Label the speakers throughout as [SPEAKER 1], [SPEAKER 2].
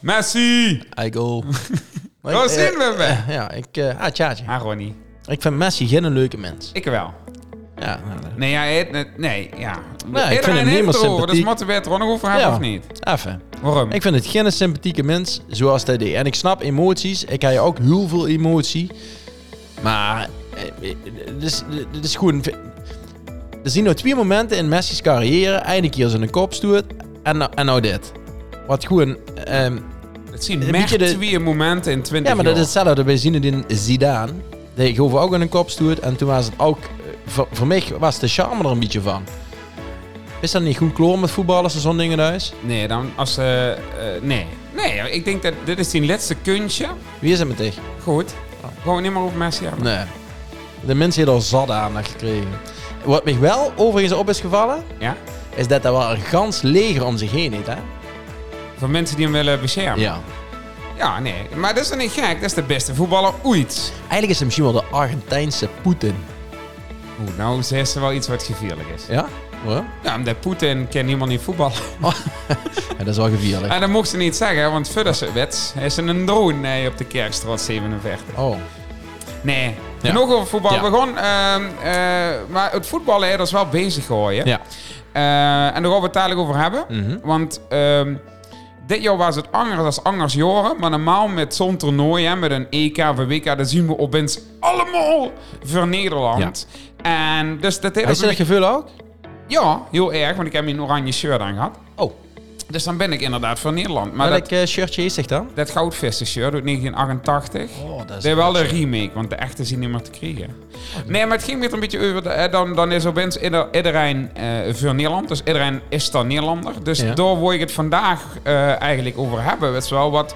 [SPEAKER 1] Messi!
[SPEAKER 2] I go. Maar
[SPEAKER 1] Zo
[SPEAKER 2] Oh. ik, eh,
[SPEAKER 1] zien we hem.
[SPEAKER 2] eh, ja, ik... eh, ah, tjaatje.
[SPEAKER 1] Maar gewoon niet.
[SPEAKER 2] Ik vind Messi geen leuke mens.
[SPEAKER 1] Ik wel.
[SPEAKER 2] Ja, nou, dat-
[SPEAKER 1] Nee, ja, het, nee, ja.
[SPEAKER 2] ik vind hem
[SPEAKER 1] Iedereen
[SPEAKER 2] niet meer
[SPEAKER 1] heeft het over, dus
[SPEAKER 2] sympathiek.
[SPEAKER 1] moeten we het er nog over hebben
[SPEAKER 2] Ja.
[SPEAKER 1] of niet?
[SPEAKER 2] even.
[SPEAKER 1] Waarom?
[SPEAKER 2] Ik vind het geen sympathieke mens zoals hij deed. En ik snap emoties. Ik heb ook heel veel emotie. Maar eh, eh, het is, het is gewoon... Er zien nou twee momenten in Messi's carrière. Eindelijk hier zijn kop stoot. En, nou- en nou dit. Wat gewoon... ehm,
[SPEAKER 1] het zien
[SPEAKER 2] een
[SPEAKER 1] maar
[SPEAKER 2] beetje de-
[SPEAKER 1] twee momenten in 20
[SPEAKER 2] ja, maar
[SPEAKER 1] jaar.
[SPEAKER 2] dat is hetzelfde bij Zinedine Zidane. Die gaf ook een kop stoot. En toen was het ook... eh, Voor, voor mij was de charme er een beetje van. Is dat niet goed kloor met voetballers en zo'n dingen thuis?
[SPEAKER 1] Nee, dan als ze... eh, nee. Nee, ik denk dat dit is die laatste kunstje.
[SPEAKER 2] Wie is het met dich?
[SPEAKER 1] Goed. Gewoon niet meer over Messi hebben.
[SPEAKER 2] Nee. De mensen hebben er zat aandacht gekregen. Wat mij wel overigens op is gevallen,
[SPEAKER 1] Ja?
[SPEAKER 2] is dat er wel een gans leger om zich heen heeft, hè?
[SPEAKER 1] Voor mensen die hem willen beschermen. Ja, nee. Maar dat is dan niet gek. Dat is de beste voetballer ooit.
[SPEAKER 2] Eigenlijk is het misschien wel de Argentijnse Poetin.
[SPEAKER 1] Oeh, nou ze is er wel iets wat gevaarlijk is.
[SPEAKER 2] Ja? Hoor? Oh.
[SPEAKER 1] Ja, omdat Poetin kan niemand niet voetballen.
[SPEAKER 2] Ja, dat is wel gevierlijk.
[SPEAKER 1] En dat mocht ze niet zeggen, want Fudderswets is een drone nee, op de Kerkstraat 47.
[SPEAKER 2] Oh.
[SPEAKER 1] Nee.
[SPEAKER 2] Ja.
[SPEAKER 1] Genoeg over voetbal.
[SPEAKER 2] Ja.
[SPEAKER 1] We gaan, ehm, eh, maar het voetballen hè, dat is wel bezig gooien.
[SPEAKER 2] Ja. Mhm.
[SPEAKER 1] Eh, en daar gaan we het dadelijk over hebben. Want ehm, dit jaar was het anders dan anders jaren. Maar normaal met zo'n toernooi, hè, met een EK of een WK, dan zien we opeens allemaal voor Nederland. En dus dat
[SPEAKER 2] Hij
[SPEAKER 1] heeft...
[SPEAKER 2] is dat gevoel ook?
[SPEAKER 1] Ja, heel erg, want ik heb hier een oranje shirt aan gehad.
[SPEAKER 2] Oh.
[SPEAKER 1] Dus dan ben ik inderdaad voor Nederland. Maar
[SPEAKER 2] Welk
[SPEAKER 1] dat,
[SPEAKER 2] eh, shirtje is zich dan?
[SPEAKER 1] dat goudvissen shirt uit 1988...
[SPEAKER 2] Oh, dat
[SPEAKER 1] Dat is wel een remake, want de echte is hier niet meer te krijgen. Nee, maar het ging meer een beetje over... de- eh, dan, dan is opeens ieder- iedereen eh voor Nederland. Dus iedereen is dan Nederlander. Dus
[SPEAKER 2] Ja.
[SPEAKER 1] daar wil ik het vandaag eh, eigenlijk over hebben. Weet je wel, wat...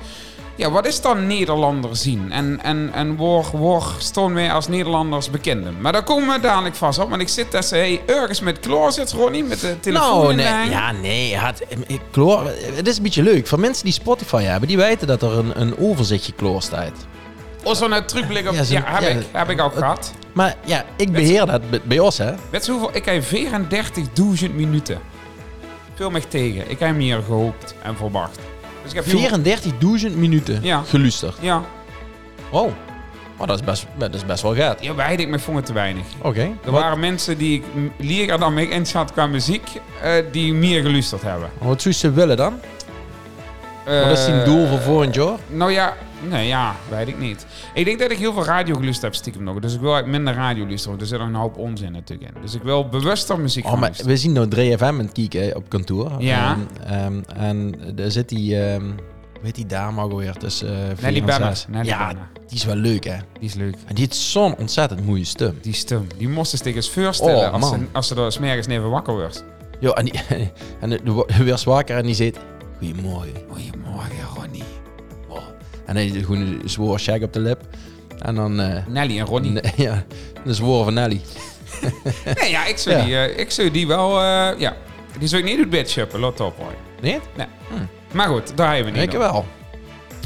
[SPEAKER 1] Ja, wat is dan Nederlander zien? En, en, en waar, waar staan wij als Nederlanders bekenden? Maar daar komen we dadelijk vast op. Want ik zit daar, hey, ergens met Kloor zit Ronnie, met de telefoon
[SPEAKER 2] Nou,
[SPEAKER 1] in de
[SPEAKER 2] nee.
[SPEAKER 1] hand.
[SPEAKER 2] Ja, nee. Het, ik, kloor, het is een beetje leuk. Voor mensen die Spotify hebben, die weten dat er een, een overzichtje kloor staat.
[SPEAKER 1] Of zo'n truc liggen op...
[SPEAKER 2] Ja,
[SPEAKER 1] Ja,
[SPEAKER 2] zo'n-
[SPEAKER 1] heb,
[SPEAKER 2] ja,
[SPEAKER 1] ik, heb ik al gehad.
[SPEAKER 2] Maar ja, ik beheer dat bij- bij ons, hè?
[SPEAKER 1] Weet je hoeveel? Ik heb 34.000 minuten. Veel me tegen. Ik heb hem hier gehoopt en verwacht. Dus ik heb heel-
[SPEAKER 2] 34.000 minuten
[SPEAKER 1] Ja.
[SPEAKER 2] geluisterd.
[SPEAKER 1] Ja,
[SPEAKER 2] Wow. Maar dat is best, dat is best wel gaat.
[SPEAKER 1] ja bij ik me vond het te weinig.
[SPEAKER 2] Oké.
[SPEAKER 1] Er
[SPEAKER 2] Wat-
[SPEAKER 1] waren mensen die ik m- liever dan ik in zat qua muziek, eh, die meer geluisterd hebben. Eh,
[SPEAKER 2] Wat zou ze willen dan? Wat is hun doel voor volgend jaar?
[SPEAKER 1] Nou ja, nee, ja, weet ik niet. Ik denk dat ik heel veel radio geluisterd heb, stiekem nog. Dus ik wil eigenlijk minder radio luisteren, want er zit nog een hoop onzin natuurlijk in. Dus ik wil bewuster muziek
[SPEAKER 2] Oh,
[SPEAKER 1] gaan
[SPEAKER 2] maar
[SPEAKER 1] luisteren.
[SPEAKER 2] we zien nou 3FM aan het kieken hè, op kantoor.
[SPEAKER 1] Ja.
[SPEAKER 2] En, ehm, en er zit die... ehm, hoe heet die dame ook alweer? Tussen, eh, vier en
[SPEAKER 1] Bemmer.
[SPEAKER 2] zes.
[SPEAKER 1] Nelly
[SPEAKER 2] ja,
[SPEAKER 1] Bemmer.
[SPEAKER 2] die is wel leuk, hè?
[SPEAKER 1] Die is leuk.
[SPEAKER 2] En die heeft zo'n ontzettend mooie stem.
[SPEAKER 1] Die stem. Die moesten stickers voorstellen
[SPEAKER 2] Oh,
[SPEAKER 1] als, ze,
[SPEAKER 2] man.
[SPEAKER 1] als ze er s'mergens even wakker wordt.
[SPEAKER 2] Jo, en die, en de- de- de werd wakker en die zegt... Goedemorgen.
[SPEAKER 1] Goedemorgen, Ronnie.
[SPEAKER 2] Wow. Oh. En hij doet gewoon een zwoer shag op de lip. En dan... eh,
[SPEAKER 1] Nelly en Ronnie. Nee,
[SPEAKER 2] n- ja, een zwoer van Nelly.
[SPEAKER 1] ja, ik zou,
[SPEAKER 2] Ja.
[SPEAKER 1] Die, eh, ik zou die wel... eh, ja, die zou ik niet uit bed shuppen, lot op hoor.
[SPEAKER 2] Nee?
[SPEAKER 1] Nee.
[SPEAKER 2] Hm.
[SPEAKER 1] Maar goed, daar hebben we niet
[SPEAKER 2] Ik
[SPEAKER 1] op.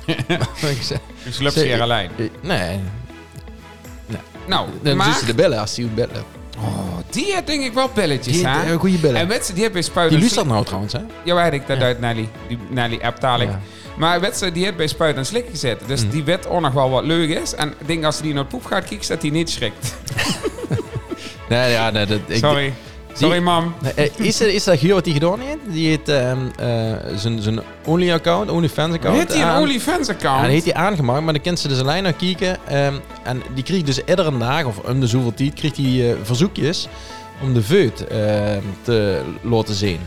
[SPEAKER 1] Dus
[SPEAKER 2] wel. ik zeg,
[SPEAKER 1] Je slaapt Sierra Leone.
[SPEAKER 2] Eh, Nee,
[SPEAKER 1] Nou,
[SPEAKER 2] dan
[SPEAKER 1] maar...
[SPEAKER 2] is ze de bellen als die op bed loopt.
[SPEAKER 1] Oh, die heeft denk ik wel belletjes,
[SPEAKER 2] Die
[SPEAKER 1] hè?
[SPEAKER 2] heeft, eh, goede bellen.
[SPEAKER 1] En mensen, die hebben bij Spuit
[SPEAKER 2] Die
[SPEAKER 1] en
[SPEAKER 2] luistert nou trouwens, hè?
[SPEAKER 1] Slik- Ja, weet ik, dat uit Nelly. Die Nelly app dadelijk.
[SPEAKER 2] Ja. Hm.
[SPEAKER 1] Maar mensen, die heeft bij Spuit en Slik gezet. Dus die weet ook nog wel wat leuk is. En ik denk als die naar poep gaat kijken, dat hij niet schrikt.
[SPEAKER 2] Nee, ja, nee, dat, ik,
[SPEAKER 1] Sorry. Sorry, mam.
[SPEAKER 2] Nee, eh, is, er, is dat Gio wat hij gedaan heeft? Die heeft ehm, eh, zijn- zijn Only-account, OnlyFans-account.
[SPEAKER 1] Heet hij een
[SPEAKER 2] aan-
[SPEAKER 1] OnlyFans-account?
[SPEAKER 2] Ja, die heeft hij aangemaakt, maar dan kunnen ze dus alleen naar kijken. ehm, en die kreeg dus iedere dag, of om de zoveel tijd, kreeg hij eh, verzoekjes om de veut ehm, te laten zien.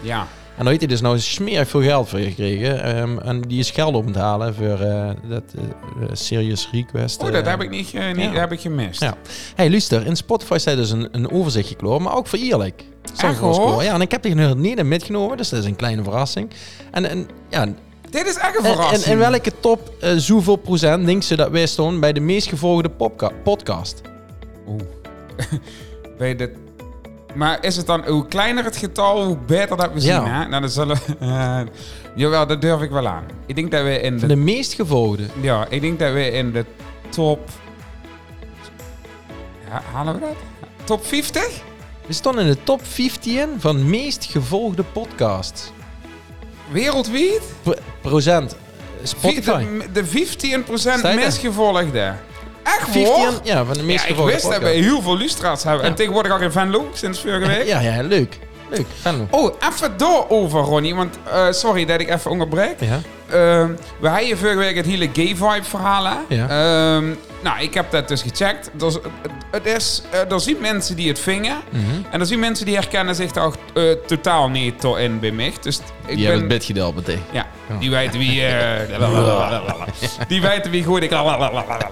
[SPEAKER 1] Ja.
[SPEAKER 2] En daar heeft hij dus nou smerig veel geld voor gekregen. ehm, en die is geld op aan het halen voor eh, dat eh, serious request.
[SPEAKER 1] Oh, dat
[SPEAKER 2] eh.
[SPEAKER 1] heb ik niet, ge- niet
[SPEAKER 2] ja.
[SPEAKER 1] heb ik gemist.
[SPEAKER 2] Ja. Hey, luister, in Spotify staat dus een, een overzichtje klaar, maar ook voor eerlijk.
[SPEAKER 1] Echt, hoor?
[SPEAKER 2] Ja, en ik heb die nog niet metgenomen, dus dat is een kleine verrassing. En, en ja, en-
[SPEAKER 1] Dit is echt een
[SPEAKER 2] en, en,
[SPEAKER 1] verrassing.
[SPEAKER 2] welke top eh, zoveel procent denkt ze dat wij stonden bij de meest gevolgde popca- podcast?
[SPEAKER 1] Oeh. Bij de... Maar is het dan hoe kleiner het getal, hoe beter dat we
[SPEAKER 2] Ja.
[SPEAKER 1] zien? Hè? Nou, dan zullen we- eh, jawel, dat durf ik wel aan. Ik denk dat we in de,
[SPEAKER 2] Van de meest gevolgde.
[SPEAKER 1] ja, ik denk dat we in de top. Ha- halen we dat? Top 50?
[SPEAKER 2] We stonden in de top 15 van meest gevolgde podcasts.
[SPEAKER 1] Wereldwijd?
[SPEAKER 2] Pro- procent Spotify.
[SPEAKER 1] De, de 15%
[SPEAKER 2] Zei dat?
[SPEAKER 1] misgevolgde. Echt
[SPEAKER 2] 15,
[SPEAKER 1] hoor?
[SPEAKER 2] ja, van de meest
[SPEAKER 1] Ja, ik
[SPEAKER 2] gevolgde
[SPEAKER 1] wist dat wij
[SPEAKER 2] podcast.
[SPEAKER 1] heel veel lustra's hebben.
[SPEAKER 2] Ja.
[SPEAKER 1] En tegenwoordig ook in Venlo, sinds vorige week.
[SPEAKER 2] Ja, ja, leuk. Leuk, gaan we.
[SPEAKER 1] Oh, even door over, Ronnie. Want eh, sorry dat ik even onderbreek.
[SPEAKER 2] Oh, Ja.
[SPEAKER 1] Ehm, we hadden vorige week het hele gay vibe verhaal. hè?
[SPEAKER 2] Ja.
[SPEAKER 1] Ehm, nou, ik heb dat dus gecheckt. Er, is- het is, eh, er zien mensen die het vingen.
[SPEAKER 2] Mhm.
[SPEAKER 1] En er zien mensen die herkennen zich daar ook eh, totaal niet door in bij mij. Dus t-
[SPEAKER 3] Je
[SPEAKER 1] ik
[SPEAKER 3] hebt
[SPEAKER 1] ben...
[SPEAKER 3] het bed gedeeld meteen.
[SPEAKER 1] Ja, die weten wie... eh, lalalala. die weten wie goed ik... lalalala.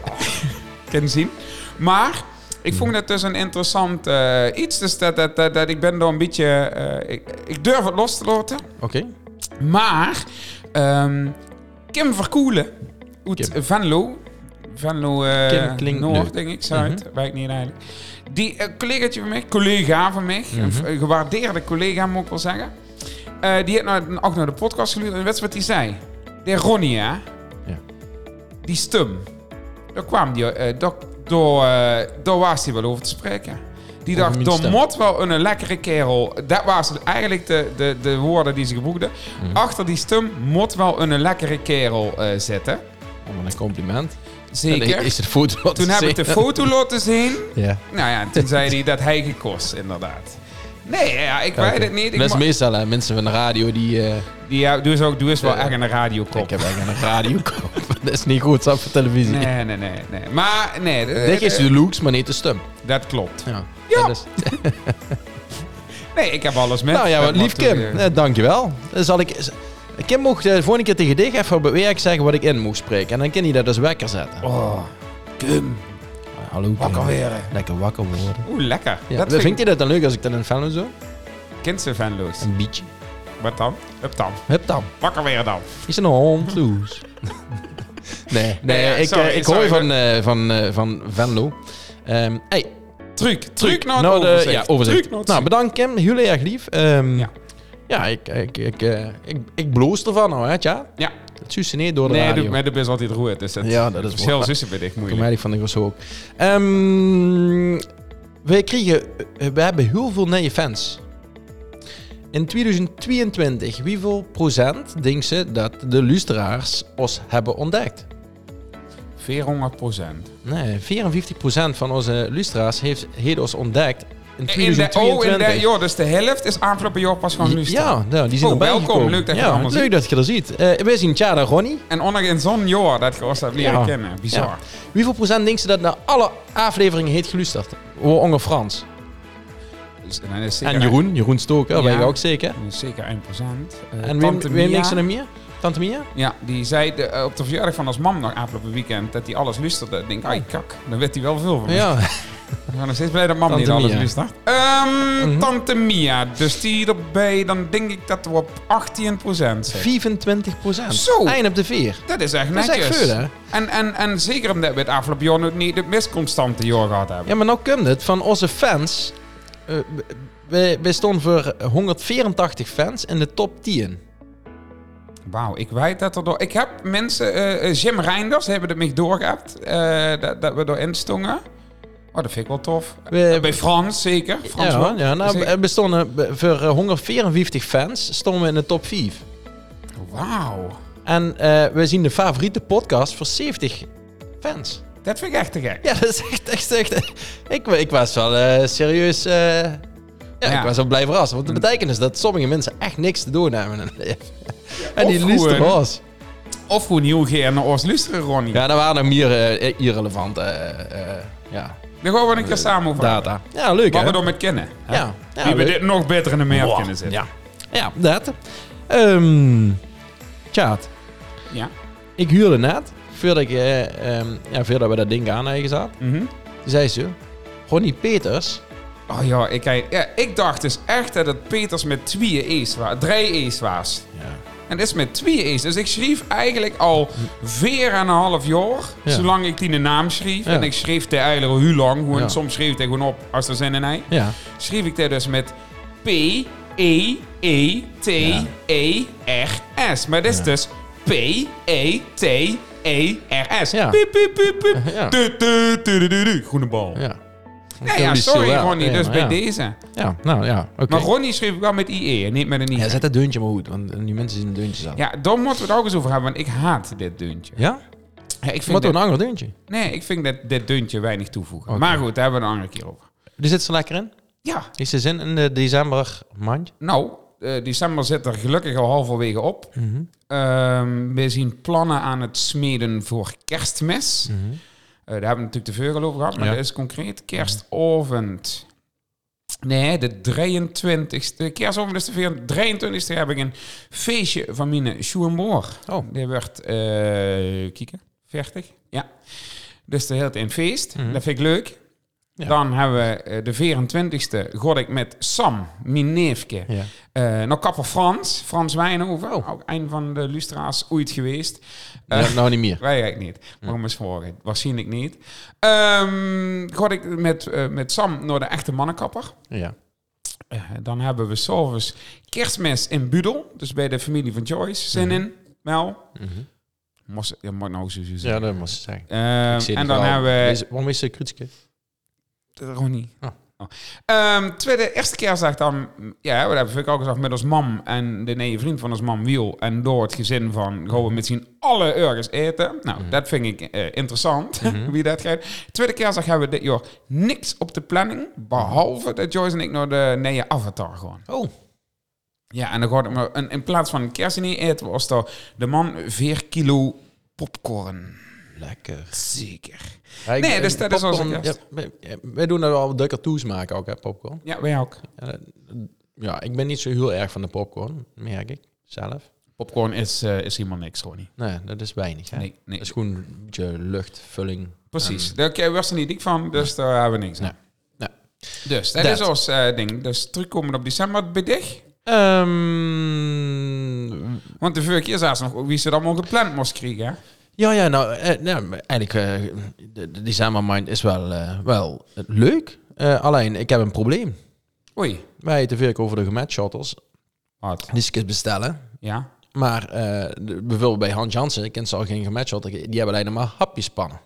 [SPEAKER 1] kan zien. Maar ik vond het dus een interessant eh, iets. Dus dat, dat, dat, dat ik ben door een beetje... eh, ik, ik durf het los te laten.
[SPEAKER 2] Oké.
[SPEAKER 1] Maar ehm, Kim Verkoelen uit
[SPEAKER 2] Kim.
[SPEAKER 1] Venlo. Venlo eh,
[SPEAKER 2] Kim klinkt Mhm.
[SPEAKER 1] Noord,
[SPEAKER 2] leuk.
[SPEAKER 1] denk ik, Zuid. Weet niet eigenlijk. Die eh, collegaatje van mij, collega van mij,
[SPEAKER 2] Mhm.
[SPEAKER 1] een v- een gewaardeerde collega moet ik wel zeggen. eh, die heeft nou, ook naar de podcast geluisterd en weet je wat hij zei? De Ronnie, hè?
[SPEAKER 2] Ja.
[SPEAKER 1] Die stum. Daar kwam die, eh, daar, door, eh, daar was hij wel over te spreken. Die
[SPEAKER 2] Over
[SPEAKER 1] dacht,
[SPEAKER 2] mijn
[SPEAKER 1] door
[SPEAKER 2] stem.
[SPEAKER 1] mot wel een lekkere kerel. Dat waren eigenlijk de, de, de woorden die ze geboekten.
[SPEAKER 2] Mhm.
[SPEAKER 1] Achter die stum mot wel een lekkere kerel eh zitten.
[SPEAKER 2] Oh, wat een compliment.
[SPEAKER 1] Zeker.
[SPEAKER 3] Is er foto wat
[SPEAKER 1] Toen
[SPEAKER 3] te
[SPEAKER 1] heb ik de
[SPEAKER 3] zien?
[SPEAKER 1] foto laten zien.
[SPEAKER 2] Ja.
[SPEAKER 1] Nou ja, toen zei hij dat hij gekost, inderdaad. Nee, ja, ik weet het niet. Ik
[SPEAKER 2] Dat is
[SPEAKER 1] ma-
[SPEAKER 2] meestal hè, mensen van de radio die... eh,
[SPEAKER 1] die, ja, doe eens ook, doe eens wel
[SPEAKER 2] Ja.
[SPEAKER 1] echt een radiokop.
[SPEAKER 2] ik heb eigenlijk een radio Dat is niet goed, snap voor televisie.
[SPEAKER 1] Nee, nee, nee, nee. Maar, nee. eh,
[SPEAKER 2] Dit is dus-
[SPEAKER 1] eh,
[SPEAKER 2] de looks, maar niet de stem.
[SPEAKER 1] Dat klopt.
[SPEAKER 2] Ja.
[SPEAKER 1] Ja.
[SPEAKER 2] Dat is-
[SPEAKER 1] Nee, ik heb alles met.
[SPEAKER 2] nou ja, wat
[SPEAKER 1] Dat
[SPEAKER 2] lief
[SPEAKER 1] mag
[SPEAKER 2] Kim.
[SPEAKER 1] toegeven.
[SPEAKER 2] Eh, dankjewel. Dan zal ik... Kim mocht de vorige keer tegen dich even op het werk zeggen wat ik in moest spreken. En dan kan hij dat als wekker zetten. Ah,
[SPEAKER 1] Oh, Kim.
[SPEAKER 2] Hallo
[SPEAKER 1] Wakker
[SPEAKER 2] Kim.
[SPEAKER 1] weer.
[SPEAKER 2] Lekker wakker worden.
[SPEAKER 1] Oeh, lekker.
[SPEAKER 2] Ja,
[SPEAKER 1] dat
[SPEAKER 2] vindt
[SPEAKER 1] vind ik
[SPEAKER 2] hij dat dan leuk als ik dan een fan zo?
[SPEAKER 1] kindsevenloos.
[SPEAKER 2] Een beetje.
[SPEAKER 1] Wat dan? Up dan.
[SPEAKER 2] Hup dan.
[SPEAKER 1] Wakker weer dan.
[SPEAKER 2] Is een hond loose? nee, nee
[SPEAKER 1] ja,
[SPEAKER 2] ik,
[SPEAKER 1] sorry,
[SPEAKER 2] eh, ik
[SPEAKER 1] sorry.
[SPEAKER 2] hoor van, eh van, eh, van Venlo. Ehm hey,
[SPEAKER 1] Truc. Truc naar het
[SPEAKER 2] nou, de-
[SPEAKER 1] overzicht.
[SPEAKER 2] ja, overzicht.
[SPEAKER 1] Truc naar het
[SPEAKER 2] nou, bedankt Kim, heel erg lief. Ehm,
[SPEAKER 1] Ja.
[SPEAKER 2] ja. ik, ik, ik, eh, ik, ik bloos ervan nou, hè, tja.
[SPEAKER 1] Ja.
[SPEAKER 2] Het sucineert door de
[SPEAKER 1] Nee,
[SPEAKER 2] radio.
[SPEAKER 1] doe, maar de bus altijd roer. Dus dat
[SPEAKER 2] Ja, dat is
[SPEAKER 1] is heel
[SPEAKER 2] waar.
[SPEAKER 1] zussen bij dicht moeilijk.
[SPEAKER 2] Comedie van de Grosso ook. Ehm, wij kregen, eh, we hebben heel veel nieuwe fans. In 2022, hoeveel procent denkt ze dat de luisteraars ons hebben ontdekt?
[SPEAKER 1] 400 procent.
[SPEAKER 2] Nee, 54% van onze luisteraars heeft, heeft ons ontdekt
[SPEAKER 1] In
[SPEAKER 2] in
[SPEAKER 1] de, oh, in
[SPEAKER 2] 2022.
[SPEAKER 1] de, joh, dus de helft is afgelopen jaar pas gewoon nu
[SPEAKER 2] dus ja, nou, die zijn
[SPEAKER 1] Oh,
[SPEAKER 2] erbij
[SPEAKER 1] welkom.
[SPEAKER 2] gekomen.
[SPEAKER 1] Leuk dat je
[SPEAKER 2] ja,
[SPEAKER 1] het allemaal
[SPEAKER 2] leuk
[SPEAKER 1] ziet.
[SPEAKER 2] dat je er ziet. Eh wij zien Tjada Ronnie.
[SPEAKER 1] En ondanks in zo'n jaar dat je ons hebt leren
[SPEAKER 2] Ja.
[SPEAKER 1] kennen. Bizar.
[SPEAKER 2] Hoeveel procent denkt ze dat na alle afleveringen heeft geluisterd? Oh, Onge Frans.
[SPEAKER 1] Dus, en dan is zeker,
[SPEAKER 2] En Jeroen, Jeroen Stoker, ja. wij
[SPEAKER 1] Ja.
[SPEAKER 2] ook zeker.
[SPEAKER 1] dan is Zeker 1 procent. Eh,
[SPEAKER 2] En wie, wie niks aan hem meer? Tante Mia?
[SPEAKER 1] Ja, die zei de- eh, op de verjaardag van ons mam nog afgelopen weekend dat hij alles lusterde. Ik denk, ai kak, dan weet hij wel veel van me.
[SPEAKER 2] Ja.
[SPEAKER 1] We zijn nog steeds blij dat mam
[SPEAKER 2] Tante
[SPEAKER 1] niet alles
[SPEAKER 2] Mia. Mhm.
[SPEAKER 1] lustert. Ehm, Tante Mia, dus die erbij, dan denk ik dat we op 18 procent
[SPEAKER 2] 24 procent.
[SPEAKER 1] Zo.
[SPEAKER 2] Eén op de vier.
[SPEAKER 1] Dat is echt
[SPEAKER 2] Dat is echt
[SPEAKER 1] netjes.
[SPEAKER 2] veel, hè?
[SPEAKER 1] en, en, en zeker omdat we het afgelopen jaar nog niet het meest constante jaar gehad hebben.
[SPEAKER 2] Ja, maar nou komt het van onze fans. eh, w- wij, wij stonden voor 184 fans in de top 10.
[SPEAKER 1] Wauw, ik weet dat er door... Ik heb mensen... eh, eh, Jim Reinders hebben het mij doorgehaald. eh, dat, dat we erin stongen. Oh, dat vind ik wel tof.
[SPEAKER 2] We-
[SPEAKER 1] Bij Frans, zeker. Frans
[SPEAKER 2] ja,
[SPEAKER 1] wel.
[SPEAKER 2] ja, nou,
[SPEAKER 1] Zeker.
[SPEAKER 2] we bestonden b- voor eh, 154 fans stonden we in de top 5.
[SPEAKER 1] Wauw.
[SPEAKER 2] En eh we zien de favoriete podcast voor 70 fans.
[SPEAKER 1] Dat vind ik echt te gek.
[SPEAKER 2] Ja, dat is echt, echt, echt. Ik, wa- ik was wel eh, serieus. eh, ja,
[SPEAKER 1] Ja.
[SPEAKER 2] ik was wel blij verrast. Want dat betekent dus dat sommige mensen echt niks te doen hebben. in hun leven. en die
[SPEAKER 1] of
[SPEAKER 2] luisteren
[SPEAKER 1] gewoon-
[SPEAKER 2] ons.
[SPEAKER 1] Of hoe nieuw geer naar ons luisteren, Ronnie.
[SPEAKER 2] Ja, daar waren nog meer eh, irrelevante eh, eh, ja,
[SPEAKER 1] Daar gaan we een keer samen over. praten.
[SPEAKER 2] data. Ja, leuk
[SPEAKER 1] Wat
[SPEAKER 2] hè?
[SPEAKER 1] we door met kennen. hè?
[SPEAKER 2] Ja, ja,
[SPEAKER 1] Wie we
[SPEAKER 2] leuk.
[SPEAKER 1] dit nog beter in de merk
[SPEAKER 2] Wow,
[SPEAKER 1] kunnen zetten.
[SPEAKER 2] Ja, ja dat. Ehm Tjaat,
[SPEAKER 1] Ja.
[SPEAKER 2] ik huurde net, voordat, ik, eh, ehm, ja, voordat we dat ding aan eigen zat,
[SPEAKER 1] Mhm.
[SPEAKER 2] toen zei ze, Ronnie Peters,
[SPEAKER 1] Oh ja ik, ja, ik dacht dus echt dat het Peters met twee E's was. Drie E's was.
[SPEAKER 2] ja.
[SPEAKER 1] En dat is met twee E's. Dus ik schreef eigenlijk al 4,5 jaar,
[SPEAKER 2] Ja.
[SPEAKER 1] zolang ik die een naam schreef.
[SPEAKER 2] Ja.
[SPEAKER 1] En ik schreef die eigenlijk al heel lang, gewoon,
[SPEAKER 2] Ja.
[SPEAKER 1] soms schreef ik die gewoon op als er zijn en hij.
[SPEAKER 2] ja,
[SPEAKER 1] Schreef ik die dus met P, E, E, T, E, R, S. Maar dat is dus P, E, T, E, R, S.
[SPEAKER 2] Ja.
[SPEAKER 1] Piep, piep, piep, piep.
[SPEAKER 2] Ja.
[SPEAKER 1] Du, du, du, du, du, du. Groene bal.
[SPEAKER 2] ja.
[SPEAKER 1] Nee, ja, sorry Ronnie, dus bij
[SPEAKER 2] D.
[SPEAKER 1] deze.
[SPEAKER 2] Ja, nou ja, oké.
[SPEAKER 1] Maar Ronnie schreef ik wel met IE, niet met een I.
[SPEAKER 2] Ja,
[SPEAKER 1] Ja,
[SPEAKER 2] zet dat deuntje maar goed, want eh, die mensen zien een deuntje zelf. Ja?
[SPEAKER 1] daar moeten we het ook eens over hebben, want ik haat dit deuntje. Ja, ik
[SPEAKER 2] Maar
[SPEAKER 1] vind
[SPEAKER 2] toch
[SPEAKER 1] dit,
[SPEAKER 2] een ander deuntje.
[SPEAKER 1] nee, ik vind dit, dit deuntje weinig toevoegen.
[SPEAKER 2] Oké.
[SPEAKER 1] Maar goed, daar hebben we een andere keer over.
[SPEAKER 2] Die zit ze lekker in.
[SPEAKER 1] Ja,
[SPEAKER 2] Is er zin in de december maand?
[SPEAKER 1] nou, eh, december zit er gelukkig al halverwege op.
[SPEAKER 2] Mhm.
[SPEAKER 1] Ehm, we zien plannen aan het smeden voor kerstmis. Eh, daar hebben we natuurlijk te veel over gehad, maar
[SPEAKER 2] Mhm. Ja. Mhm.
[SPEAKER 1] dat is concreet kerstavond. Nee, de 23ste, kerstavond is de 24, 23ste heb ik een feestje van mijn Schuenboer.
[SPEAKER 2] Oh.
[SPEAKER 1] Die werd, eh kieken, 40, ja. Dus de hele tijd een feest,
[SPEAKER 2] Mhm.
[SPEAKER 1] dat vind ik leuk.
[SPEAKER 2] Ja.
[SPEAKER 1] Dan hebben we eh, de 24ste, god ik met Sam, mijn neefje,
[SPEAKER 2] Ja.
[SPEAKER 1] eh nou, kapper Frans, Frans Wijnhoven, ook een van de lustra's ooit geweest. Eh,
[SPEAKER 2] Ja, nou niet meer.
[SPEAKER 1] Wij eigenlijk niet, maar om eens vragen. Waarschijnlijk niet. Ehm god ik met, eh, met Sam naar de echte mannenkapper.
[SPEAKER 2] Ja.
[SPEAKER 1] Eh, dan hebben we s'avonds kerstmis in Budel, dus bij de familie van Joyce. Zin in, Mel.
[SPEAKER 2] Mhm.
[SPEAKER 1] Moest, ja, mag nou zo zo zeggen.
[SPEAKER 2] Ja, dat moest ik zeggen.
[SPEAKER 1] Ehm,
[SPEAKER 2] Ik zie
[SPEAKER 1] en
[SPEAKER 2] die
[SPEAKER 1] dan
[SPEAKER 2] vrouw.
[SPEAKER 1] hebben we...
[SPEAKER 2] Deze- Waarom is ze kritisch?
[SPEAKER 1] Ronnie.
[SPEAKER 2] Oh.
[SPEAKER 1] Oh. Ehm, tweede, eerste kerstdag dan, ja, we hebben ik ook gezegd met ons mam en de nee vriend van ons mam Wiel en door het gezin van gaan we met z'n alle ergens eten. Nou, dat vind ik eh, interessant, wie dat gaat. Tweede kerstdag hebben we dit jaar niks op de planning, behalve dat Joyce en ik naar de nee avatar gaan.
[SPEAKER 2] Oh.
[SPEAKER 1] Ja, en dan gaat het maar, en in plaats van kerstdiner eten was daar de man 4 kilo popcorn.
[SPEAKER 2] Lekker.
[SPEAKER 1] Zeker.
[SPEAKER 2] Ja, ik-
[SPEAKER 1] Nee,
[SPEAKER 2] eh,
[SPEAKER 1] dus dat is onze
[SPEAKER 2] popcorn-
[SPEAKER 1] kerst.
[SPEAKER 2] ja, wij- ja, Wij doen dat wel lekker toes maken ook, hè, popcorn.
[SPEAKER 1] Ja, wij ook.
[SPEAKER 2] Ja, dat- Ja, ik ben niet zo heel erg van de popcorn, merk ik zelf.
[SPEAKER 1] Popcorn is, eh, is helemaal niks, Ronnie. Dus
[SPEAKER 2] Nee, dat is weinig. Hè?
[SPEAKER 1] Nee, nee.
[SPEAKER 2] Dat is gewoon een beetje luchtvulling.
[SPEAKER 1] Precies, daar was er niet dik van, dus daar hebben we niks aan.
[SPEAKER 2] Nee.
[SPEAKER 1] Dus dat,
[SPEAKER 2] Dat.
[SPEAKER 1] is ons eh, ding. Dus terugkomen op december bij dich.
[SPEAKER 2] Ehm,
[SPEAKER 1] Want de vorige keer zaten ze nog wie ze het allemaal gepland moest krijgen. hè?
[SPEAKER 2] ja, ja, nou, eh, nou maar eigenlijk, eh, de, de December Mind is wel, eh, wel leuk. Eh, alleen, ik heb een probleem.
[SPEAKER 1] Oei,
[SPEAKER 2] Wij hebben te veel over de gematchotters.
[SPEAKER 1] wat?
[SPEAKER 2] Dus ik kan het bestellen.
[SPEAKER 1] Ja.
[SPEAKER 2] Maar eh, de- bijvoorbeeld bij Hans Jansen, ik ken ze al geen gematchotter. Die hebben alleen maar hapjespannen.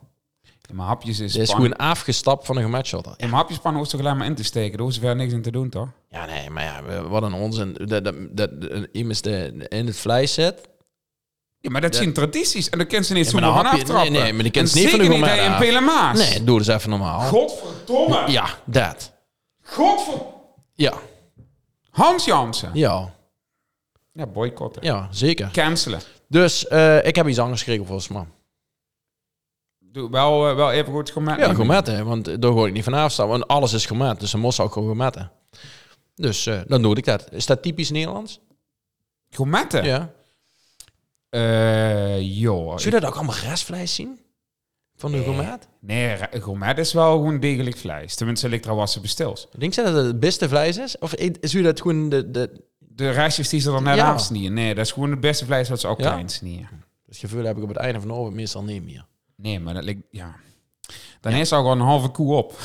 [SPEAKER 1] Maar hapjes is,
[SPEAKER 2] Ze is
[SPEAKER 1] pan-
[SPEAKER 2] gewoon afgestapt van een gematchotter.
[SPEAKER 1] In mijn hapjespan hoeft ze gelijk maar in te steken. Daar hoeft ze verder niks in te doen, toch?
[SPEAKER 2] Ja, nee, maar ja, we- wat een onzin. Dat, dat, dat dat iemand de- in het vlees zit.
[SPEAKER 1] Ja, maar dat zijn tradities. En dan kan ze niet
[SPEAKER 2] Ja,
[SPEAKER 1] zo
[SPEAKER 2] maar dan
[SPEAKER 1] van
[SPEAKER 2] hap je-
[SPEAKER 1] aftrappen.
[SPEAKER 2] nee, nee, maar die kent
[SPEAKER 1] En
[SPEAKER 2] ze niet van de
[SPEAKER 1] zeker
[SPEAKER 2] gourmet
[SPEAKER 1] niet in
[SPEAKER 2] af.
[SPEAKER 1] Pelemaas.
[SPEAKER 2] Nee, doe dus even normaal.
[SPEAKER 1] Godverdomme.
[SPEAKER 2] Ja, dat.
[SPEAKER 1] Godver...
[SPEAKER 2] Ja,
[SPEAKER 1] Hans Jansen.
[SPEAKER 2] ja,
[SPEAKER 1] Ja, boycotten.
[SPEAKER 2] ja, zeker.
[SPEAKER 1] Cancelen.
[SPEAKER 2] Dus eh, ik heb iets anders gekregen volgens mij.
[SPEAKER 1] Doe wel, eh, wel even goed gemaakt.
[SPEAKER 2] Ja, gourmetten, want daar hoor ik niet van afstaan. Want alles is gourmet, dus dan moest ook gewoon gourmetten. Dus eh, dan doe ik dat. Is dat typisch Nederlands?
[SPEAKER 1] Gourmetten?
[SPEAKER 2] Ja. Oh,
[SPEAKER 1] Eh, joh.
[SPEAKER 2] Zul je dat ook allemaal restvlees zien? Van de gourmet?
[SPEAKER 1] Nee, ra- gourmet is wel gewoon degelijk vlees. Tenminste, Electra was ze besteld.
[SPEAKER 2] Ik denk dat het het beste vlees is. Of eet- zul je dat gewoon... De, de,
[SPEAKER 1] De restjes die ze dan net
[SPEAKER 2] Ja.
[SPEAKER 1] afsnijden. Nee, dat is gewoon het beste vlees wat ze ook
[SPEAKER 2] Ja?
[SPEAKER 1] klein snijden.
[SPEAKER 2] het gevoel heb ik op het einde van de oven meestal niet meer.
[SPEAKER 1] Nee, maar dat lijkt... Ja. Dan is er al gewoon een halve koe op.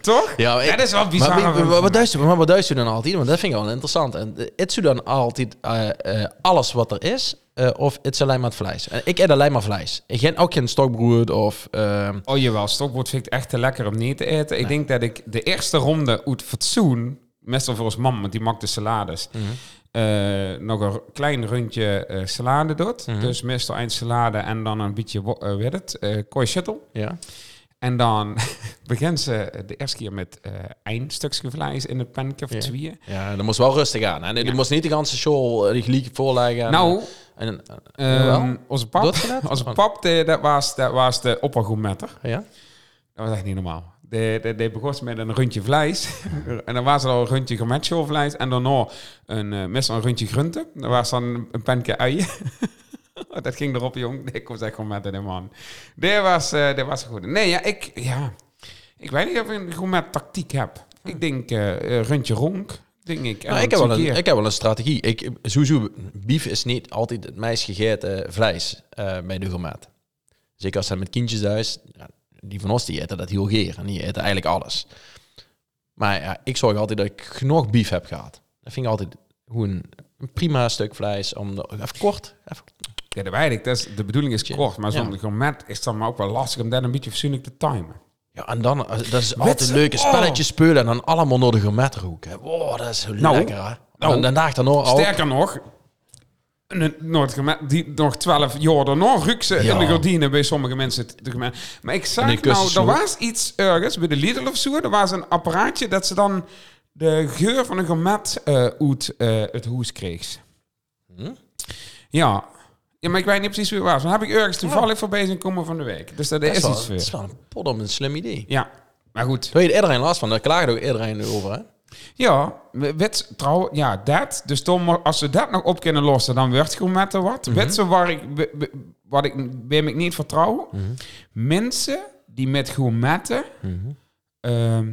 [SPEAKER 1] Toch?
[SPEAKER 2] Ja, maar ik-
[SPEAKER 1] dat is wel bizar.
[SPEAKER 2] Maar wie- wat- wat duist- maar wat duist u dan altijd? Want dat vind ik wel interessant. En eh, eet u dan altijd eh, eh, alles wat er is? eh, of eet ze alleen maar het vlees? En ik eet alleen maar vlees. Ik geen, ook geen stokbrood of... ehm,
[SPEAKER 1] Oh jawel, stokbrood vind ik echt te lekker om niet te eten. Ik denk dat ik de eerste ronde uit fatsoen, meestal voor ons mam, want die maakt de salades,
[SPEAKER 2] Mhm.
[SPEAKER 1] eh, nog een r- klein rondje eh, salade doet.
[SPEAKER 2] Mhm.
[SPEAKER 1] Dus meestal eind salade en dan een beetje, wo- eh, weet het, eh kooi shuttle.
[SPEAKER 2] ja.
[SPEAKER 1] En dan begint ze de eerste keer met eh één stukje vlees in het pannetje of twee.
[SPEAKER 2] ja, dat moest wel rustig aan. En Je moest niet de ganse show eh, die gelijk voorleggen. En,
[SPEAKER 1] Nou,
[SPEAKER 2] En, eh,
[SPEAKER 1] ehm,
[SPEAKER 2] jawel. Oh.
[SPEAKER 1] onze
[SPEAKER 2] Doet
[SPEAKER 1] pap,
[SPEAKER 2] ze dat?
[SPEAKER 1] onze pap die- dat, was, dat was de oppergoedmetter.
[SPEAKER 2] ja?
[SPEAKER 1] Dat was echt niet normaal. De, de, de begon met een rondje vlees. en dan was er al een rondje gematchoolvlees. En daarna een, eh meestal een rondje groenten. Dan was dan een pankje uien. dat ging erop, jong. Ik was echt gewoon met de man. Dit was, eh dit was goed. Nee, ja, ik... Ja, ik weet niet of ik een gourmet tactiek heb. Ik denk eh eh, rondje ronk, denk ik. En
[SPEAKER 2] Nou, ik,
[SPEAKER 1] dan
[SPEAKER 2] heb wel een,
[SPEAKER 1] keer.
[SPEAKER 2] ik heb wel een strategie. Ik, sowieso, bief is niet altijd het meest gegeten vlees eh, bij de gourmet. Zeker als ze met kindjes thuis. ja, die van ons die eten dat heel geer. En die eten eigenlijk alles. Maar ja, ik zorg altijd dat ik genoeg bief heb gehad. Dat vind ik altijd gewoon een prima stuk vlees. Om de- even kort. Even,
[SPEAKER 1] Ja, dat weet ik. Dat is, de bedoeling is kort. Maar
[SPEAKER 2] Ja.
[SPEAKER 1] zonder gourmet is dan maar ook wel lastig om dat een beetje verzoenlijk te timen.
[SPEAKER 2] Ja, en dan, eh, dat is altijd
[SPEAKER 1] Wedst-
[SPEAKER 2] leuke
[SPEAKER 1] oh.
[SPEAKER 2] spelletjes spelen en dan allemaal naar de gemetterhoek. hè. Wow, dat is zo
[SPEAKER 1] Nou,
[SPEAKER 2] lekker, hè.
[SPEAKER 1] nou.
[SPEAKER 2] en dan daag dan ook.
[SPEAKER 1] Sterker nog, n- nooit geme- die nog twaalf jaar daarna rukt ze
[SPEAKER 2] Ja.
[SPEAKER 1] in de gordijnen bij sommige mensen. t- De geme- maar ik
[SPEAKER 2] En
[SPEAKER 1] zag
[SPEAKER 2] die kussen
[SPEAKER 1] nou,
[SPEAKER 2] zo.
[SPEAKER 1] er was iets ergens bij de Lidl of zo. Er was een apparaatje dat ze dan de geur van een gemet eh uit eh, het hoes kreeg.
[SPEAKER 2] Hm?
[SPEAKER 1] Ja. ja, maar ik weet niet precies wie het was. Maar heb ik ergens toevallig voorbij zien komen van de week. Dus dat,
[SPEAKER 2] Dat
[SPEAKER 1] is
[SPEAKER 2] wel-
[SPEAKER 1] iets
[SPEAKER 2] dat is
[SPEAKER 1] weer.
[SPEAKER 2] wel een potdom, een slim idee.
[SPEAKER 1] Ja, maar goed.
[SPEAKER 2] Daar heeft iedereen last van, daar klaagt ook iedereen over, hè.
[SPEAKER 1] Ja, wet, trouw, ja, dat. Dus dan, mo- als ze dat nog op kunnen lossen, dan wordt het met er
[SPEAKER 2] Mhm.
[SPEAKER 1] wat. Weet ze waar ik, we- we- wat ik, waar ik niet vertrouw?
[SPEAKER 2] Mhm.
[SPEAKER 1] Mensen die met gourmetten
[SPEAKER 2] Mhm.
[SPEAKER 1] ehm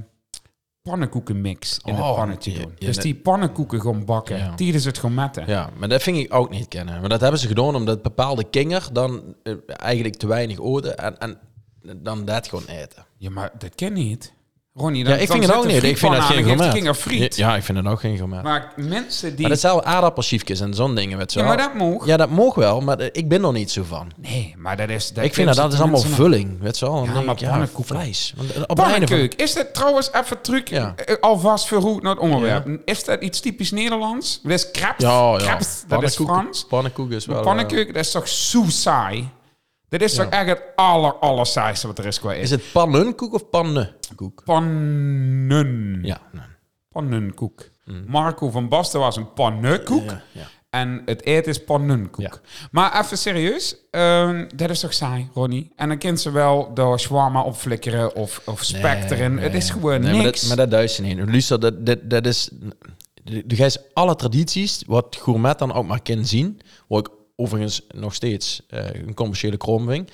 [SPEAKER 1] pannenkoekenmix in
[SPEAKER 2] Oh,
[SPEAKER 1] een pannetje
[SPEAKER 2] ja,
[SPEAKER 1] doen.
[SPEAKER 2] ja,
[SPEAKER 1] dus
[SPEAKER 2] dat-
[SPEAKER 1] die pannenkoeken gewoon bakken.
[SPEAKER 2] Ja.
[SPEAKER 1] Die is het gourmetten.
[SPEAKER 2] Ja, maar dat vind ik ook niet kennen. Maar dat hebben ze gedaan omdat bepaalde kinger dan eh, eigenlijk te weinig oden en, en dan dat gewoon eten.
[SPEAKER 1] Ja, maar dat ken niet. Ronnie,
[SPEAKER 2] Ja,
[SPEAKER 1] dan,
[SPEAKER 2] ik
[SPEAKER 1] dan
[SPEAKER 2] vind het
[SPEAKER 1] zit
[SPEAKER 2] ook
[SPEAKER 1] de
[SPEAKER 2] niet. Ik vind
[SPEAKER 1] frietpan
[SPEAKER 2] dat
[SPEAKER 1] aan,
[SPEAKER 2] geen
[SPEAKER 1] dan geeft
[SPEAKER 2] gourmet.
[SPEAKER 1] de kinder friet.
[SPEAKER 2] Ja, ik vind het ook geen gourmet. Maar,
[SPEAKER 1] Maar mensen die...
[SPEAKER 2] dat zijn wel aardappelchiefjes en zo'n dingen. Weet je
[SPEAKER 1] ja,
[SPEAKER 2] wel.
[SPEAKER 1] maar dat mocht.
[SPEAKER 2] Ja, dat mag wel, maar eh, ik ben er niet zo van.
[SPEAKER 1] Nee, maar dat is...
[SPEAKER 2] ik vind dat dat is allemaal vulling, weet je wel. Dan
[SPEAKER 1] Ja,
[SPEAKER 2] denk
[SPEAKER 1] maar
[SPEAKER 2] ik, ja,
[SPEAKER 1] pannenkoeken.
[SPEAKER 2] vlees. Want, eh, Op het einde van-
[SPEAKER 1] Pannenkoek. Is dat trouwens even truc
[SPEAKER 2] Ja.
[SPEAKER 1] eh, alvast verhoed naar het onderwerp? Is dat iets typisch Nederlands? Dat is krept.
[SPEAKER 2] Ja, ja.
[SPEAKER 1] Krept, dat is
[SPEAKER 2] Pannenkoeken-
[SPEAKER 1] Frans.
[SPEAKER 2] Pannenkoeken is wel...
[SPEAKER 1] Maar
[SPEAKER 2] eh,
[SPEAKER 1] pannenkoek, dat is toch zo saai? Dat is toch echt het aller, aller saaiste wat er is qua
[SPEAKER 2] eh, Is
[SPEAKER 1] eten.
[SPEAKER 2] het pannenkoek of pannenkoek?
[SPEAKER 1] Pannen.
[SPEAKER 2] Ja. Mm.
[SPEAKER 1] Pannenkoek. Marco van Basten was een pannenkoek.
[SPEAKER 2] Ja, ja.
[SPEAKER 1] En het eten is pannenkoek. Maar even serieus, ehm, dat is toch saai, Ronnie? En dan kent ze wel de shawarma opflikkeren of, of spek erin.
[SPEAKER 2] Nee,
[SPEAKER 1] het is
[SPEAKER 2] nee.
[SPEAKER 1] gewoon
[SPEAKER 2] Nee,
[SPEAKER 1] niks.
[SPEAKER 2] Maar dat, maar dat duist je niet. Luister, dat, dat, dat is... Je is alle tradities, wat gourmet dan ook maar kan zien. Wat ik overigens nog steeds eh, een commerciële krom vind.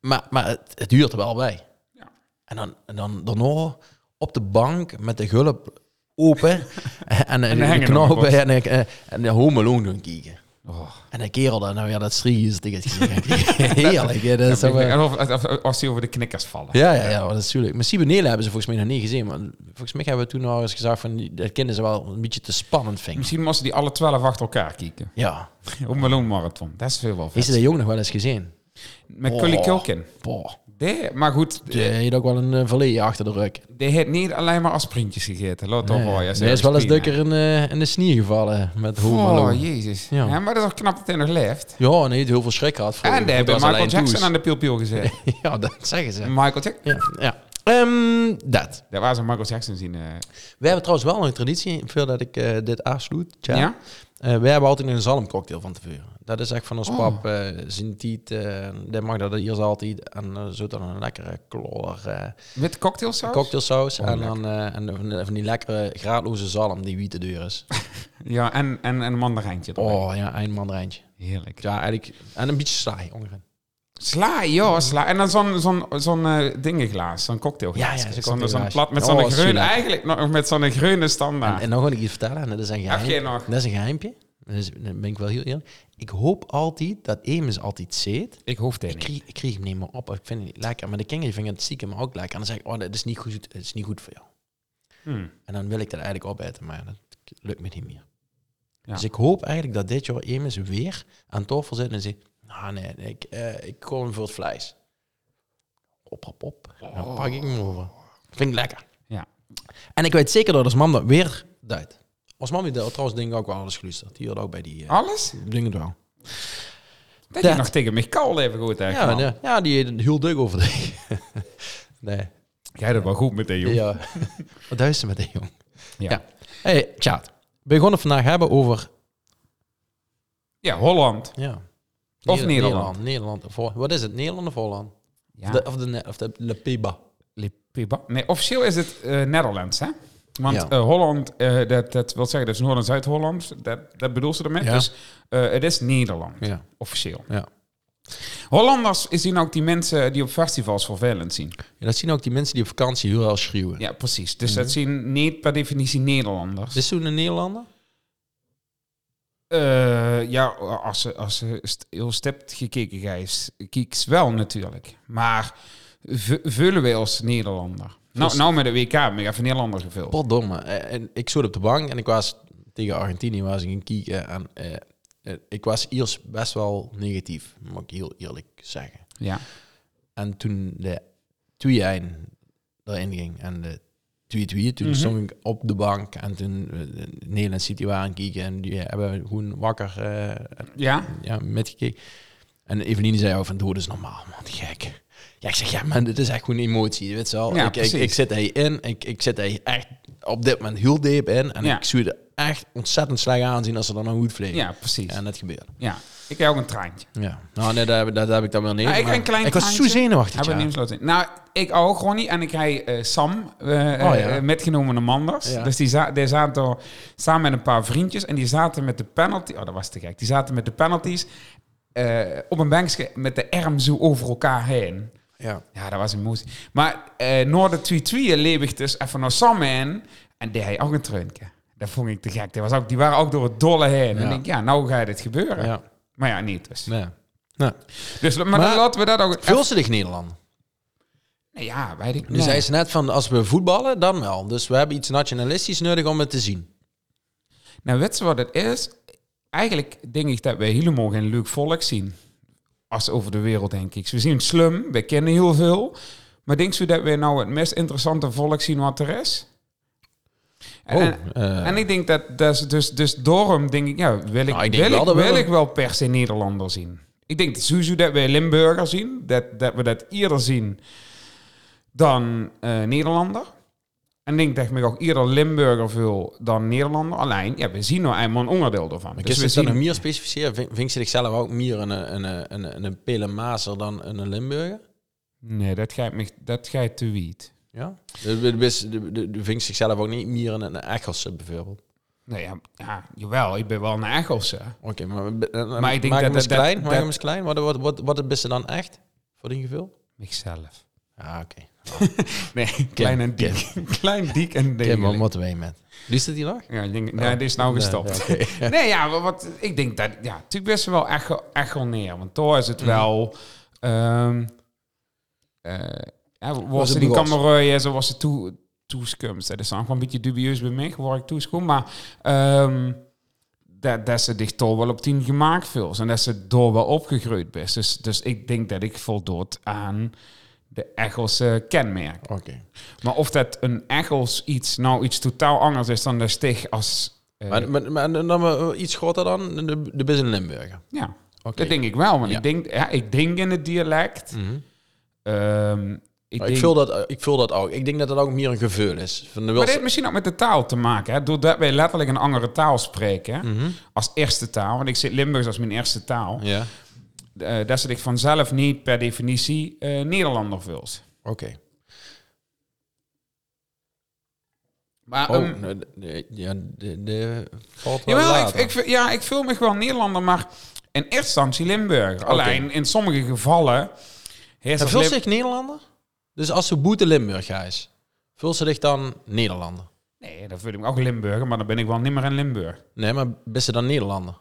[SPEAKER 2] Maar, maar het, het duurt er wel bij.
[SPEAKER 1] Ja.
[SPEAKER 2] En dan, en dan daarna op de bank met de gulp open. en
[SPEAKER 1] En
[SPEAKER 2] en,
[SPEAKER 1] de
[SPEAKER 2] en de
[SPEAKER 1] hengel nog
[SPEAKER 2] knopen
[SPEAKER 1] vast.
[SPEAKER 2] en, ik, eh, en de Home Alone gaan kijken.
[SPEAKER 1] Oh.
[SPEAKER 2] En de kerel dan, nou ja, dat strie is tegen het Heerlijk, hè, dat is
[SPEAKER 1] Ik
[SPEAKER 2] zo... eh,
[SPEAKER 1] denk, en of, of- of- als die over de knikkers vallen.
[SPEAKER 2] Ja, ja, ja, dat is natuurlijk. Maar Cibernelen hebben ze volgens mij nog niet gezien. Maar volgens mij hebben we toen al eens gezegd van die- dat kinderen ze wel een beetje te spannend vinden.
[SPEAKER 1] Misschien moesten die alle twaalf achter elkaar kijken.
[SPEAKER 2] Ja.
[SPEAKER 1] Op Meloen Marathon. Dat is veel wel
[SPEAKER 2] Is
[SPEAKER 1] vet.
[SPEAKER 2] ze dat jong nog wel eens gezien?
[SPEAKER 1] Met
[SPEAKER 2] Oh.
[SPEAKER 1] Cully Kulkin.
[SPEAKER 2] Boah.
[SPEAKER 1] Die- Maar goed,
[SPEAKER 2] Je
[SPEAKER 1] die
[SPEAKER 2] heeft ook wel een eh, verleden achter de rug.
[SPEAKER 1] die heeft niet alleen maar asprintjes gegeten. Laat toch hoor.
[SPEAKER 2] Nee, is wel eens dikker in, eh, in de snier gevallen met Home
[SPEAKER 1] Oh,
[SPEAKER 2] Alone.
[SPEAKER 1] jezus.
[SPEAKER 2] Ja.
[SPEAKER 1] Hè, maar dat is toch knap dat hij nog leeft.
[SPEAKER 2] Ja, en hij heeft heel veel schrik gehad. vroeger,
[SPEAKER 1] En daar
[SPEAKER 2] want
[SPEAKER 1] hebben
[SPEAKER 2] dat
[SPEAKER 1] Michael
[SPEAKER 2] was alleen
[SPEAKER 1] Jackson aan
[SPEAKER 2] Toes.
[SPEAKER 1] de pielpiel gezet.
[SPEAKER 2] Ja, dat zeggen ze.
[SPEAKER 1] Michael Jackson.
[SPEAKER 2] Ja, ja. Ehm, dat.
[SPEAKER 1] Daar waren ze Michael Jackson zien. eh.
[SPEAKER 2] We hebben trouwens wel een traditie, voordat ik eh, dit afsluit. Tja.
[SPEAKER 1] Ja?
[SPEAKER 2] Eh, we hebben altijd een zalmcocktail van tevoren. Dat is echt van
[SPEAKER 1] Oh.
[SPEAKER 2] ons pap, eh, zijn tiet, eh, die mag dat hier altijd. En eh, zo dan een lekkere klor eh,
[SPEAKER 1] Met cocktailsaus?
[SPEAKER 2] cocktailsaus.
[SPEAKER 1] Oh,
[SPEAKER 2] en dan eh, en van, die- van die lekkere graadloze zalm die wiet de deur is.
[SPEAKER 1] Ja, en, en, en een mandarijntje. erbij.
[SPEAKER 2] Oh ja, een mandarijntje.
[SPEAKER 1] Heerlijk.
[SPEAKER 2] Ja, eigenlijk. En een beetje saai ongeveer.
[SPEAKER 1] Sla,
[SPEAKER 2] Mm.
[SPEAKER 1] ja, sla. En dan zo'n zo'n zo'n eh, dingenglaas, zo'n cocktailglaas.
[SPEAKER 2] Ja, ja,
[SPEAKER 1] Zo'n-
[SPEAKER 2] zo'n
[SPEAKER 1] zo'n
[SPEAKER 2] cocktailglaas.
[SPEAKER 1] plat met
[SPEAKER 2] Oh,
[SPEAKER 1] zo'n
[SPEAKER 2] dat is
[SPEAKER 1] groene,
[SPEAKER 2] leuk.
[SPEAKER 1] eigenlijk nog met zo'n groene
[SPEAKER 2] En,
[SPEAKER 1] standaard.
[SPEAKER 2] en dan wil ik iets vertellen, en dat is een
[SPEAKER 1] Heb jij
[SPEAKER 2] geheim.
[SPEAKER 1] nog?
[SPEAKER 2] Dat is een geheimpje. Dat, is, dat ben ik wel heel eerlijk. Ik hoop altijd dat Emus altijd zit.
[SPEAKER 1] ik hoef dit
[SPEAKER 2] Ik kreeg, ik kreeg hem niet meer op. Ik vind het niet lekker. Maar de kinderen vinden het stiekem ook lekker. En dan zeg ik, oh, dat is niet goed, dat is niet goed voor jou.
[SPEAKER 1] Hmm.
[SPEAKER 2] En dan wil ik dat eigenlijk opeten, maar dat lukt me niet meer.
[SPEAKER 1] Ja.
[SPEAKER 2] Dus ik hoop eigenlijk dat dit jaar Emus weer aan tafel zit en zegt, nou nee, ik, eh ik kom voor het vlees. Op, op, op. Dan pak ik hem over. Vind ik lekker.
[SPEAKER 1] Ja.
[SPEAKER 2] En ik weet zeker dat als mam dat weer duidt. Als mam die dat trouwens denk ik ook wel alles geluisterd. Die had ook bij die eh,
[SPEAKER 1] Alles?
[SPEAKER 2] dingen wel.
[SPEAKER 1] Dat je
[SPEAKER 2] Dat.
[SPEAKER 1] nog tegen mij kool even goed eigenlijk.
[SPEAKER 2] Ja, nee, ja, die heeft een heel duk over de. nee.
[SPEAKER 1] Jij dat wel goed meteen, joh.
[SPEAKER 2] Ja. Wat duister met die jong.
[SPEAKER 1] Ja.
[SPEAKER 2] Ja. hey, Tjaat. We gaan het vandaag hebben over...
[SPEAKER 1] Ja, Holland.
[SPEAKER 2] Ja.
[SPEAKER 1] Of
[SPEAKER 2] Neder-
[SPEAKER 1] Nederland.
[SPEAKER 2] Nederland. Nederland of Hol- Wat is het? Nederland of Holland?
[SPEAKER 1] Ja.
[SPEAKER 2] Of, de, of, de, ne- of de Le Piba.
[SPEAKER 1] Lipiba. Nee, officieel is het eh Nederlands, hè? Want
[SPEAKER 2] Ja.
[SPEAKER 1] eh, Holland, eh, dat, dat wil zeggen, dat is Noord- en Zuid-Holland. Dat, dat bedoelt ze ermee.
[SPEAKER 2] Ja.
[SPEAKER 1] Dus eh, het is Nederland,
[SPEAKER 2] Ja.
[SPEAKER 1] officieel.
[SPEAKER 2] Ja.
[SPEAKER 1] Hollanders zien ook die mensen die op festivals vervelend zien.
[SPEAKER 2] ja. Dat zien ook die mensen die op vakantie heel erg schreeuwen.
[SPEAKER 1] Ja, precies. Dus dat zien niet per definitie Nederlanders.
[SPEAKER 2] Is toen een Nederlander?
[SPEAKER 1] Eh, ja, als ze, als ze st- heel stipt gekeken gijs, kieks wel natuurlijk. Maar v- vullen we als Nederlander. Nou, nou met de WK heb ik even Nederlander gevuld.
[SPEAKER 2] Potdomme. Eh, En ik zat op de bank en ik was tegen Argentinië was ik in kieken. En eh, eh, ik was eerst best wel negatief, moet ik heel eerlijk zeggen.
[SPEAKER 1] Ja.
[SPEAKER 2] En toen de 2-1 erin ging. En de tweet tweet,
[SPEAKER 1] Mhm.
[SPEAKER 2] toen stond ik op de bank. En toen eh, de Nederland City waren aan het kijken. En die hebben gewoon wakker eh,
[SPEAKER 1] Ja?
[SPEAKER 2] ja, metgekeken. En Eveline zei ook van, doe, dat is normaal, man. Gek. Ja, ik zeg, ja, man, dit is echt gewoon emotie, weet je wel.
[SPEAKER 1] Ja,
[SPEAKER 2] ik, ik,
[SPEAKER 1] precies.
[SPEAKER 2] ik zit er in, ik, ik zit er echt op dit moment heel diep in. En
[SPEAKER 1] Ja.
[SPEAKER 2] ik zou er echt ontzettend slecht aanzien als ze dan een goed vliegen.
[SPEAKER 1] Ja, precies.
[SPEAKER 2] En dat gebeurde.
[SPEAKER 1] Ja. Ik heb ook een traantje.
[SPEAKER 2] Ja. Nou, nee, daar, heb- daar, daar heb ik dan wel niet.
[SPEAKER 1] Nou, ik
[SPEAKER 2] maar
[SPEAKER 1] een klein
[SPEAKER 2] ik was zo
[SPEAKER 1] traantje.
[SPEAKER 2] zenuwachtig,
[SPEAKER 1] Hebben we
[SPEAKER 2] ja.
[SPEAKER 1] niet besloten. Nou, ik ook gewoon niet. En ik heb eh, Sam eh, eh,
[SPEAKER 2] Oh, ja.
[SPEAKER 1] eh, metgenomen naar Manders.
[SPEAKER 2] Ja.
[SPEAKER 1] Dus die, za die zaten er samen met een paar vriendjes. En die zaten met de penalty... Oh, dat was te gek. Die zaten met de penalties eh, op een bankje met de arm zo over elkaar heen.
[SPEAKER 2] Ja.
[SPEAKER 1] Ja, dat was een moes. Maar eh na de twee tweeën leef ik dus even naar Sam heen. En deed hij ook een treunke. Dat vond ik te gek. Die, was ook, die waren ook door het dolle heen. En
[SPEAKER 2] Ja.
[SPEAKER 1] ik denk, ja, nou gaat dit gebeuren.
[SPEAKER 2] Ja.
[SPEAKER 1] Maar ja, niet dus.
[SPEAKER 2] ja. Nou,
[SPEAKER 1] dus maar,
[SPEAKER 2] Maar-
[SPEAKER 1] dan laten we dat ook...
[SPEAKER 2] Vulselig Nederland.
[SPEAKER 1] Nee, Nou ja, weet ik
[SPEAKER 2] Nu
[SPEAKER 1] niet.
[SPEAKER 2] zei ze net van, als we voetballen, dan wel. Dus we hebben iets nationalistisch nodig om het te zien.
[SPEAKER 1] Nou, weet je wat het is? Eigenlijk denk ik dat wij helemaal geen leuk volk zien. Als over de wereld, denk ik. We zien slum, we kennen heel veel. Maar denk je dat wij nou het meest interessante volk zien wat er is? En,
[SPEAKER 2] eh,
[SPEAKER 1] en ik denk dat, dat is dus, dus daarom denk ik, ja, wil ik,
[SPEAKER 2] Nou, ik denk
[SPEAKER 1] wil
[SPEAKER 2] wel
[SPEAKER 1] ik,
[SPEAKER 2] dat we-
[SPEAKER 1] wil ik wel per se Nederlander zien. Ik denk sowieso dat wij Limburger zien, dat, dat we dat eerder zien dan eh, Nederlander. En ik denk dat ik me ook eerder Limburger veel dan Nederlander. Alleen, ja, we zien nou eenmaal een onderdeel ervan. Dus
[SPEAKER 2] Maar dus
[SPEAKER 1] we
[SPEAKER 2] is dat nog
[SPEAKER 1] zien-
[SPEAKER 2] meer specificeer? Ving, vindt ze zichzelf ook meer een, een, een, een, een pelemazer dan een Limburger?
[SPEAKER 1] Nee, dat gaat, me, dat gaat te wiet.
[SPEAKER 2] Ja? De, de, de, de, de, de vindt zichzelf ook niet meer een, een Echelse bijvoorbeeld?
[SPEAKER 1] Nou ja, ja, jawel, ik ben wel een Echelse.
[SPEAKER 2] Oké, maar, be- eh,
[SPEAKER 1] Maar ik denk
[SPEAKER 2] maak
[SPEAKER 1] dat-
[SPEAKER 2] hem eens
[SPEAKER 1] dat-
[SPEAKER 2] klein.
[SPEAKER 1] dat-
[SPEAKER 2] maak hem eens klein. Wat, wat, wat, wat is ze dan echt? Voor die gevoel?
[SPEAKER 1] Ikzelf.
[SPEAKER 2] Ah, oké.
[SPEAKER 1] Nee, klein en dik. Klein, dik en
[SPEAKER 2] Kim, wat
[SPEAKER 1] degelijk.
[SPEAKER 2] moeten we heen met? Lust het hier nog?
[SPEAKER 1] Ja, ik denk, nee, dit is nou gestopt. Nee, ja, maar wat, ik denk dat... Ja, natuurlijk best wel echt, echt wel neer. Want toch is het wel... ehm eh ja, was
[SPEAKER 2] het
[SPEAKER 1] het in
[SPEAKER 2] brood?
[SPEAKER 1] Cameroen, zo was het toe, toeskomst. Dat is dan gewoon een beetje dubieus bij mij, waar ik toeskom. Maar ehm, dat, dat ze dicht toch wel op tien gemaakt veel. En dat ze door wel opgegroeid is. Dus, dus ik denk dat ik voldoet aan de Echelse kenmerken.
[SPEAKER 2] Oké.
[SPEAKER 1] Maar of dat een Engels iets nou iets totaal anders is dan de Stig als... eh,
[SPEAKER 2] Maar, maar, maar dan maar iets groter dan de, de, de een Limburger?
[SPEAKER 1] ja,
[SPEAKER 2] Oké.
[SPEAKER 1] dat denk ik wel. Want
[SPEAKER 2] Ja.
[SPEAKER 1] ik, denk, ja, ik denk in het dialect.
[SPEAKER 2] Mhm.
[SPEAKER 1] Ehm, ik
[SPEAKER 2] Ik,
[SPEAKER 1] denk,
[SPEAKER 2] vul dat, eh, ik vul dat ook. Ik denk dat dat ook meer een gevoel is. Van de
[SPEAKER 1] maar dit
[SPEAKER 2] Wilson-
[SPEAKER 1] heeft misschien ook met de taal te maken. Hè? Doordat wij letterlijk een andere taal spreken.
[SPEAKER 2] Mhm.
[SPEAKER 1] Als eerste taal. Want ik zit Limburgs als mijn eerste taal.
[SPEAKER 2] Ja,
[SPEAKER 1] Eh, dat ze ik vanzelf niet per definitie eh, Nederlander vult.
[SPEAKER 2] oké.
[SPEAKER 1] Maar,
[SPEAKER 2] Oh,
[SPEAKER 1] ehm,
[SPEAKER 2] nou, de- de- ja, de, de valt wel
[SPEAKER 1] Jawel, ik,
[SPEAKER 2] later.
[SPEAKER 1] ik, vind- ja, ik voel me gewoon Nederlander, maar in eerste instantie Limburger. Alleen in sommige gevallen... is
[SPEAKER 2] en
[SPEAKER 1] dat
[SPEAKER 2] vul
[SPEAKER 1] Lim-
[SPEAKER 2] zich Nederlander? Dus als ze boete Limburg is, vul ze zich dan Nederlander?
[SPEAKER 1] Nee, dan voel ik me ook Limburger, maar dan ben ik wel niet meer in Limburg.
[SPEAKER 2] Nee, maar best ze dan Nederlander?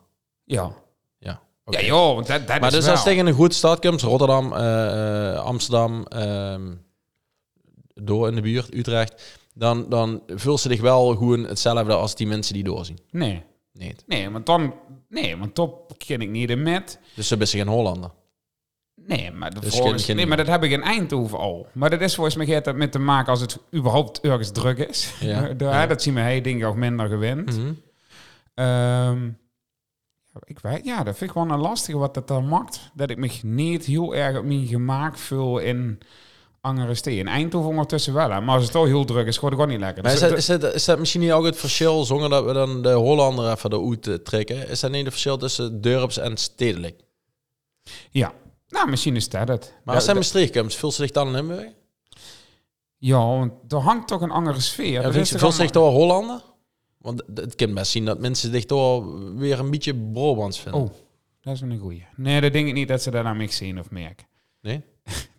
[SPEAKER 1] Ja.
[SPEAKER 2] Ja. oké.
[SPEAKER 1] Ja, joh, want dat, dat
[SPEAKER 2] maar
[SPEAKER 1] is
[SPEAKER 2] dus
[SPEAKER 1] wel.
[SPEAKER 2] als tegen een goed stad komt, Rotterdam, eh, eh, Amsterdam, ehm, door in de buurt, Utrecht, dan, dan vul ze zich wel gewoon hetzelfde als die mensen die doorzien.
[SPEAKER 1] Nee,
[SPEAKER 2] Nee.
[SPEAKER 1] nee, want dan... Nee, want top ken ik niet in met...
[SPEAKER 2] Dus ze best geen Hollander.
[SPEAKER 1] Nee maar, de
[SPEAKER 2] Dus
[SPEAKER 1] volgens-
[SPEAKER 2] geen- geen-
[SPEAKER 1] nee, maar dat heb ik in Eindhoven al. Maar dat is volgens mij heeft dat met te maken als het überhaupt ergens druk is.
[SPEAKER 2] Ja.
[SPEAKER 1] Daar-
[SPEAKER 2] Ja. Mhm.
[SPEAKER 1] Dat zien we, hij denk ik ook minder gewend. Ehm, ja, ik weet, ja, dat vind ik wel een lastige wat dat dan maakt. Dat ik me niet heel erg op mijn gemaakt vul in andere steden. In Eindhoven ondertussen wel, hè, maar als het al heel druk is, gooi ik gewoon niet lekker.
[SPEAKER 2] Maar
[SPEAKER 1] Dus
[SPEAKER 2] is dat,
[SPEAKER 1] dat-
[SPEAKER 2] is, dat, is dat misschien niet ook het verschil, zonder dat we dan de Hollander even eruit eh, trekken? Is dat niet het verschil tussen dorps en stedelijk?
[SPEAKER 1] ja, nou, misschien is dat het.
[SPEAKER 2] Maar als
[SPEAKER 1] Dat-
[SPEAKER 2] hij Maastricht komt, vult ze zich dan in Limburg?
[SPEAKER 1] ja, want er hangt toch een andere sfeer.
[SPEAKER 2] En
[SPEAKER 1] Dat
[SPEAKER 2] vult
[SPEAKER 1] is
[SPEAKER 2] ze
[SPEAKER 1] toch
[SPEAKER 2] vult ze zich
[SPEAKER 1] allemaal-
[SPEAKER 2] door Hollander? Want d- het kan best zien dat mensen zich door weer een beetje Brabants vinden.
[SPEAKER 1] Oh, dat is wel een goeie. Nee, dat denk ik niet dat ze dat aan mij zien of merken.
[SPEAKER 2] Nee?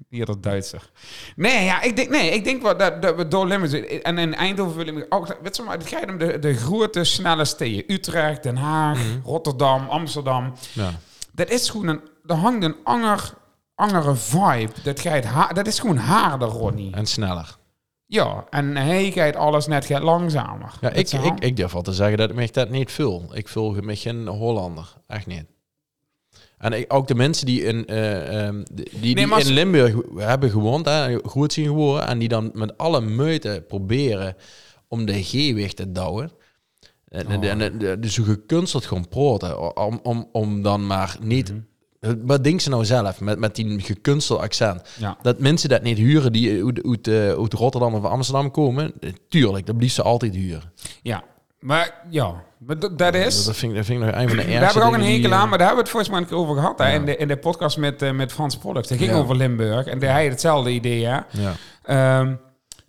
[SPEAKER 1] Hier dat Duitser. Nee, ja, ik denk, nee, ik denk wel dat, dat we door Limburg... En in Eindhoven wil ik... me Ook, weet je maar, het gaat om de, de grote, snelle steden. Utrecht, Den Haag,
[SPEAKER 2] Mhm.
[SPEAKER 1] Rotterdam, Amsterdam.
[SPEAKER 2] Ja.
[SPEAKER 1] Dat is gewoon een... Er hangt een anger, andere vibe. Dat, gaat ha- dat is gewoon harder, Ronnie.
[SPEAKER 2] En sneller.
[SPEAKER 1] Ja, en hij gaat alles net gaat langzamer.
[SPEAKER 2] Ja,
[SPEAKER 1] Weet
[SPEAKER 2] ik,
[SPEAKER 1] je wel?
[SPEAKER 2] ik, ik durf wel te zeggen dat ik me dat niet vul. Ik vul me geen Hollander. Echt niet. En ik- ook de mensen die in, eh, ehm, die, die
[SPEAKER 1] Nee, maar
[SPEAKER 2] in
[SPEAKER 1] als-
[SPEAKER 2] Limburg hebben gewoond, hè, goed zien geworden, en die dan met alle meuten proberen om de G weg te douwen. eh, En, en-
[SPEAKER 1] Oh.
[SPEAKER 2] en- en- dus hoe gekunsteld gewoon proten, om, om, om dan maar niet...
[SPEAKER 1] Mhm.
[SPEAKER 2] Wat denken ze nou zelf, met, met die gekunsteld accent?
[SPEAKER 1] Ja.
[SPEAKER 2] Dat mensen dat niet huren die uit, uit, eh, uit Rotterdam of Amsterdam komen, eh, tuurlijk, dat blijft ze altijd huren.
[SPEAKER 1] Ja, maar ja, maar dat- dat is...
[SPEAKER 2] Dat vind, ik- dat vind ik nog een van de ergste
[SPEAKER 1] Daar heb ik ook een
[SPEAKER 2] dingen die,
[SPEAKER 1] hekel
[SPEAKER 2] eh,
[SPEAKER 1] aan, maar daar hebben we het volgens mij een keer over gehad. Hè? In, de, in de podcast met, eh, met Frans Pollock. Dat ging
[SPEAKER 2] Ja.
[SPEAKER 1] over Limburg. En daar hij had hetzelfde idee, hè?
[SPEAKER 2] eh, Ja.
[SPEAKER 1] Ehm,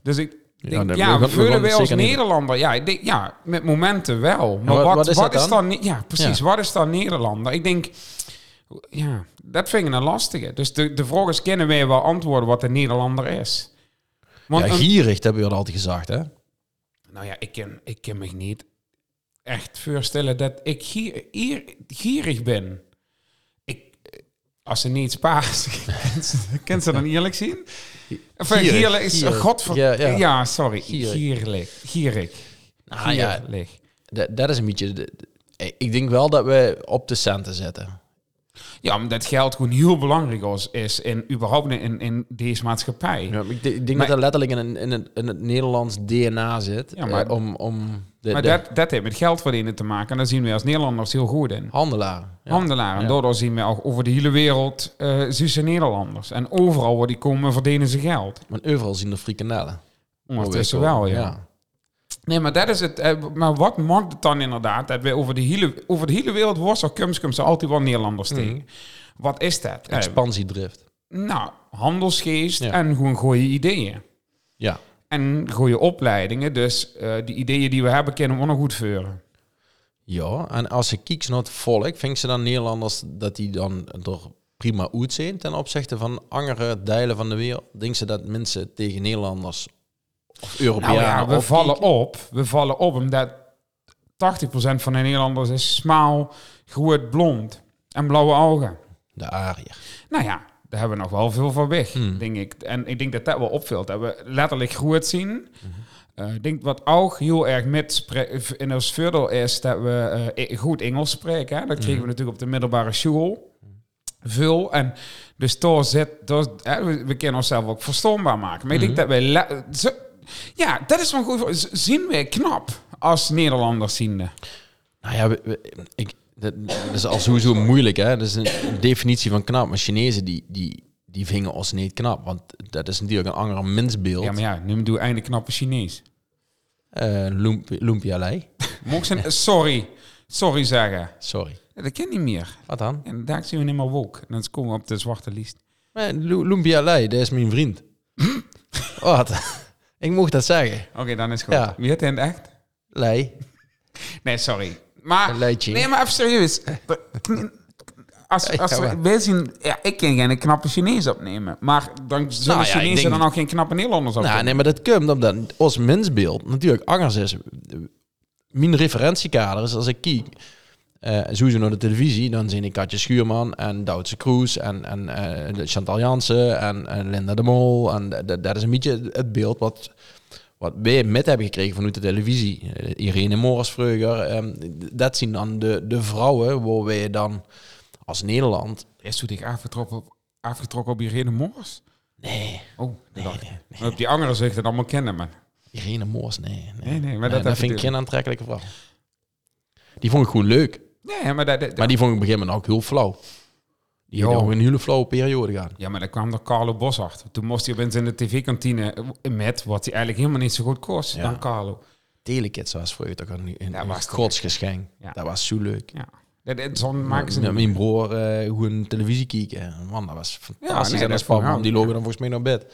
[SPEAKER 1] dus ik denk,
[SPEAKER 2] dat-
[SPEAKER 1] ja,
[SPEAKER 2] we-
[SPEAKER 1] we
[SPEAKER 2] we-
[SPEAKER 1] vullen
[SPEAKER 2] we-
[SPEAKER 1] wij als
[SPEAKER 2] zeker niet.
[SPEAKER 1] Nederlander. Ja, ik denk, ja, met momenten wel. Maar
[SPEAKER 2] wat-
[SPEAKER 1] wat, wat,
[SPEAKER 2] wat
[SPEAKER 1] is,
[SPEAKER 2] is dat
[SPEAKER 1] dan?
[SPEAKER 2] dan?
[SPEAKER 1] niet- Ja, precies.
[SPEAKER 2] Ja.
[SPEAKER 1] Wat is dan Nederlander? Ik denk, ja, dat vind ik een lastige. Dus de, de vraag is, kennen wij wel antwoorden wat een Nederlander is? Want
[SPEAKER 2] Ja,
[SPEAKER 1] een-
[SPEAKER 2] gierig, dat hebben we al altijd gezegd, hè?
[SPEAKER 1] nou ja, ik ken, ik ken me niet echt voorstellen dat ik gier, eer- gierig ben. Ik, eh, als ze niet spaart, kent ze, kent ze dan eerlijk zien? Enfin,
[SPEAKER 2] Gierig,
[SPEAKER 1] gierig is
[SPEAKER 2] gierig.
[SPEAKER 1] godver...
[SPEAKER 2] Ja,
[SPEAKER 1] Ja,
[SPEAKER 2] ja.
[SPEAKER 1] sorry.
[SPEAKER 2] Gierig.
[SPEAKER 1] Gierig. Gierig. Gierig.
[SPEAKER 2] Nou ja, dat, dat is een beetje... de- de- ik denk wel dat we op de centen zitten.
[SPEAKER 1] Ja, maar dat geld gewoon heel belangrijk als is in, überhaupt in, in deze maatschappij.
[SPEAKER 2] Ja, maar ik, de- ik denk
[SPEAKER 1] Maar-
[SPEAKER 2] dat dat letterlijk in, een- in, het, in het Nederlands DNA zit.
[SPEAKER 1] Ja, maar-
[SPEAKER 2] eh, om, om de,
[SPEAKER 1] maar
[SPEAKER 2] de
[SPEAKER 1] dat, dat heeft met geld verdienen te maken. En daar zien we als Nederlanders heel goed in.
[SPEAKER 2] handelaar. Ja.
[SPEAKER 1] handelaren.
[SPEAKER 2] Ja.
[SPEAKER 1] Daardoor zien we al over de hele wereld eh Zuidse Nederlanders. En overal waar die komen verdienen ze geld.
[SPEAKER 2] Want overal zien de frikandellen.
[SPEAKER 1] Ondertussen wel, ja. Nee, maar dat is het. eh, maar wat maakt het dan inderdaad dat we over de hele, over de hele wereld was er kums, kums, altijd wel Nederlanders
[SPEAKER 2] Mhm.
[SPEAKER 1] tegen. Wat is dat? Eh,
[SPEAKER 2] Expansiedrift.
[SPEAKER 1] nou, handelsgeest
[SPEAKER 2] Ja.
[SPEAKER 1] en gewoon goede ideeën.
[SPEAKER 2] Ja.
[SPEAKER 1] En goede opleidingen. Dus eh die ideeën die we hebben, kunnen we ook nog goed vuren.
[SPEAKER 2] Ja, en als ze kijkt naar het volk, vind ze dan Nederlanders dat die dan door prima uit zijn ten opzichte van andere delen van de wereld? Denken ze dat mensen tegen Nederlanders of
[SPEAKER 1] Nou
[SPEAKER 2] Europeanen
[SPEAKER 1] ja, we
[SPEAKER 2] of
[SPEAKER 1] vallen op. We vallen op omdat 80% van de Nederlanders is smaal, groeit, blond en blauwe ogen.
[SPEAKER 2] de Ariër?
[SPEAKER 1] Nou ja, daar hebben we nog wel veel van weg, denk ik. En ik denk dat dat wel opvalt. Dat we letterlijk groeit zien. Eh, ik denk wat ook heel erg met spre- in ons voordeel is dat we eh, e- goed Engels spreken. Hè? Dat kregen we natuurlijk op de middelbare school. Veel. En dus daar zit, daar, hè, we, we kunnen onszelf ook verstoonbaar maken. Maar ik denk dat wij... le- zo- ja, dat is wel goed. voor- z- Zien wij knap als Nederlanders ziende.
[SPEAKER 2] Nou ja, we- we- ik, dat, dat is al sowieso moeilijk, hè? Dat is een, een definitie van knap. Maar Chinezen die, die, die vingen ons niet knap, want dat is natuurlijk een ander mensbeeld.
[SPEAKER 1] Ja, maar ja, nu doe ik eindelijk knappe Chinees.
[SPEAKER 2] Eh, Loemp- Lumpia Lei.
[SPEAKER 1] Mocht ze- sorry. Sorry zeggen.
[SPEAKER 2] Sorry.
[SPEAKER 1] Dat ken niet meer.
[SPEAKER 2] Wat dan?
[SPEAKER 1] En daar zien we niet meer woke. En dan komen we op de zwarte lijst.
[SPEAKER 2] Eh, Lu- Lumpia Lei, dat is mijn vriend. Wat? Ik mocht dat zeggen.
[SPEAKER 1] Oké, dan is het goed.
[SPEAKER 2] Ja.
[SPEAKER 1] Wie het in het echt?
[SPEAKER 2] Lei.
[SPEAKER 1] Nee, sorry. Maar,
[SPEAKER 2] Een leidje.
[SPEAKER 1] nee, maar even serieus. Als, als
[SPEAKER 2] Ja,
[SPEAKER 1] we,
[SPEAKER 2] maar-
[SPEAKER 1] wij zien, ja, ik kan geen knappe Chinees opnemen. Maar dan zullen
[SPEAKER 2] Nou ja, ik
[SPEAKER 1] Chinezen
[SPEAKER 2] denk-
[SPEAKER 1] dan ook geen knappe Nederlanders opnemen.
[SPEAKER 2] Nou, nee, maar dat komt omdat ons mensbeeld natuurlijk anders is. Mijn referentiekader is als ik kijk, eh sowieso naar de televisie, dan zie ik Katje Schuurman en Duitse Kroes en, en eh, Chantal Jansen en, en Linda de Mol. En dat- dat- dat is een beetje het beeld wat, wat wij met hebben gekregen vanuit de televisie. Eh, Irene Morrisvreuger, ehm, d- dat zien dan de, de vrouwen waar wij dan als Nederland...
[SPEAKER 1] Is toen ik afgetrokken op, afgetrokken op Irene Moors?
[SPEAKER 2] Nee,
[SPEAKER 1] Oh, dat dacht ik. Maar Op die andere zich dat allemaal kennen, man.
[SPEAKER 2] Irene Moors, nee. Nee,
[SPEAKER 1] Nee, nee, maar
[SPEAKER 2] Nee,
[SPEAKER 1] dat,
[SPEAKER 2] dat
[SPEAKER 1] dat
[SPEAKER 2] vind ik geen aantrekkelijke vrouw. Die vond ik gewoon leuk.
[SPEAKER 1] Nee, maar dat, dat-
[SPEAKER 2] Maar die vond ik op een gegeven moment ook heel flauw. Die had
[SPEAKER 1] Ja.
[SPEAKER 2] ook een hele flauwe periode gaan.
[SPEAKER 1] Ja, maar dan kwam er Carlo Bos achter. Toen moest hij opeens in de tv-kantine eh, met wat hij eigenlijk helemaal niet zo goed koos
[SPEAKER 2] Ja.
[SPEAKER 1] dan Carlo.
[SPEAKER 2] Telekids was vroeger toch een, een,
[SPEAKER 1] Dat
[SPEAKER 2] een
[SPEAKER 1] was toch-
[SPEAKER 2] godsgeschenk.
[SPEAKER 1] Ja.
[SPEAKER 2] Dat was zo leuk.
[SPEAKER 1] Ja. Dat, dat, zo'n maken ze
[SPEAKER 2] Met
[SPEAKER 1] niet.
[SPEAKER 2] mijn broer eh, gewoon televisie kijken. Man, dat was fantastisch.
[SPEAKER 1] nee,
[SPEAKER 2] en
[SPEAKER 1] dat
[SPEAKER 2] als
[SPEAKER 1] is voor
[SPEAKER 2] papa,
[SPEAKER 1] hem.
[SPEAKER 2] die logen dan volgens mij naar bed.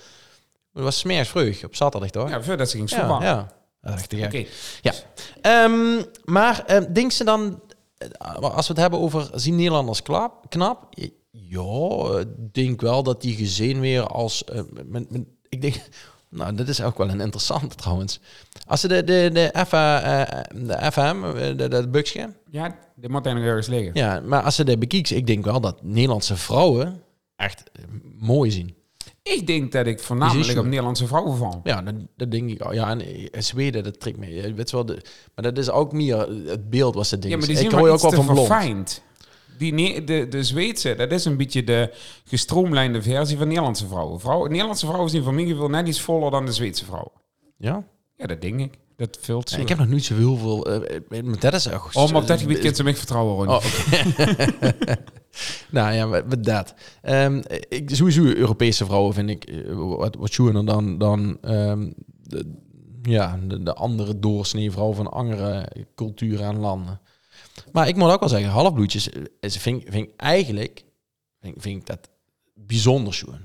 [SPEAKER 2] Dat was smeers vroeg, op zaterdag toch?
[SPEAKER 1] Ja, voordat ze ging
[SPEAKER 2] ja.
[SPEAKER 1] slapen.
[SPEAKER 2] ja. Dat dacht ik, ja.
[SPEAKER 1] Oké.
[SPEAKER 2] Ja. Ehm, maar ehm denk ze dan, eh, als we het hebben over zien Nederlanders klap, knap? Ja, ik denk wel dat die gezien weer als. eh, men- men- ik denk, nou, dat is ook wel een interessante trouwens. Als ze de, de, de, FA, eh, de FM, eh, de, dat buksje.
[SPEAKER 1] Ja, dit moet eigenlijk ergens liggen.
[SPEAKER 2] Ja, maar als ze de bekijkt, ik denk wel dat Nederlandse vrouwen echt eh, mooi zien.
[SPEAKER 1] Ik denk dat ik
[SPEAKER 2] Is die
[SPEAKER 1] voornamelijk
[SPEAKER 2] zo?
[SPEAKER 1] op Nederlandse vrouwen val.
[SPEAKER 2] Ja, dat, dat denk ik. al. Ja, en eh, Zweden, dat trekt me. Je Weet wel, de, maar dat is ook meer eh, het beeld wat ze denken.
[SPEAKER 1] Ja, maar die
[SPEAKER 2] ik
[SPEAKER 1] zien
[SPEAKER 2] hoor
[SPEAKER 1] wel
[SPEAKER 2] je
[SPEAKER 1] iets
[SPEAKER 2] ook wel
[SPEAKER 1] te
[SPEAKER 2] van blond.
[SPEAKER 1] verfijnd. Die, ne- de, de Zweedse, dat is een beetje de gestroomlijnde versie van Nederlandse vrouwen. vrouwen Nederlandse vrouwen zien van mijn gevoel net iets voller dan de Zweedse vrouwen.
[SPEAKER 2] Ja?
[SPEAKER 1] Ja, dat denk ik. Dat vult ze.
[SPEAKER 2] Ik heb nog niet zo heel veel... eh, eh, maar dat is echt...
[SPEAKER 1] Om op Oh, dat gebied kunt ze mij vertrouwen, Ronnie.
[SPEAKER 2] Oh, oké. nou ja, maar- maar dat. Ehm, ik, sowieso Europese vrouwen vind ik eh, wat, wat schoener dan, dan ehm, de, ja, de, de andere doorsnee vrouw van andere culturen en landen. Maar ik moet ook wel zeggen, halfbloedjes eh, is, vind, ik- vind ik eigenlijk vind, ik- vind ik dat bijzonder schoon.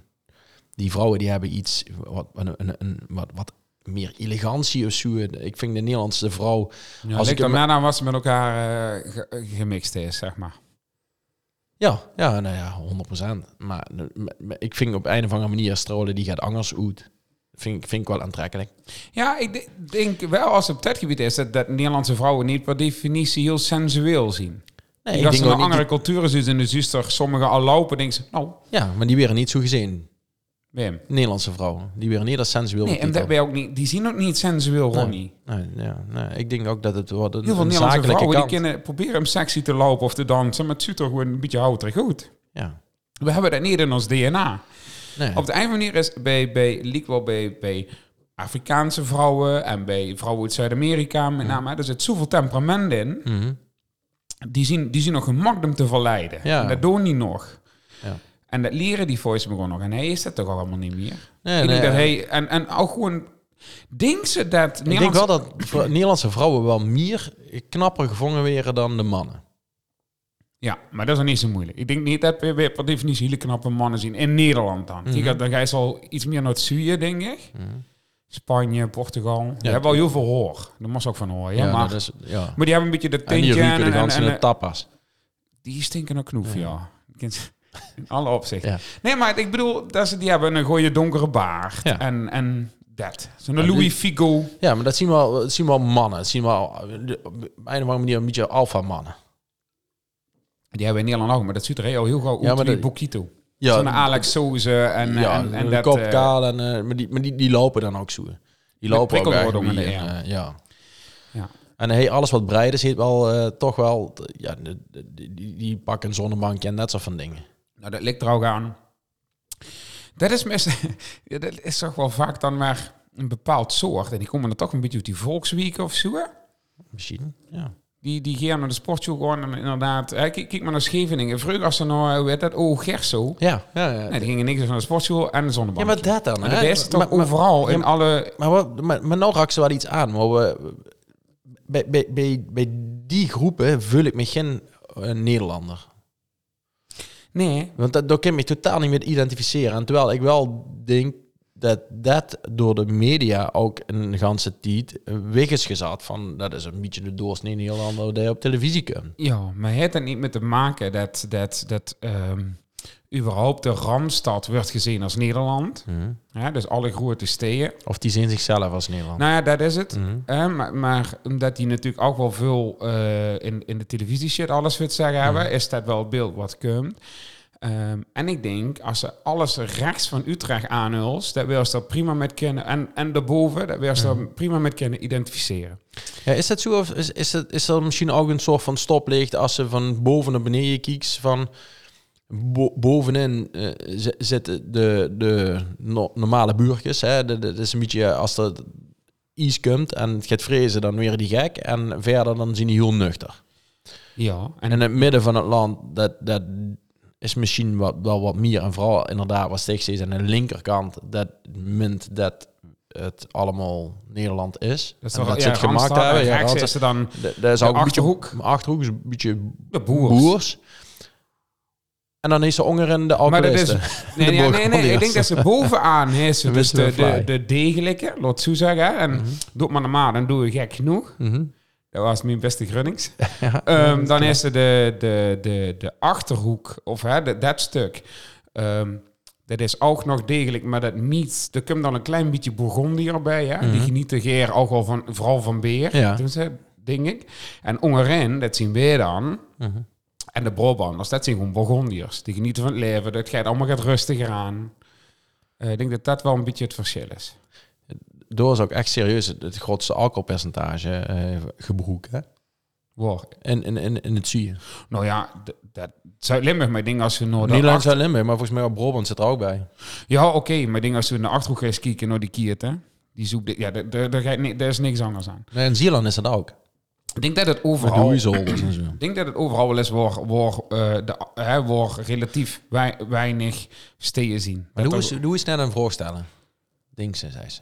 [SPEAKER 2] Die vrouwen die hebben iets wat, een, een, een- wat, wat meer elegantie of zo. Ik vind de Nederlandse vrouw...
[SPEAKER 1] Ja,
[SPEAKER 2] als
[SPEAKER 1] als
[SPEAKER 2] ik
[SPEAKER 1] ik
[SPEAKER 2] hem-
[SPEAKER 1] daarna was ze met elkaar eh, ge- eh, gemixt is, zeg maar.
[SPEAKER 2] Ja, ja, nou ja, 100%. Maar, maar- maar ik vind op een of andere manier stralen die gaat anders uit. Vind, ik- vind ik wel aantrekkelijk.
[SPEAKER 1] Ja, ik de- denk wel als het op dat gebied is dat, dat Nederlandse vrouwen niet per definitie heel sensueel zien.
[SPEAKER 2] Nee,
[SPEAKER 1] als ze naar
[SPEAKER 2] ook niet
[SPEAKER 1] andere culturen zien en de zuster sommigen al lopen, denken ze, nou,
[SPEAKER 2] dat- Ja, maar die werden niet zo gezien.
[SPEAKER 1] Wim.
[SPEAKER 2] Nederlandse vrouwen. Die werden niet als sensueel
[SPEAKER 1] Nee, en dat
[SPEAKER 2] betiteld.
[SPEAKER 1] ben je ook niet, die zien ook niet sensueel, Ronnie.
[SPEAKER 2] Nee, ja, nee, ik denk ook dat het wat een,
[SPEAKER 1] Heel veel
[SPEAKER 2] een
[SPEAKER 1] Nederlandse
[SPEAKER 2] zakelijke
[SPEAKER 1] vrouwen
[SPEAKER 2] kant...
[SPEAKER 1] die kunnen proberen hem sexy te lopen of te dansen, maar het ziet er gewoon een beetje houterig goed.
[SPEAKER 2] Ja,
[SPEAKER 1] We hebben dat niet in ons DNA.
[SPEAKER 2] nee.
[SPEAKER 1] Op de een manier is bij, bij liep wel bij, bij Afrikaanse vrouwen en bij vrouwen uit Zuid-Amerika
[SPEAKER 2] Mm.
[SPEAKER 1] met name. Er zit zoveel temperament in.
[SPEAKER 2] Mhm.
[SPEAKER 1] Die zien, die zien nog gemakkelijk om te verleiden.
[SPEAKER 2] Ja.
[SPEAKER 1] En dat doen die nog.
[SPEAKER 2] Ja.
[SPEAKER 1] En dat leren die voice gewoon nog. En hij is dat toch al allemaal niet meer.
[SPEAKER 2] Nee, eh,
[SPEAKER 1] ik
[SPEAKER 2] nee,
[SPEAKER 1] denk dat
[SPEAKER 2] ja.
[SPEAKER 1] hij... En, en ook gewoon... Denk ze dat...
[SPEAKER 2] Ik denk wel dat vrou- Nederlandse vrouwen wel meer knapper gevangen werden dan de mannen.
[SPEAKER 1] Ja, maar dat is dan niet zo moeilijk. Ik denk niet dat we weer per definitie hele knappe mannen zien. In Nederland
[SPEAKER 2] Mhm.
[SPEAKER 1] dan. Die gaat, dan ga je al iets meer naar het zuiden, denk ik. Spanje, Portugal. Die hebben wel heel veel hoor. Daar moest ook van hoor. Ja, maar,
[SPEAKER 2] dat is, ja.
[SPEAKER 1] maar die hebben een beetje dat
[SPEAKER 2] En die
[SPEAKER 1] tintje.
[SPEAKER 2] ruiken de
[SPEAKER 1] en-
[SPEAKER 2] ganse
[SPEAKER 1] en- en-
[SPEAKER 2] tapas.
[SPEAKER 1] die stinken naar knoef, ja. Je kunt- In alle opzichten.
[SPEAKER 2] Ja.
[SPEAKER 1] Nee, maar ik bedoel, dat ze, die hebben een goeie donkere baard.
[SPEAKER 2] Ja.
[SPEAKER 1] En, en dat. Zo'n
[SPEAKER 2] Ja,
[SPEAKER 1] Louis
[SPEAKER 2] die-
[SPEAKER 1] Figo.
[SPEAKER 2] Ja, maar dat zien we al, dat zien we al mannen. Dat zien we al, op een of andere manier een beetje alfa-mannen.
[SPEAKER 1] Die hebben in Nederland ook, maar dat ziet er heel, heel gauw
[SPEAKER 2] Ja,
[SPEAKER 1] uit
[SPEAKER 2] maar
[SPEAKER 1] die
[SPEAKER 2] dat-
[SPEAKER 1] Bokito.
[SPEAKER 2] Ja,
[SPEAKER 1] Zo'n Alex Soze en,
[SPEAKER 2] ja,
[SPEAKER 1] en, en
[SPEAKER 2] een
[SPEAKER 1] dat...
[SPEAKER 2] kop
[SPEAKER 1] eh,
[SPEAKER 2] kaal en, eh, maar die, maar die, die lopen dan ook zo. Die
[SPEAKER 1] Met
[SPEAKER 2] lopen ook echt
[SPEAKER 1] prikkelwortel
[SPEAKER 2] wie,
[SPEAKER 1] meteen,
[SPEAKER 2] eh, ja.
[SPEAKER 1] Ja.
[SPEAKER 2] En hey, alles wat breed is, heeft wel eh, toch wel... t- Ja, de- de- die, die, die pakken een zonnebankje en dat soort van dingen.
[SPEAKER 1] Nou, dat ligt er ook aan. Dat is, meestal, ja, dat is toch wel vaak dan maar een bepaald soort. En die komen dan toch een beetje uit die Volksweek of zo. hè?
[SPEAKER 2] Misschien, ja.
[SPEAKER 1] Die, die gaan naar de sportschool gewoon en inderdaad... hè, kijk, kijk maar naar Scheveningen. Vroeger als ze nou, hoe heet dat, oh Gerso.
[SPEAKER 2] Ja, ja, ja.
[SPEAKER 1] Nee, die gingen niks naar de sportschool en de
[SPEAKER 2] ja
[SPEAKER 1] zonnebank.
[SPEAKER 2] maar dat dan,
[SPEAKER 1] maar
[SPEAKER 2] hè?
[SPEAKER 1] de rest is toch
[SPEAKER 2] Maar- maar-
[SPEAKER 1] overal,
[SPEAKER 2] ja,
[SPEAKER 1] in alle...
[SPEAKER 2] Maar, wat, maar, maar nou raak ze wel iets aan. Maar we, bij, bij, bij, bij die groepen vul ik me geen eh, Nederlander.
[SPEAKER 1] Nee,
[SPEAKER 2] Want dat, daar kan ik me totaal niet meer identificeren. En terwijl ik wel denk dat dat door de media ook een ganse tijd weg is gezet. Van, dat is een beetje de doorsnee Nederlander die je op televisie kunt.
[SPEAKER 1] ja, maar het heeft er niet mee te maken dat... dat, dat ehm, überhaupt de Randstad wordt gezien als Nederland. Ja, dus alle grote steden.
[SPEAKER 2] Of die zien zichzelf als Nederland.
[SPEAKER 1] Nou ja, dat is het.
[SPEAKER 2] Mhm.
[SPEAKER 1] Eh, maar, maar omdat die natuurlijk ook wel veel eh, in, in de televisie shit alles wil zeggen hebben, is dat wel het beeld wat komt. Ehm, en ik denk, als ze alles rechts van Utrecht aanhulst, dat wil ze er prima met kunnen. En, en daarboven, dat wil ze er prima met kunnen identificeren.
[SPEAKER 2] Ja, is dat zo? Of is, is, dat, is er misschien ook een soort van stoplicht als ze van boven naar beneden kijkt? Van bo- bovenin eh, zi- zitten de, de no- normale burgers. Hè? De- de- Dat is een beetje eh, als er iets komt en het gaat vrezen, dan weer die gek. En verder dan zien die heel nuchter.
[SPEAKER 1] Ja,
[SPEAKER 2] En
[SPEAKER 1] en,
[SPEAKER 2] in het midden van het land, dat, dat is misschien wat, wel wat meer. En vooral inderdaad, wat Stig is aan de linkerkant, dat mint dat het allemaal Nederland is.
[SPEAKER 1] dat is
[SPEAKER 2] en
[SPEAKER 1] toch ja, Randstad, en
[SPEAKER 2] Ja,
[SPEAKER 1] rechts
[SPEAKER 2] Randstad.
[SPEAKER 1] is er dan
[SPEAKER 2] Da- Dat is
[SPEAKER 1] De
[SPEAKER 2] ook een beetje-
[SPEAKER 1] Achterhoek.
[SPEAKER 2] Achterhoek is een beetje
[SPEAKER 1] de boers.
[SPEAKER 2] boers. En dan is de ongeren de
[SPEAKER 1] Maar dat
[SPEAKER 2] alcoholisten.
[SPEAKER 1] is. Nee, nee, nee, nee, ik denk dat ze bovenaan is.
[SPEAKER 2] Dan
[SPEAKER 1] Dus de,
[SPEAKER 2] wisten we
[SPEAKER 1] de,
[SPEAKER 2] fly.
[SPEAKER 1] de degelijke, laat zo zeggen. En doe het maar normaal, dan doe je gek genoeg.
[SPEAKER 2] Mhm.
[SPEAKER 1] Dat was mijn beste grunnings.
[SPEAKER 2] Ja.
[SPEAKER 1] Ehm, dan is er de, de, de, de achterhoek, of hè, de- dat stuk. Ehm, dat is ook nog degelijk, maar dat niet. Er komt dan een klein beetje Bourgondier erbij. Hè? Die genieten geer ook wel van, vooral van beer.
[SPEAKER 2] Mhm. Ja.
[SPEAKER 1] Dus, hè, denk ik. En Ongeren, dat zien wij dan.
[SPEAKER 2] Mhm.
[SPEAKER 1] En de Brabanders, dat zijn gewoon Bourgondiërs. Die genieten van het leven. Dat gaat allemaal gaat rustiger aan. Eh, ik denk dat dat wel een beetje het verschil is.
[SPEAKER 2] Door is ook echt serieus het, het grootste alcoholpercentage eh gebroek. Hè?
[SPEAKER 1] Waar?
[SPEAKER 2] En, en, en, en het zie je.
[SPEAKER 1] Nou ja, d- dat Zuid-Limburg, maar ik denk als je naar de
[SPEAKER 2] Niet alleen
[SPEAKER 1] Acht-
[SPEAKER 2] Zuid-Limburg, maar volgens mij op Brabant zit er ook bij.
[SPEAKER 1] Ja, oké, maar ik denk als je naar de Achterhoek gaat kijken, naar die Kiert, hè. Die zoekt... de- Ja, daar- daar daar ga je ni- daar is niks anders aan.
[SPEAKER 2] Nee, in Zeeland is dat ook.
[SPEAKER 1] Ik denk dat het
[SPEAKER 2] Met de
[SPEAKER 1] overal...
[SPEAKER 2] hoeizolders en zo.
[SPEAKER 1] Ik denk dat het overal wel eens waar, waar, eh, de, hè, waar relatief wei- weinig steden zien.
[SPEAKER 2] Maar
[SPEAKER 1] Dat
[SPEAKER 2] doe
[SPEAKER 1] er-
[SPEAKER 2] eens, doe eens net een vraag stellen. Dingsen, zei ze.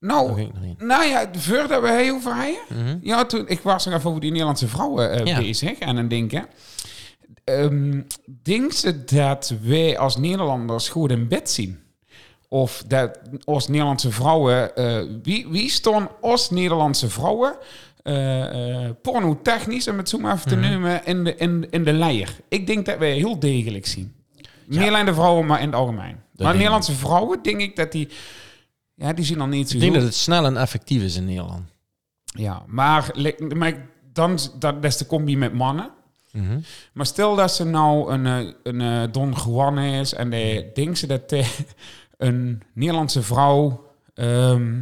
[SPEAKER 1] nou,
[SPEAKER 2] Daar ging ik nog in.
[SPEAKER 1] nou ja, voordat we heen hoeven rijden...
[SPEAKER 2] Mhm.
[SPEAKER 1] Ja, toen, ik was nog even over die Nederlandse vrouwen eh,
[SPEAKER 2] Ja.
[SPEAKER 1] bezig en aan denken. Ehm denk ze dat wij als Nederlanders goed in bed zien? Of dat ons Nederlandse vrouwen... eh, wie, wie stond ons Nederlandse vrouwen... eh, eh, porno-technisch, om het zo maar even
[SPEAKER 2] Mhm.
[SPEAKER 1] te noemen, in de, in, in de leier. Ik denk dat wij heel degelijk zien. Niet alleen de vrouwen, maar in het algemeen.
[SPEAKER 2] denk
[SPEAKER 1] maar
[SPEAKER 2] ik.
[SPEAKER 1] Nederlandse vrouwen, denk ik dat die... Ja, die zien dan niet zo
[SPEAKER 2] Ik denk
[SPEAKER 1] goed.
[SPEAKER 2] dat het snel en effectief is in Nederland.
[SPEAKER 1] Ja, maar, le- maar dan, dat is de combi met mannen.
[SPEAKER 2] Mhm.
[SPEAKER 1] Maar stel dat ze nou een, eh, een eh, Don Juan is en de denkt ze dat eh, een Nederlandse vrouw ehm,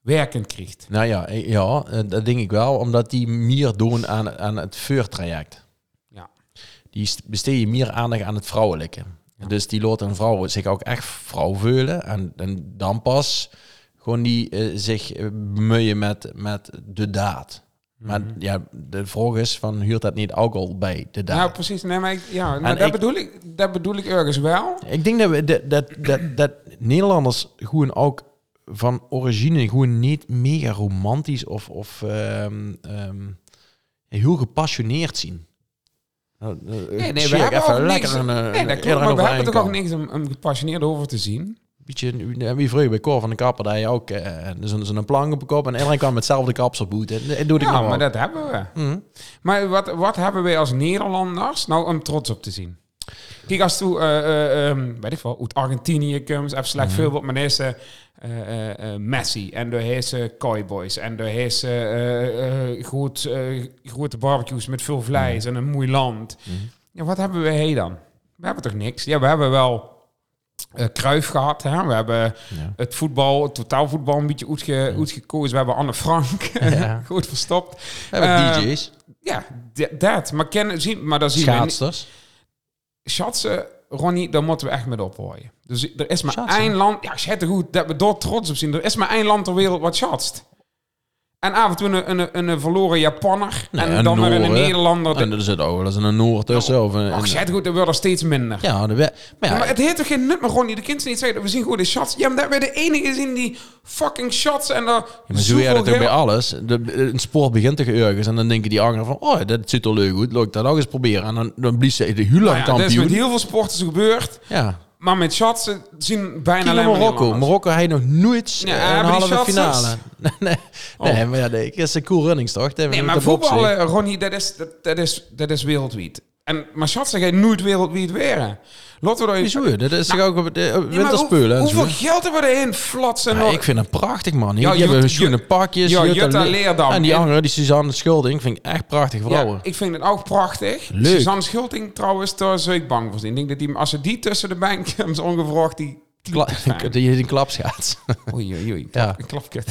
[SPEAKER 1] werkend krijgt.
[SPEAKER 2] Nou ja, eh, ja, eh, dat denk ik wel, omdat die meer doen aan, aan het vuurtraject.
[SPEAKER 1] Ja.
[SPEAKER 2] Die st- besteden meer aandacht aan het vrouwelijke. Dus die laten een vrouw zich ook echt vrouw voelen. En, en dan pas gewoon die eh, zich eh, bemoeien met, met de daad. Maar ja, de vraag is van huurt dat niet ook al bij de daad?
[SPEAKER 1] Nou, precies. Nee, maar ik, ja, maar
[SPEAKER 2] En
[SPEAKER 1] dat,
[SPEAKER 2] ik-
[SPEAKER 1] bedoel ik, dat bedoel ik ergens wel.
[SPEAKER 2] Nou, Ik denk dat, we, dat, dat, dat, dat Nederlanders gewoon ook van origine gewoon niet mega romantisch of, of ehm, ehm, heel gepassioneerd zien. Nee,
[SPEAKER 1] Nee, nee, we hebben ook niks...
[SPEAKER 2] eh,
[SPEAKER 1] nee, dat klopt, maar we hebben toch ook niks om, om gepassioneerd over te zien.
[SPEAKER 2] Beetje, eh, wie vroeg bij Cor van de Kapper dat je ook eh, zo'n zo'n plank op de kop en iedereen kwam met hetzelfde kapselboet. En dat doe ik
[SPEAKER 1] Ja,
[SPEAKER 2] nou
[SPEAKER 1] maar
[SPEAKER 2] ook.
[SPEAKER 1] dat hebben we.
[SPEAKER 2] Mhm.
[SPEAKER 1] Maar wat, wat hebben wij als Nederlanders nou om trots op te zien? Kijk, als toen, eh eh, ehm, weet ik veel, uit Argentinië komt, even slecht
[SPEAKER 2] Mhm.
[SPEAKER 1] veel wat, maar daar is eh, eh, eh, eh, Messi en daar is eh, Cowboys en daar is eh eh, eh, goed, eh, grote barbecues met veel vlees
[SPEAKER 2] Mhm.
[SPEAKER 1] en een mooi land. Ja, wat hebben we hier dan? We hebben toch niks? Ja, we hebben wel eh Kruif gehad, hè? we hebben
[SPEAKER 2] Ja.
[SPEAKER 1] het voetbal, het totaalvoetbal een beetje uitge, uitgekozen, we hebben Anne Frank
[SPEAKER 2] Ja.
[SPEAKER 1] goed verstopt.
[SPEAKER 2] We hebben
[SPEAKER 1] Eh,
[SPEAKER 2] DJ's,
[SPEAKER 1] Ja, d- dat. Maar, kennen, zien, maar daar zien we...
[SPEAKER 2] schaatsters.
[SPEAKER 1] ni- Schatsen, Ronnie, daar moeten we echt met ophouden. Dus er is maar
[SPEAKER 2] Schatsen?
[SPEAKER 1] één land... Ja, schette goed, dat we daar trots op zien. Er is maar één land ter wereld wat schatst. En af en toe een, een, een, een verloren Japanner.
[SPEAKER 2] Nee,
[SPEAKER 1] en
[SPEAKER 2] een
[SPEAKER 1] dan maar een
[SPEAKER 2] Noor, hè?
[SPEAKER 1] Nederlander.
[SPEAKER 2] En er zit ook wel eens een Noor tussen. Of een,
[SPEAKER 1] Ach,
[SPEAKER 2] een-
[SPEAKER 1] schette goed, er worden er steeds minder.
[SPEAKER 2] ja, de we- maar ja,
[SPEAKER 1] Maar het heeft toch geen nut meer, Ronnie? De kinderen niet zeggen, we zien goede shots. Ja, maar dat wij de enige zien die fucking shots en daar...
[SPEAKER 2] Ja, maar zo werkt
[SPEAKER 1] zoveel
[SPEAKER 2] het ook bij
[SPEAKER 1] geld-
[SPEAKER 2] alles. De, een sport begint te ergens en dan denken die anderen van... oh, dat ziet er leuk uit, laat ik dat ook eens proberen. En dan, dan blies ze de
[SPEAKER 1] Nou
[SPEAKER 2] Hulan
[SPEAKER 1] ja, dat is met
[SPEAKER 2] kampioen. Ja,
[SPEAKER 1] heel veel sporters gebeurd. Maar met shots zien bijna
[SPEAKER 2] Kijk naar
[SPEAKER 1] alleen maar
[SPEAKER 2] Marokko.
[SPEAKER 1] Nederlanders.
[SPEAKER 2] Marokko heeft nog nooit
[SPEAKER 1] Ja,
[SPEAKER 2] eh, een
[SPEAKER 1] hebben die
[SPEAKER 2] halve
[SPEAKER 1] shots
[SPEAKER 2] finale. nee, nee,
[SPEAKER 1] Oh.
[SPEAKER 2] nee, maar ja, nee, dat is een cool runnings toch? Dat
[SPEAKER 1] Nee,
[SPEAKER 2] we
[SPEAKER 1] maar
[SPEAKER 2] met de bobslee.
[SPEAKER 1] voetballen, Ronnie, dat is, dat, dat is, dat is wereldwijd. En, maar schatsen, jij nooit wereldwijd weer. Laten we daar eens...
[SPEAKER 2] Hoezo? Dat is toch ook op de op
[SPEAKER 1] Nee, nou, maar hoe-
[SPEAKER 2] winterspelen en zo.
[SPEAKER 1] hoeveel geld hebben we erin? Flatsen.
[SPEAKER 2] Ja,
[SPEAKER 1] nog-
[SPEAKER 2] ik vind hem prachtig, man. Die
[SPEAKER 1] Ja,
[SPEAKER 2] hebben
[SPEAKER 1] Jut-
[SPEAKER 2] hun schoenen
[SPEAKER 1] Jut-
[SPEAKER 2] pakjes.
[SPEAKER 1] ja,
[SPEAKER 2] Jutta
[SPEAKER 1] Jutta
[SPEAKER 2] Le-
[SPEAKER 1] Leerdam.
[SPEAKER 2] En die
[SPEAKER 1] En-
[SPEAKER 2] andere, die Suzanne Schulding, vind ik echt prachtig vrouwen.
[SPEAKER 1] ja, ik vind het ook prachtig.
[SPEAKER 2] Leuk.
[SPEAKER 1] Suzanne Schulting trouwens, daar zou ik bang voor zijn. Ik denk dat die, als ze die tussen de bank hebben, ongevraagd die...
[SPEAKER 2] Kla- die die klapschaats.
[SPEAKER 1] Oei, oei, oei.
[SPEAKER 2] Ja.
[SPEAKER 1] Klap- klapkut.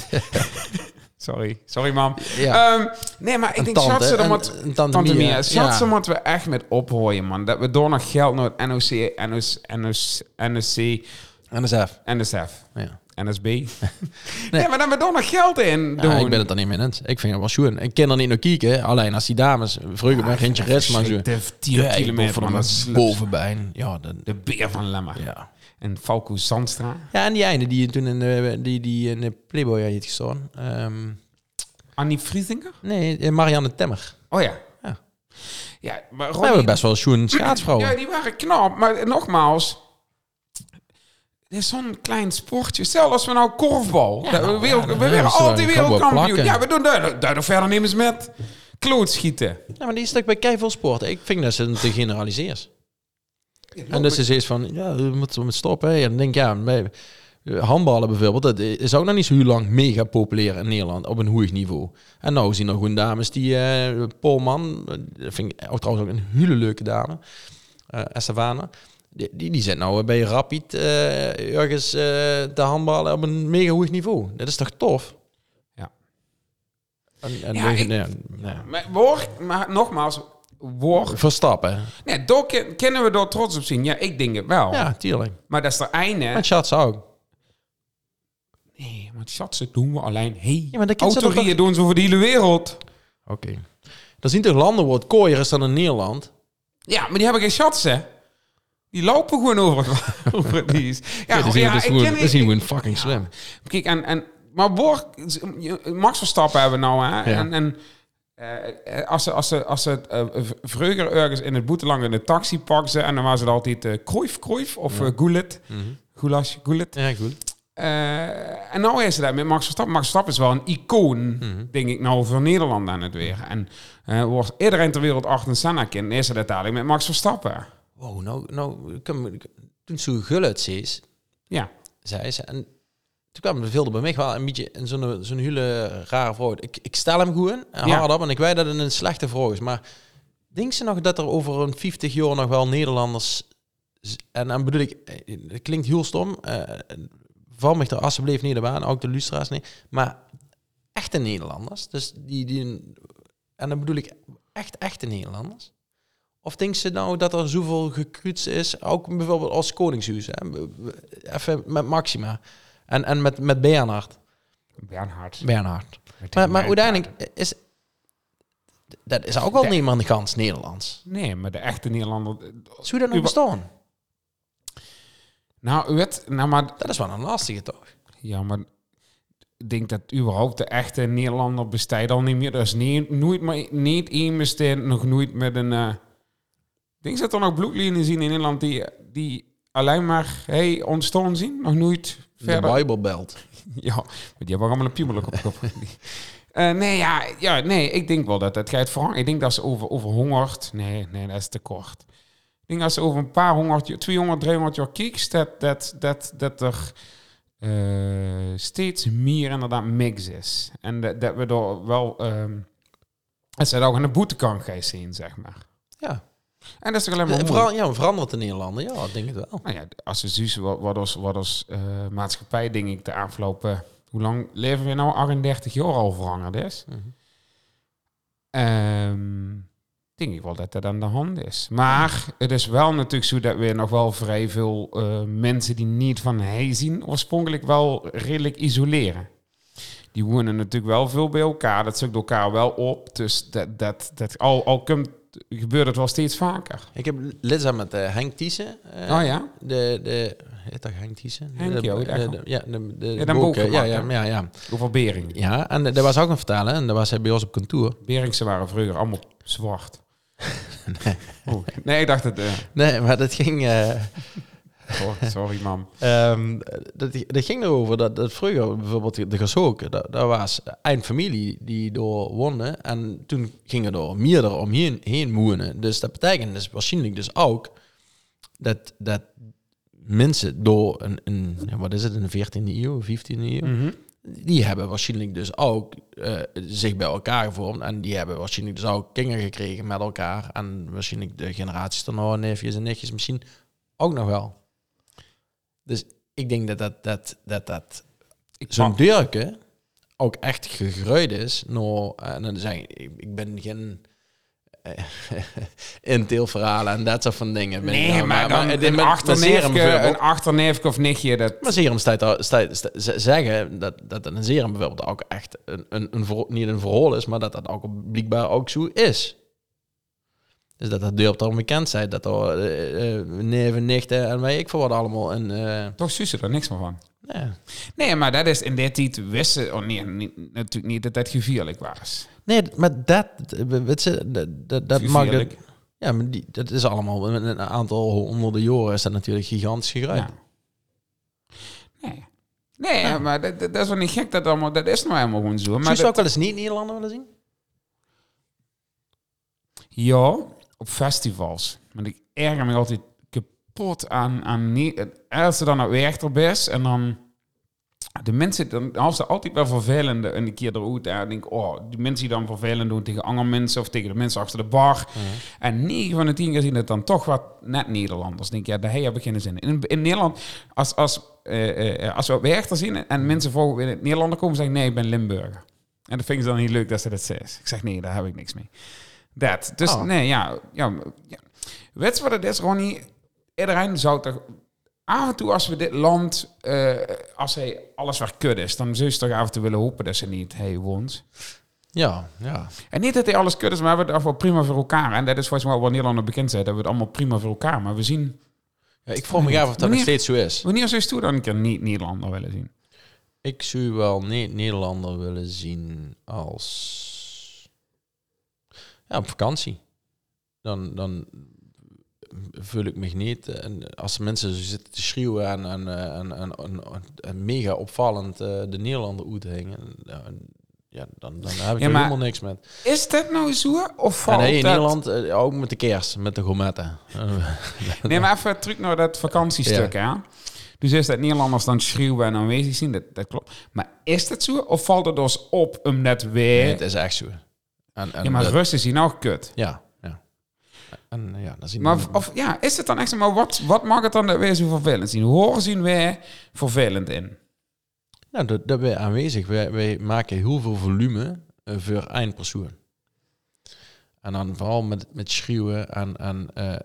[SPEAKER 1] Sorry, sorry mam.
[SPEAKER 2] Ja.
[SPEAKER 1] Ehm, nee, maar ik
[SPEAKER 2] Een
[SPEAKER 1] denk,
[SPEAKER 2] tante,
[SPEAKER 1] schatsen, dan
[SPEAKER 2] een-
[SPEAKER 1] moet...
[SPEAKER 2] een tante
[SPEAKER 1] Tante
[SPEAKER 2] Mia,
[SPEAKER 1] Mia, schatsen,
[SPEAKER 2] ja.
[SPEAKER 1] moeten we echt met ophouden, man. Dat we door nog geld naar het NOC, NOC, NOC, NOC,
[SPEAKER 2] NSF.
[SPEAKER 1] NSF,
[SPEAKER 2] Ja.
[SPEAKER 1] NSB. nee. maar dan we door nog geld in doen.
[SPEAKER 2] Ja, ik ben het dan niet mee eens. Ik vind het wel schoon. Ik ken er niet naar kijken. Alleen als die dames vroeger met geen rest maar zo.
[SPEAKER 1] 10
[SPEAKER 2] Ja, ik ben
[SPEAKER 1] Ah, kilometer
[SPEAKER 2] van
[SPEAKER 1] man,
[SPEAKER 2] hem
[SPEAKER 1] dat is
[SPEAKER 2] bovenbijn. Ja, dan,
[SPEAKER 1] De beer van Lemmer.
[SPEAKER 2] ja.
[SPEAKER 1] En Falco Zandstra.
[SPEAKER 2] ja, en die einde die je toen in de, die, die in de Playboy had gestaan. Ehm,
[SPEAKER 1] Annie Friesinger?
[SPEAKER 2] nee, eh, Marianne Temmer.
[SPEAKER 1] Oh ja.
[SPEAKER 2] Ja.
[SPEAKER 1] Ja, maar
[SPEAKER 2] We hebben
[SPEAKER 1] Ronnie,
[SPEAKER 2] best wel schoon schaatsvrouwen.
[SPEAKER 1] Ja, die waren knap. Maar nogmaals, dit is zo'n klein sportje. Zelfs als we nou korfbal. dat we wereld,
[SPEAKER 2] ja,
[SPEAKER 1] we
[SPEAKER 2] ja,
[SPEAKER 1] werden
[SPEAKER 2] ze
[SPEAKER 1] altijd
[SPEAKER 2] waren- kan wel
[SPEAKER 1] wereldkampioen.
[SPEAKER 2] plakken.
[SPEAKER 1] Ja, we doen daar, daardoor verder nemen ze met klootschieten.
[SPEAKER 2] Ja, maar die is toch bij keiveel sport. Ik vind dat ze het te generaliseert. En dus is eens van, ja, we moeten we stoppen. hè. En dan denk ik, ja, bij eh, handballen bijvoorbeeld, dat is ook nog niet zo heel lang mega populair in Nederland op een hoog niveau. En nou zien we nog gewoon dames die eh Polman, eh, dat vind ik ook trouwens ook een hele leuke dame, eh Savana. Die, die, die zit nou bij Rapid eh, ergens eh te handballen op een mega hoog niveau. Dat is toch tof?
[SPEAKER 1] Ja.
[SPEAKER 2] Eh, En, en
[SPEAKER 1] Ja,
[SPEAKER 2] negen-
[SPEAKER 1] ik-
[SPEAKER 2] nee, nee.
[SPEAKER 1] Maar, Wor, maar nogmaals, Wor.
[SPEAKER 2] Verstappen.
[SPEAKER 1] Nee, daar ken- kunnen we door trots op zien. Ja, ik denk het wel.
[SPEAKER 2] Ja, tuurlijk.
[SPEAKER 1] Maar dat is er
[SPEAKER 2] En
[SPEAKER 1] einde.
[SPEAKER 2] shots ook.
[SPEAKER 1] Nee, want schatsen doen we alleen. Hey,
[SPEAKER 2] Ja, maar dat kind zat
[SPEAKER 1] autorieën
[SPEAKER 2] toch-
[SPEAKER 1] doen ze over de hele wereld.
[SPEAKER 2] Oké. Dan zien toch landen wat kooier is dan in Nederland?
[SPEAKER 1] Ja, maar die hebben geen schatsen. Die lopen gewoon over, over het ijs. Ja,
[SPEAKER 2] oh
[SPEAKER 3] dat is
[SPEAKER 1] ja,
[SPEAKER 3] dat is
[SPEAKER 1] ik
[SPEAKER 3] gewoon-
[SPEAKER 1] ken-
[SPEAKER 3] dat is gewoon fucking slim.
[SPEAKER 1] Kijk, en, en, maar Borg, Max Verstappen hebben we nou, hè. En, en eh, als ze, als ze, als ze eh, v- vroeger ergens in het boetelang in de taxi pakken ze... en dan waren ze er altijd eh Cruyff, Cruyff of eh, Gullit.
[SPEAKER 2] Mhm.
[SPEAKER 1] Goulash, Gullit.
[SPEAKER 2] Ja, goed.
[SPEAKER 1] Eh, en nou is het daar met Max Verstappen. Max Verstappen is wel een icoon,
[SPEAKER 2] Mhm.
[SPEAKER 1] denk ik, nou voor Nederland aan het weer. En eh, wordt iedereen ter wereld achter een Senna kind, is het uiteindelijk met Max Verstappen.
[SPEAKER 2] Wow, nou, nou kan- toen zo gullet is,
[SPEAKER 1] Ja.
[SPEAKER 2] zei ze. En toen kwam de veel bij mij wel een beetje in zo'n zo'n hele rare vraag. Ik, ik stel hem gewoon en
[SPEAKER 1] Ja.
[SPEAKER 2] hard op. En ik weet dat het een slechte vraag is. Maar denk ze nog dat er over een 50 jaar nog wel Nederlanders... z- En dan bedoel ik, eh, het klinkt heel stom. eh, val me er alsjeblieft niet op aan, ook de lustra's niet. Maar echte Nederlanders, dus die, die... En dan bedoel ik echt echte Nederlanders. Of denk ze nou dat er zoveel gekruts is, ook bijvoorbeeld als Koningshuis, hè? We- we- even met Maxima en, en met, met Bernhard.
[SPEAKER 1] Bernhard.
[SPEAKER 2] Bernhard. Maar, maar uiteindelijk is... Dat is ook wel
[SPEAKER 1] Nee.
[SPEAKER 2] niemand kans Nederlands.
[SPEAKER 1] Nee, maar de echte Nederlander... eh,
[SPEAKER 2] Zou je dat nog
[SPEAKER 1] Uba-
[SPEAKER 2] bestaan?
[SPEAKER 1] Nou, u weet, nou maar...
[SPEAKER 2] Dat is wel een lastige, toch?
[SPEAKER 1] Ja, maar... Ik denk dat überhaupt de echte Nederlander bestijdt al niet meer. Er is niet, nooit maar niet één besteed, nog nooit met een... eh, Ik denk dat er nog bloedlijnen zien in Nederland die, die alleen maar hey, ontstaan zien. Nog nooit verder.
[SPEAKER 2] De Bible Belt.
[SPEAKER 1] Ja, maar die hebben ook allemaal een piemel op de kop. Eh, nee, ja, ja, nee, ik denk wel dat dat gaat verhangen. Ik denk dat ze over, overhongerd. Nee, nee, dat is te kort. Ik denk dat ze over een paar honderd, jaar- 200, 300 jaar kieks, dat, dat, dat, dat er eh, steeds meer inderdaad mix is. En dat, dat we er wel... ehm dat ze dat ook aan de boete kan gaan zien, zeg maar.
[SPEAKER 2] Ja.
[SPEAKER 1] En dat is toch alleen maar...
[SPEAKER 2] Eh,
[SPEAKER 1] mooi.
[SPEAKER 2] Vooral, ja, verandert de Nederlander? Ja, ik denk het wel.
[SPEAKER 1] Nou ja, als we zien wat, wat als, wat als eh, maatschappij, denk ik, de afgelopen... Hoe lang leven we nou? 38 jaar al veranderd is.
[SPEAKER 2] Mhm.
[SPEAKER 1] Ehm, denk ik wel dat dat aan de hand is. Maar het is wel natuurlijk zo dat we nog wel vrij veel eh, mensen die niet van hij zien... oorspronkelijk wel redelijk isoleren. Die wonen natuurlijk wel veel bij elkaar. Dat zoekt elkaar wel op. Dus dat, dat, dat, al, al komt, gebeurt het wel steeds vaker.
[SPEAKER 2] Ik heb Lidza met eh, Henk Thiessen. eh,
[SPEAKER 1] Oh ja?
[SPEAKER 2] De, de, heet dat Henk Thiessen?
[SPEAKER 1] Henk,
[SPEAKER 2] De-
[SPEAKER 1] joh,
[SPEAKER 2] de-
[SPEAKER 1] dat
[SPEAKER 2] de-
[SPEAKER 1] gewoon.
[SPEAKER 2] de- Ja, de, de,
[SPEAKER 1] Ja,
[SPEAKER 2] de
[SPEAKER 1] dan
[SPEAKER 2] boeken.
[SPEAKER 1] boeken
[SPEAKER 2] Ja, ja,
[SPEAKER 1] maken.
[SPEAKER 2] ja, ja.
[SPEAKER 1] Hoeveel Bering?
[SPEAKER 2] ja, en daar was ook nog vertellen. En daar was hij bij ons op kantoor.
[SPEAKER 1] Beringse waren vroeger allemaal zwart. nee. nee, ik dacht het. eh,
[SPEAKER 2] Nee, maar dat ging... eh,
[SPEAKER 1] sorry, sorry, mam.
[SPEAKER 2] Ehm, dat, dat ging erover dat, dat vroeger bijvoorbeeld de Gasoken, dat, dat was eindfamilie die door wonnen. En toen gingen er meerdere omheen heen moenen. Dus dat betekent dus waarschijnlijk dus ook dat, dat mensen door een, een, ja, wat is het, een 14e eeuw, 15e eeuw, die hebben waarschijnlijk dus ook eh, zich bij elkaar gevormd. En die hebben waarschijnlijk dus ook kinderen gekregen met elkaar. En waarschijnlijk de generaties daarna, neefjes en nichtjes misschien ook nog wel. Dus ik denk dat dat, dat, dat, dat
[SPEAKER 1] Ik
[SPEAKER 2] zo'n
[SPEAKER 1] pak-
[SPEAKER 2] Dirke ook echt gegruid is. Naar, en dan zeg ik, ik ik ben geen eh, inteelverhalen en dat soort van dingen. ben ik
[SPEAKER 1] Nee,
[SPEAKER 2] nou,
[SPEAKER 1] maar, dan
[SPEAKER 2] eh, dit
[SPEAKER 1] een,
[SPEAKER 2] met- met serum
[SPEAKER 1] achterneefje,
[SPEAKER 2] bijvoorbeeld.
[SPEAKER 1] een achterneefje of nichtje. Dat,
[SPEAKER 2] Maar Serum staat daar, staat, sta- ze- zeggen dat, dat een Serum bijvoorbeeld ook echt een, een, een verho- niet een verhoor is, maar dat dat ook blijkbaar ook zo is. Dus dat dat dorp dan bekend zijn, dat er eh, eh, neven, nichten en weet ik voor wat allemaal. En, eh,
[SPEAKER 1] toch zus er niks meer van.
[SPEAKER 2] ja.
[SPEAKER 1] Nee, maar dat is in dit tijd wisten oh nee, niet- natuurlijk niet dat dat gevierlijk was.
[SPEAKER 2] Nee, d- maar dat, eh, weet je, dat, dat, dat mag...
[SPEAKER 1] Vierlijk.
[SPEAKER 2] ja, maar die, dat is allemaal, een, een aantal honderden jaren is dat natuurlijk gigantisch geruimd.
[SPEAKER 1] Ja. Nee, nee maar dat, dat dat is wel niet gek. Dat, allemaal, dat is nou helemaal gewoon zo.
[SPEAKER 2] Zou
[SPEAKER 1] Maar
[SPEAKER 2] je
[SPEAKER 1] dat,
[SPEAKER 2] ook wel eens niet-Nederlander willen zien?
[SPEAKER 1] ja, op festivals. Want ik erger me altijd kapot aan... aan niet, als ze dan uit Werchter is en dan... De mensen, dan als ze altijd wel vervelende een keer eruit. En ik denk, oh, die mensen die dan vervelend doen tegen andere mensen of tegen de mensen achter de bar. En 9 van de 10 keer zien het dan toch wat net Nederlanders. Dan denk ik, ja, daar heb ik geen zin in. In, in Nederland, als, als, eh, eh, als we op Werchter zien en mensen volgen in het Nederlander komen, zeggen nee, ik ben Limburger. En dat vind ik dan niet leuk dat ze dat zegt. Ik zeg, nee, daar heb ik niks mee. Dat. Dus
[SPEAKER 2] Oh.
[SPEAKER 1] nee, ja, ja, ja. Weet je wat het is, Ronnie? Iedereen zou toch... Af en toe als we dit land, eh, als hij alles waar kut is, dan zou ze toch af en toe willen hopen dat ze niet, hey, woont.
[SPEAKER 2] Ja, ja.
[SPEAKER 1] En niet dat hij alles kut is, maar we hebben het wel prima voor elkaar. En dat is volgens mij wat Nederlander bekend zijn, dat we het allemaal prima voor elkaar. Maar we zien,
[SPEAKER 2] ja ik vroeg me af of dat nog
[SPEAKER 1] Wanneer-
[SPEAKER 2] steeds zo is.
[SPEAKER 1] wanneer zou je toe dan een keer niet Nederlander willen zien?
[SPEAKER 2] Ik zou wel ne- Nederlander willen zien als... Ja, op vakantie. Dan, dan voel ik me niet... En als mensen zo zitten te schreeuwen en, en, eh, en, en, en- en- en mega opvallend eh, de Nederlander uit te hangen... dan- Ja, dan, dan heb ik
[SPEAKER 1] Ja,
[SPEAKER 2] er
[SPEAKER 1] maar-
[SPEAKER 2] helemaal niks met.
[SPEAKER 1] Is dat nou zo? Of
[SPEAKER 2] En
[SPEAKER 1] valt
[SPEAKER 2] hey, in
[SPEAKER 1] dat-
[SPEAKER 2] Nederland eh, ook met de kerst, met de gourmetten.
[SPEAKER 1] Nee, maar even terug naar dat vakantiestuk, ja. Dus is dat Nederlanders dan schreeuwen en aanwezig zien, dat, dat klopt. Maar is dat zo? Of valt het ons op om net weer...
[SPEAKER 2] Nee, het is echt zo. En, en
[SPEAKER 1] ja, maar
[SPEAKER 2] dat-
[SPEAKER 1] Russen zien ook kut.
[SPEAKER 2] ja, ja. En ja, dan zien
[SPEAKER 1] Maar
[SPEAKER 2] we-
[SPEAKER 1] of- of, ja, is het dan echt zo? Maar wat, wat mag het dan dat wij zo vervelend zien? Horen zien wij vervelend in?
[SPEAKER 2] Nou, dat, dat wij aanwezig. Wij, wij maken heel veel volume eh, voor één persoon. En dan vooral met, met schreeuwen en, en eh,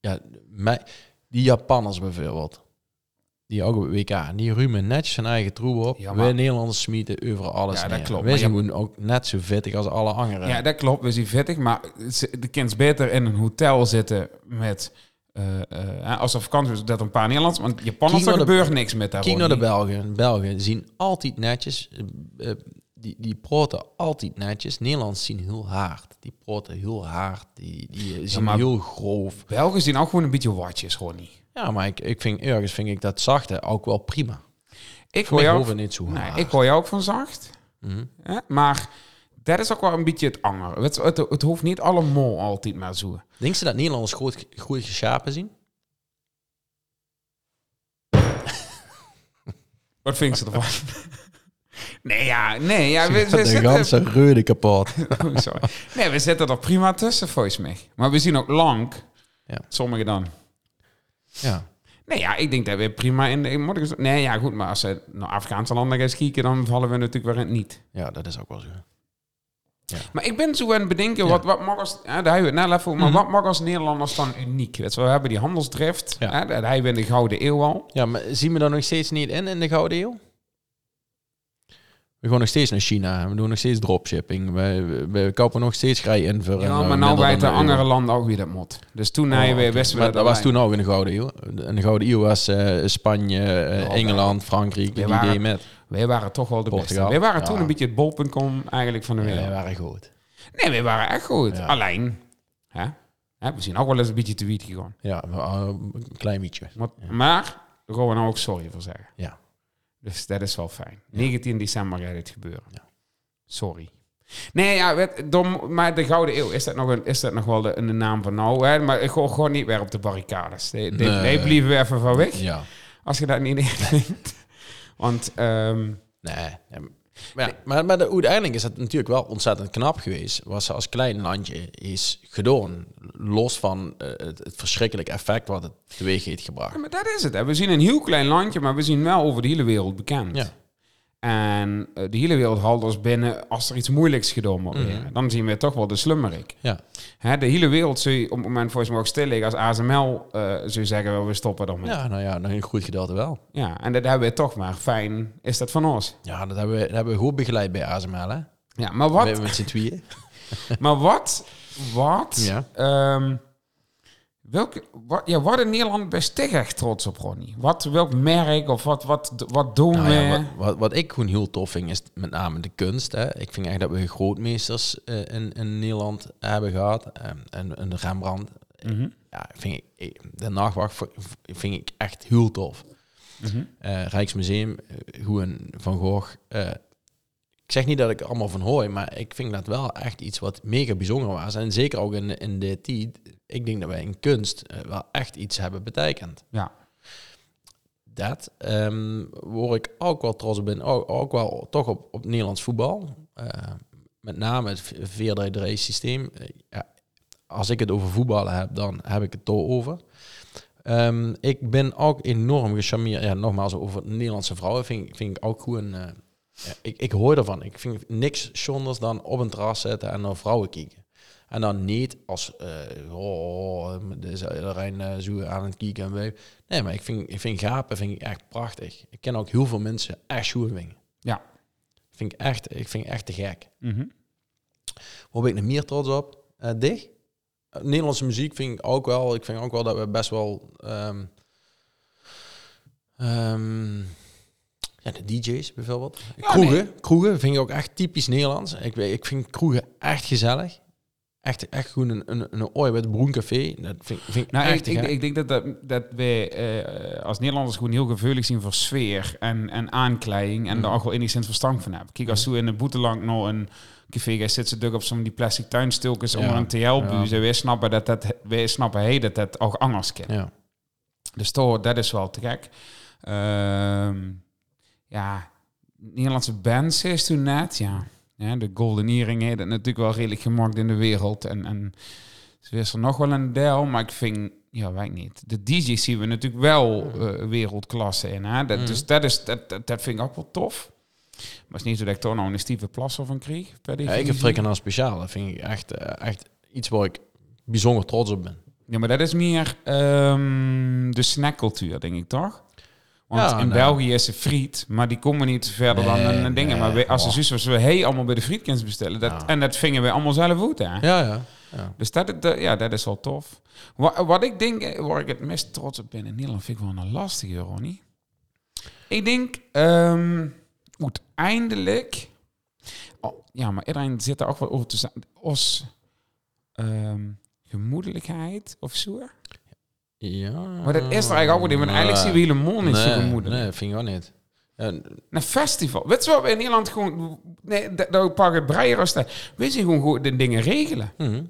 [SPEAKER 2] ja, mij, die Japanners bijvoorbeeld. Die ook op het WK. Die ruimen netjes hun eigen troep op.
[SPEAKER 1] Ja, maar-
[SPEAKER 2] wij Nederlanders smieten over alles
[SPEAKER 1] Ja, dat
[SPEAKER 2] neer.
[SPEAKER 1] klopt,
[SPEAKER 2] Wij
[SPEAKER 1] maar
[SPEAKER 2] zijn gewoon ook net zo vettig als alle anderen.
[SPEAKER 1] Ja, dat klopt. We zien vettig. Maar ze- de kind beter in een hotel zitten met... eh, eh, als er vakantie is, dat een paar Nederlands. Want Japanners,
[SPEAKER 2] Kijk
[SPEAKER 1] daar
[SPEAKER 2] naar de-
[SPEAKER 1] gebeurt niks met daar.
[SPEAKER 2] Kijk naar
[SPEAKER 1] hoor.
[SPEAKER 2] de Belgen. Belgen zien altijd netjes. eh, eh, die, die proten altijd netjes. Nederlands zien heel hard. Die proten heel hard. Die, die eh, zien
[SPEAKER 1] maar-
[SPEAKER 2] heel grof.
[SPEAKER 1] Belgen zien ook gewoon een beetje watjes, Ronnie.
[SPEAKER 2] Ja, maar ik, ik vind, ergens vind ik dat zachte ook wel prima.
[SPEAKER 1] Ik
[SPEAKER 2] Voor
[SPEAKER 1] hoor
[SPEAKER 2] mij
[SPEAKER 1] jou
[SPEAKER 2] hoeven niet zo
[SPEAKER 1] Nee,
[SPEAKER 2] hard.
[SPEAKER 1] ik hoor jou ook van zacht.
[SPEAKER 2] Mhm.
[SPEAKER 1] Hè? Maar dat is ook wel een beetje het anger. Het, het, het hoeft niet allemaal altijd maar zo.
[SPEAKER 2] Denk ze dat Nederlanders goed, goed geschapen zien?
[SPEAKER 1] Wat vind je ervan? nee, ja, nee, ja, we, we
[SPEAKER 2] De
[SPEAKER 1] zitten...
[SPEAKER 2] ganse reude kapot.
[SPEAKER 1] Oh, sorry. Nee, we zitten er prima tussen, volgens mij. Maar we zien ook lang,
[SPEAKER 2] Ja.
[SPEAKER 1] sommigen dan.
[SPEAKER 2] Ja.
[SPEAKER 1] Nee, ja, ik denk dat we prima in de... moet ik eens- Nee, ja, goed, maar als ze naar Afghaanse landen gaan kieken, dan vallen we natuurlijk weer in het niet.
[SPEAKER 2] ja, dat is ook wel zo.
[SPEAKER 1] Maar ik ben zo aan het bedenken, wat, wat mag als... Ja, daar hebben we het net even over, maar
[SPEAKER 2] Mhm.
[SPEAKER 1] wat mag als Nederlanders dan uniek? Weet je wel, we hebben die handelsdrift,
[SPEAKER 2] Ja.
[SPEAKER 1] hè, dat hebben we in de Gouden Eeuw al.
[SPEAKER 2] Ja, maar zien we daar nog steeds niet in, in de Gouden Eeuw? We gaan nog steeds naar China. We doen nog steeds dropshipping. We, we, we kopen nog steeds grij in. Voor eh,
[SPEAKER 1] Ja, maar nou
[SPEAKER 2] wij
[SPEAKER 1] weet de andere landen ook wie dat moet. Dus toen hij weer wisten we
[SPEAKER 2] Oh, Maar dat was
[SPEAKER 1] alleen.
[SPEAKER 2] toen ook in de Gouden Eeuw. In de Gouden Eeuw was eh, Spanje, eh,
[SPEAKER 1] Ja,
[SPEAKER 2] Engeland, Frankrijk, die
[SPEAKER 1] waren-
[SPEAKER 2] deed met.
[SPEAKER 1] Wij waren toch wel de beste.
[SPEAKER 2] Portugal.
[SPEAKER 1] Wij waren toen
[SPEAKER 2] Ja.
[SPEAKER 1] een beetje het bol.com eigenlijk van de wereld.
[SPEAKER 2] Ja, waren goed.
[SPEAKER 1] Nee, wij waren echt goed.
[SPEAKER 2] Ja.
[SPEAKER 1] Alleen, hè? Hè, we zijn ook wel eens een beetje te wiet gegaan.
[SPEAKER 2] Ja, maar, eh, een klein beetje.
[SPEAKER 1] Maar, maar daar gaan we nou ook sorry voor zeggen.
[SPEAKER 2] Ja.
[SPEAKER 1] Dus dat is wel fijn. 19 december gaat dit gebeuren.
[SPEAKER 2] Ja.
[SPEAKER 1] Sorry. Nee, ja, weet, dom, maar de Gouden Eeuw, is dat nog, een, is dat nog wel de, een naam van nou? Hè? Maar ik gooi gewoon niet weer op de barricades. Die, die,
[SPEAKER 2] Nee.
[SPEAKER 1] die blijven we even van weg.
[SPEAKER 2] Ja.
[SPEAKER 1] Als je dat niet denkt. Want ehm,
[SPEAKER 2] Nee. nee. Maar, ja, maar, maar de- uiteindelijk is het natuurlijk wel ontzettend knap geweest. Wat ze als klein landje is gedaan. Los van eh, het, het verschrikkelijk effect wat het teweeg heeft gebracht.
[SPEAKER 1] ja, maar dat is het. Hè. We zien een heel klein landje, maar we zien wel over de hele wereld bekend.
[SPEAKER 2] Ja.
[SPEAKER 1] En eh, de hele wereld haalt ons binnen als er iets moeilijks gedaan
[SPEAKER 2] Mhm.
[SPEAKER 1] wordt. Dan zien we toch wel de slummerik.
[SPEAKER 2] Ja.
[SPEAKER 1] Hè, de hele wereld zou je op het moment volgens mij ook stil liggen als ASML eh zou zeggen, "Wel, we stoppen ermee. Ja.
[SPEAKER 2] ja, nou ja, nou, een goed gedeelte wel.
[SPEAKER 1] en dat hebben we toch maar. Fijn is dat van ons.
[SPEAKER 2] Ja, dat hebben we, dat hebben we goed begeleid bij ASML, hè?
[SPEAKER 1] Ja, maar
[SPEAKER 2] Met,
[SPEAKER 1] wat,
[SPEAKER 2] met z'n tweeën.
[SPEAKER 1] maar wat, wat,
[SPEAKER 2] Ja.
[SPEAKER 1] ehm, welke, wat, ja, wat in Nederland best echt echt trots op, Ronnie? Wat, welk merk of wat, wat, wat doen
[SPEAKER 2] Nou
[SPEAKER 1] we?
[SPEAKER 2] ja, wat, wat, wat ik gewoon heel tof vind, is met name de kunst. Hè. Ik vind echt dat we grootmeesters eh, in, in Nederland hebben gehad. Ehm, en, en de Rembrandt.
[SPEAKER 1] Mhm.
[SPEAKER 2] Ja, vind ik, ik- de nachtwacht v- v- vind ik echt heel tof.
[SPEAKER 1] Mhm.
[SPEAKER 2] Eh, Rijksmuseum, eh, Goen van Gogh. eh, ik zeg niet dat ik er allemaal van hoor, maar ik vind dat wel echt iets wat mega bijzonder was. En zeker ook in, in de tijd. Ik denk dat wij in kunst eh, wel echt iets hebben betekend
[SPEAKER 1] Ja.
[SPEAKER 2] dat. ehm waar ik ook wel trots op ben, ook, ook wel toch op, op Nederlands voetbal. Eh, met name het 4-3-3 systeem. Eh, ja, als ik het over voetballen heb, dan heb ik het toch over. Ehm, ik ben ook enorm gecharmeerd. Ja, nogmaals, over het Nederlandse vrouwen vind, ik- vind ik ook gewoon eh, Ja, ik, ik hoor ervan. Ik vind niks zonders dan op een terras zitten en naar vrouwen kijken. En dan niet als, eh oh, er is iedereen eh, zo aan het kijken en wij. Nee, maar ik vind, ik vind gapen vind ik echt prachtig. Ik ken ook heel veel mensen echt schoenwingen.
[SPEAKER 1] Ja.
[SPEAKER 2] Vind ik echt, ik vind echt te gek.
[SPEAKER 1] Mhm.
[SPEAKER 2] Waar ben ik nog meer trots op? Eh dich. Eh, Nederlandse muziek vind ik ook wel. Ik vind ook wel dat we best wel. ehm, ehm, ja, de DJ's bijvoorbeeld.
[SPEAKER 1] Ja,
[SPEAKER 2] kroegen.
[SPEAKER 1] nee.
[SPEAKER 2] Kroegen vind ik ook echt typisch Nederlands. Ik, weet- ik vind kroegen echt gezellig. Echt, echt gewoon een, een, een ooi met een broen café. Dat vind, vind ik
[SPEAKER 1] Nou,
[SPEAKER 2] echt
[SPEAKER 1] ik,
[SPEAKER 2] te
[SPEAKER 1] ik,
[SPEAKER 2] gek.
[SPEAKER 1] ik denk dat, dat, dat wij eh, als Nederlanders gewoon heel gevoelig zien voor sfeer en, en aankleiding.
[SPEAKER 2] Mm.
[SPEAKER 1] En daar ook wel enigszins verstand van hebben. Kijk, als je in de boetelang nog een café gaat zitten, duk op zo'n die plastic tuinstilkens
[SPEAKER 2] Ja.
[SPEAKER 1] onder een TL-buis. En wij snappen, dat dat, wij snappen hey, dat dat ook anders kan.
[SPEAKER 2] Ja.
[SPEAKER 1] Dus toch, dat is wel te gek. Ehm, ja, Nederlandse bands is toen net, ja. ja de Golden Earring heet het natuurlijk wel redelijk gemaakt in de wereld. En, en ze is er nog wel een deel, maar ik vind, ja, weet ik niet. De DJ's zien we natuurlijk wel eh, wereldklasse in. Hè?
[SPEAKER 2] Mm.
[SPEAKER 1] Dat, Dus dat, is, dat, dat, dat vind ik ook wel tof. Maar het is niet zo dat ik toch nou een stieve plasser van kreeg. Per
[SPEAKER 2] Ja, ik heb
[SPEAKER 1] definitie.
[SPEAKER 2] frikken aan speciaal. Dat vind ik echt, eh, echt iets waar ik bijzonder trots op ben.
[SPEAKER 1] Ja, maar dat is meer ehm, de snackcultuur, denk ik toch? Want
[SPEAKER 2] Ja,
[SPEAKER 1] in
[SPEAKER 2] nou.
[SPEAKER 1] België is er friet, maar die komen niet verder dan
[SPEAKER 2] Nee,
[SPEAKER 1] een een ding.
[SPEAKER 2] nee,
[SPEAKER 1] maar wij, als de
[SPEAKER 2] oh.
[SPEAKER 1] zus was, we hey allemaal bij de frietkens bestellen. Dat,
[SPEAKER 2] Ja.
[SPEAKER 1] En dat vingen wij allemaal zelf uit, hè?
[SPEAKER 2] Ja, ja. ja.
[SPEAKER 1] Dus dat, dat- ja, dat is wel tof. Wat, wat ik denk, eh, waar ik het meest trots op ben in Nederland, vind ik wel een lastige, Ronnie. Ik denk, ehm, uiteindelijk... Oh, ja, maar iedereen zit er ook wel over te zijn. Os, ehm, gemoedelijkheid of zo, hè?
[SPEAKER 2] Ja.
[SPEAKER 1] Maar dat is er eigenlijk ook niet. Want eigenlijk zien we
[SPEAKER 2] Nee.
[SPEAKER 1] helemaal niet zo gemoedelijk.
[SPEAKER 2] Nee, vind ik ook niet. Ja,
[SPEAKER 1] Een festival. Weet je wat we in Nederland gewoon... Nee, dat- dat pak het breier als dat. We zien gewoon goed de dingen regelen.
[SPEAKER 2] mhm.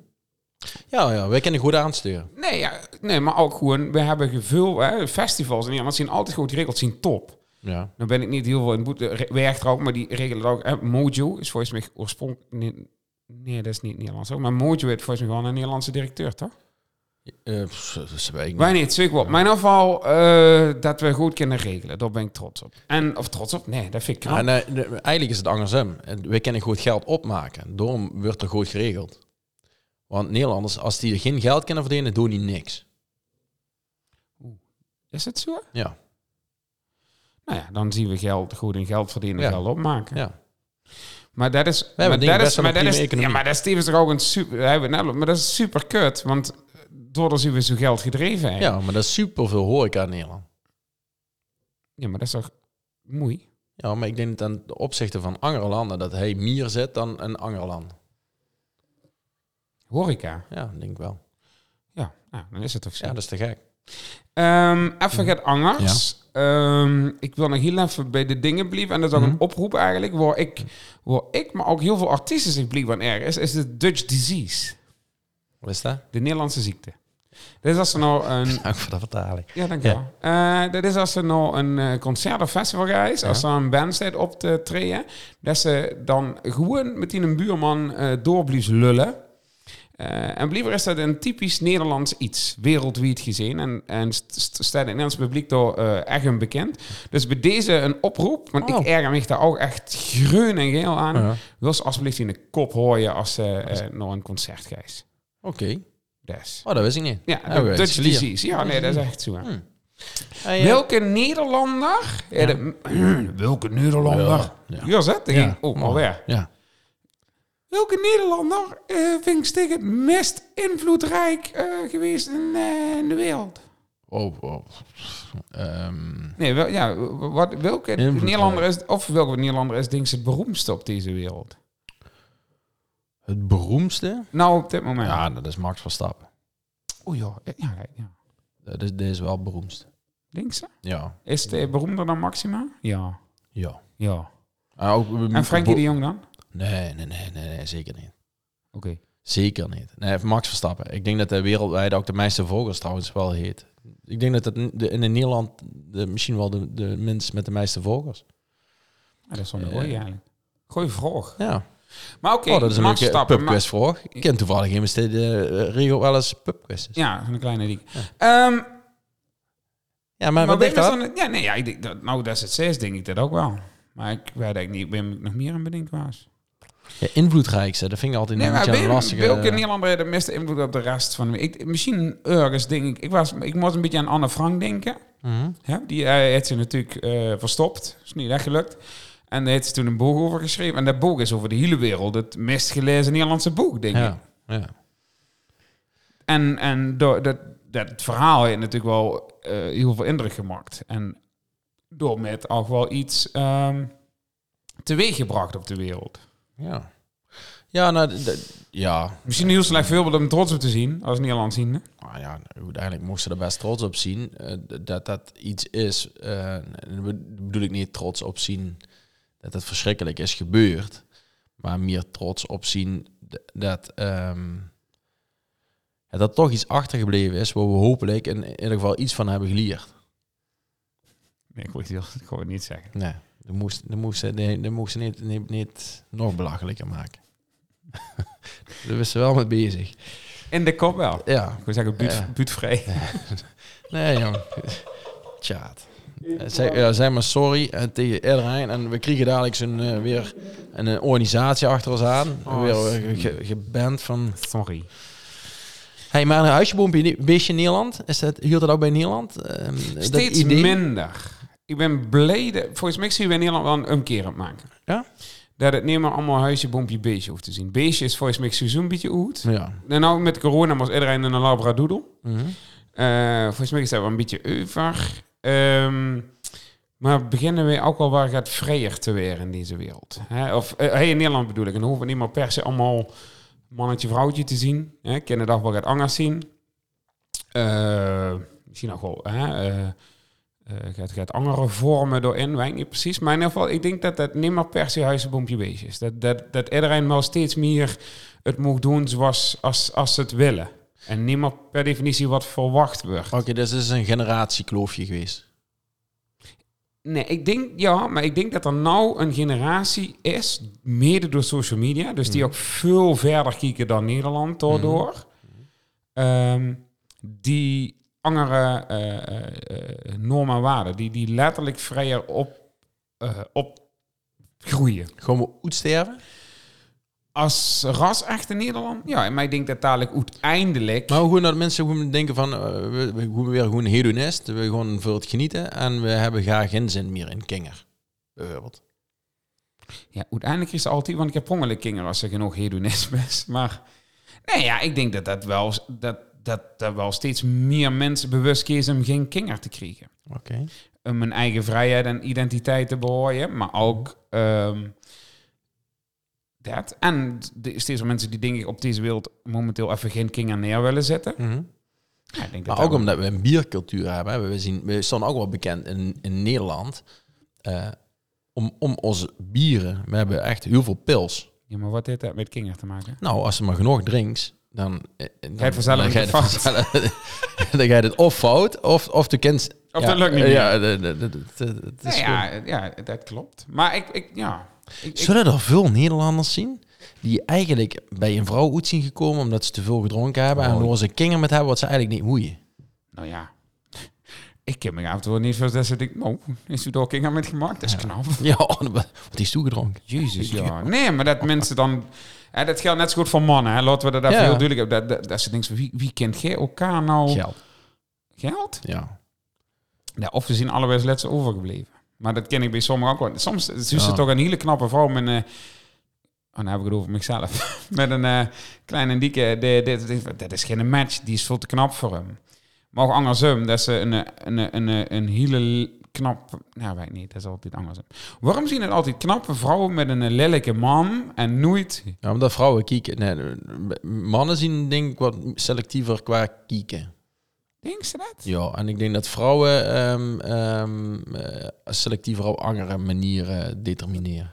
[SPEAKER 2] ja, ja, wij kunnen goed aansturen.
[SPEAKER 1] Nee, ja, nee, maar ook gewoon... We hebben gevul... Hè, festivals in Nederland zien altijd goed geregeld. Zien top.
[SPEAKER 2] Ja.
[SPEAKER 1] Dan ben ik niet heel veel in boete. re- Wij echt er ook, maar die regelen ook. Hè, Mojo is volgens mij oorspronkelijk... Nee, nee, dat is niet Nederlands ook. Maar Mojo heeft volgens mij gewoon een Nederlandse directeur, toch?
[SPEAKER 2] Eh, pff, dat is- weet ik niet.
[SPEAKER 1] Wij niet, zeker wel. Maar in ieder geval eh, dat we goed kunnen regelen. Daar ben ik trots op. En, of trots op? Nee, dat vind ik knap.
[SPEAKER 2] Ah, nee, nee, eigenlijk is het andersom. En Wij kunnen goed geld opmaken. Daarom wordt er goed geregeld. Want Nederlanders, als die er geen geld kunnen verdienen, doen die niks.
[SPEAKER 1] Is het zo?
[SPEAKER 2] Ja,
[SPEAKER 1] Nou ja, dan zien we geld goed in geld verdienen,
[SPEAKER 2] Ja.
[SPEAKER 1] geld opmaken.
[SPEAKER 2] ja.
[SPEAKER 1] Maar dat is.
[SPEAKER 2] hebben
[SPEAKER 1] maar
[SPEAKER 2] dingen
[SPEAKER 1] dat is,
[SPEAKER 2] best wel
[SPEAKER 1] maar
[SPEAKER 2] een
[SPEAKER 1] dat is
[SPEAKER 2] prima
[SPEAKER 1] ja,
[SPEAKER 2] economie.
[SPEAKER 1] maar dat is tevens toch ook een super. daar hebben we het net op, maar dat is super kut. Want eh, doordat zien we zo geld gedreven. eigenlijk.
[SPEAKER 2] ja maar dat is superveel horeca in Nederland.
[SPEAKER 1] ja, maar dat is toch moei.
[SPEAKER 2] Ja, maar ik denk dat ten opzichte van andere landen, dat hij meer zit dan een andere land.
[SPEAKER 1] Horeca.
[SPEAKER 2] Ja, denk ik wel.
[SPEAKER 1] Ja, nou, dan is het toch zo.
[SPEAKER 2] Ja, dat is te gek.
[SPEAKER 1] Ehm, even het angers. Ehm, ik wil nog heel even bij de dingen blijven. En dat is ook een
[SPEAKER 2] Mhm.
[SPEAKER 1] oproep eigenlijk. Waar ik, waar ik, maar ook heel veel artiesten zich blijven aan ergens. Is de Dutch disease.
[SPEAKER 2] Wat is dat?
[SPEAKER 1] De Nederlandse ziekte. Dus als er nou een,
[SPEAKER 2] Dank voor de vertaling.
[SPEAKER 1] Ja, dank je wel. Eh, dat is als ze nou een eh, concert of festival reis, als er een band staat op te treden, dat ze dan gewoon meteen een buurman eh door blijft lullen. Eh, en blijkbaar is dat een typisch Nederlands iets, wereldwijd gezien. En, en st- st- staat in het Nederlands publiek door eh, echt een bekend. Dus bij deze een oproep, want ik
[SPEAKER 2] Oh.
[SPEAKER 1] erger me daar ook echt groen en geel aan.
[SPEAKER 2] Ja.
[SPEAKER 1] Wil ze alsjeblieft in de kop hooien als ze eh, naar een concert gaat.
[SPEAKER 2] Oké.
[SPEAKER 1] Dus.
[SPEAKER 2] Oh, dat wist ik niet.
[SPEAKER 1] Ja,
[SPEAKER 2] Ah, we
[SPEAKER 1] Dutch
[SPEAKER 2] zijn hier.
[SPEAKER 1] disease. Ja, nee, dat is echt zo. hè. Eh,
[SPEAKER 2] Ah, ja.
[SPEAKER 1] Welke Nederlander? Ja, de- welke Nederlander?
[SPEAKER 2] Ja.
[SPEAKER 1] Ja, zet.
[SPEAKER 2] Ja.
[SPEAKER 1] Ja. Oh, alweer.
[SPEAKER 2] Ja.
[SPEAKER 1] Welke Nederlander eh vind ik steeds het meest invloedrijk eh, geweest in, eh, in de wereld?
[SPEAKER 2] Oh, oh. Ehm,
[SPEAKER 1] Nee, wel, ja, wat, welke
[SPEAKER 2] Invloedrijk.
[SPEAKER 1] Nederlander is, of welke Nederlander is denk ik het beroemdste op deze wereld?
[SPEAKER 2] het beroemdste?
[SPEAKER 1] Nou, op dit moment.
[SPEAKER 2] Ja, dat is Max Verstappen.
[SPEAKER 1] Oeh, ja, eh, ja, ja.
[SPEAKER 2] Dat is, dat is wel het beroemdste.
[SPEAKER 1] Denk ze?
[SPEAKER 2] Ja.
[SPEAKER 1] Is het eh, beroemder dan Maxima? Ja.
[SPEAKER 2] Ja.
[SPEAKER 1] Ja.
[SPEAKER 2] En, Ah, ook, eh,
[SPEAKER 1] En Frenkie de Jong dan? Oké.
[SPEAKER 2] Nee, nee, nee, nee, nee, zeker niet. Zeker niet. Nee, Max Verstappen. Ik denk dat hij wereldwijd ook de meeste vogels trouwens wel heet. Ik denk dat het in de- in Nederland de, misschien wel de, de minst met de meeste vogels.
[SPEAKER 1] Ah, dat is wel een
[SPEAKER 2] Eh.
[SPEAKER 1] mooie eigenlijk. Goeie vraag.
[SPEAKER 2] Ja.
[SPEAKER 1] Maar oké,
[SPEAKER 2] oh, dat is een
[SPEAKER 1] Max
[SPEAKER 2] leuke
[SPEAKER 1] Verstappen, maar-
[SPEAKER 2] pubquiz vraag. Ik ken toevallig in mijn steden eh, regio wel eens pubquizzes. Ja,
[SPEAKER 1] Ja, een kleine dik. maar,
[SPEAKER 2] maar, wat
[SPEAKER 1] weet
[SPEAKER 2] ligt
[SPEAKER 1] je
[SPEAKER 2] dat?
[SPEAKER 1] zo'n- ja, nee, ja, ik denk dat, nou, dat is het zes, denk ik dat ook wel. Maar ik weet eigenlijk niet wie ik nog meer aan bedenken was.
[SPEAKER 2] Ja, invloedrijkste, dat vind ik altijd
[SPEAKER 1] Nee,
[SPEAKER 2] een
[SPEAKER 1] maar
[SPEAKER 2] beetje eh, een
[SPEAKER 1] Willem,
[SPEAKER 2] lastige.
[SPEAKER 1] welke Nederlander heeft de meeste invloed op de rest van de ik, Misschien ergens denk ik... Ik, was, ik moest een beetje aan Anne Frank denken.
[SPEAKER 2] Mhm.
[SPEAKER 1] Hè? Die hij heeft ze natuurlijk eh, verstopt. Is niet echt gelukt. En daar heeft ze toen een boek over geschreven. En dat boek is over de hele wereld het meest gelezen Nederlandse boek, denk ik.
[SPEAKER 2] Ja, ja.
[SPEAKER 1] En, en door, dat, dat verhaal heeft natuurlijk wel eh, heel veel indruk gemaakt. En door met ook wel iets ehm teweeggebracht op de wereld.
[SPEAKER 2] Ja, ja nou, d- d- ja.
[SPEAKER 1] Misschien een heel slecht voorbeeld om trots op te zien, als Nederland ziende.
[SPEAKER 2] Nou ja, uiteindelijk moesten ze er best trots op zien eh, d- dat dat iets is. eh, en we- bedoel ik niet trots op zien dat het verschrikkelijk is gebeurd, maar meer trots op zien d- dat, ehm, ja, dat toch iets achtergebleven is waar we hopelijk in, in ieder geval iets van hebben geleerd.
[SPEAKER 1] Nee, ik wil het heel- ik wil het niet zeggen.
[SPEAKER 2] Nee, dat moest, dat moest, nee, dat moest ze niet, niet, niet nog belachelijker maken. Daar was ze wel mee bezig.
[SPEAKER 1] In de kop wel.
[SPEAKER 2] Ja,
[SPEAKER 1] Ik wil zeggen, buut,
[SPEAKER 2] Ja.
[SPEAKER 1] buutvrij.
[SPEAKER 2] Nee, jong. Tjaat. Eh, Zeg, ja, zeg maar sorry eh, tegen iedereen. En we kregen dadelijk zo'n, eh, weer een, eh, organisatie achter ons aan.
[SPEAKER 1] Oh,
[SPEAKER 2] weer
[SPEAKER 1] s-
[SPEAKER 2] eh, ge- ge- geband van...
[SPEAKER 1] Sorry.
[SPEAKER 2] hey, maar een huisjeboompje beestje in Nederland? Is dat, hield dat ook bij Nederland? Ehm, dat
[SPEAKER 1] Steeds
[SPEAKER 2] idee?
[SPEAKER 1] minder. Ik ben blij. Dat, volgens mij zien we in Nederland wel een omkeer aan het maken.
[SPEAKER 2] Ja?
[SPEAKER 1] Dat het niet meer allemaal huisje, boompje, beestje hoeft te zien. Beestje is volgens mij seizoen een beetje oud.
[SPEAKER 2] Ja.
[SPEAKER 1] En nou met corona was iedereen een labradoodle.
[SPEAKER 2] Mhm.
[SPEAKER 1] Eh volgens mij is dat wel een beetje over. Ehm, maar beginnen we ook wel waar gaat vrijer te weer in deze wereld. Hè? Of eh, hey, in Nederland bedoel ik. En dan hoeven we niet meer per se allemaal mannetje, vrouwtje te zien. Hè? Kinderdag wel gaat anders zien. Eh, misschien ook wel hè? eh, eh, gaat, gaat andere vormen doorin. Weet ik niet precies. Maar in ieder geval, ik denk dat dat niet meer per se huizenboompje beestje is. Dat, dat, dat iedereen wel steeds meer het moet doen zoals als, als ze het willen. En niet meer per definitie wat verwacht wordt.
[SPEAKER 2] Oké, dus dit is een generatiekloofje geweest.
[SPEAKER 1] Nee, ik denk, ja, maar ik denk dat er nou een generatie is, mede door social media, dus die ook veel verder kijken dan Nederland daardoor, ehm, die andere eh, eh, eh, normen en waarden, die, die letterlijk vrijer op, eh, op groeien.
[SPEAKER 2] Gewoon we uitsterven?
[SPEAKER 1] Als ras echte Nederland, ja, maar ik denk dat dadelijk uiteindelijk...
[SPEAKER 2] Maar gewoon dat mensen gewoon denken van... eh, we, we gewoon weer gewoon hedonist. We gewoon voor het genieten. En we hebben graag geen zin meer in kinger. Bijvoorbeeld.
[SPEAKER 1] Ja, uiteindelijk is het altijd, want ik heb hongerlijk kinderen als ze genoeg hedonisme is. Maar nee, ja, ik denk dat dat wel, dat, dat, dat wel steeds meer mensen bewust kiezen om geen kinder te krijgen.
[SPEAKER 2] Oké.
[SPEAKER 1] Om hun eigen vrijheid en identiteit te behooien, maar ook ehm, dat. En de- steeds meer mensen die denk ik op deze wereld momenteel even geen kinder neer willen zetten. Ja, ik denk dat
[SPEAKER 2] Mhm. Maar ook
[SPEAKER 1] dat-
[SPEAKER 2] omdat we een biercultuur hebben. hè. We, zien, we staan ook wel bekend in, in Nederland eh, om, om onze bieren. We hebben echt heel veel pils.
[SPEAKER 1] Ja, maar wat heeft dat met kinder te maken?
[SPEAKER 2] Nou, als je maar genoeg drinkt, dan... eh, dan
[SPEAKER 1] Ga je het vanzelf
[SPEAKER 2] dan
[SPEAKER 1] een
[SPEAKER 2] ga
[SPEAKER 1] keer
[SPEAKER 2] je het
[SPEAKER 1] fout.
[SPEAKER 2] vanzelf- Dan ga je het of fout, of, of de kind...
[SPEAKER 1] Of dat lukt niet meer.
[SPEAKER 2] Ja, de- de- de- de- de- het is
[SPEAKER 1] Nee,
[SPEAKER 2] gewoon-
[SPEAKER 1] ja, ja, dat klopt. Maar ik, ik ja... Ik, ik-
[SPEAKER 2] Zullen er veel Nederlanders zien die eigenlijk bij een vrouw uit zien gekomen omdat ze te veel gedronken hebben en
[SPEAKER 1] Oh.
[SPEAKER 2] door ze kinger met hebben wat ze eigenlijk niet hoeien?
[SPEAKER 1] Nou ja, ik ken mijn avond wel niet zoals dat ze denkt, nou, is u daar ook aan met gemaakt? Dat is knap.
[SPEAKER 2] Ja, wat is toegedronken?
[SPEAKER 1] Jezus, ja. Nee, maar dat mensen dan... Hè, dat geldt net zo goed voor mannen, hè. Laten we dat even
[SPEAKER 2] Ja.
[SPEAKER 1] heel duidelijk hebben. Dat, dat, dat ze denken, van, wie, wie kent jij elkaar nou?
[SPEAKER 2] Geld.
[SPEAKER 1] Geld?
[SPEAKER 2] Ja.
[SPEAKER 1] Ja, of ze zijn allebei als laatste overgebleven. Maar dat ken ik bij sommigen ook wel. Soms is
[SPEAKER 2] Ja.
[SPEAKER 1] het toch een hele knappe vrouw met een... eh, Oh, nou heb ik het over mezelf. met een eh, kleine en dikke... de- de- de- Dat is geen match. Die is veel te knap voor hem. Maar ook andersom. Dat ze een, eh, een, eh, een, eh, een hele l- knap... Nou, weet ik niet. Dat is altijd andersom. Waarom zien het altijd knappe vrouwen met een eh, lelijke man... en nooit...
[SPEAKER 2] Ja, omdat vrouwen kieken. Nee, eh, mannen zien denk ik wat selectiever qua kieken.
[SPEAKER 1] Denk ze dat?
[SPEAKER 2] Ja, en ik denk dat vrouwen ehm, ehm, eh, selectiever op andere manieren determineren.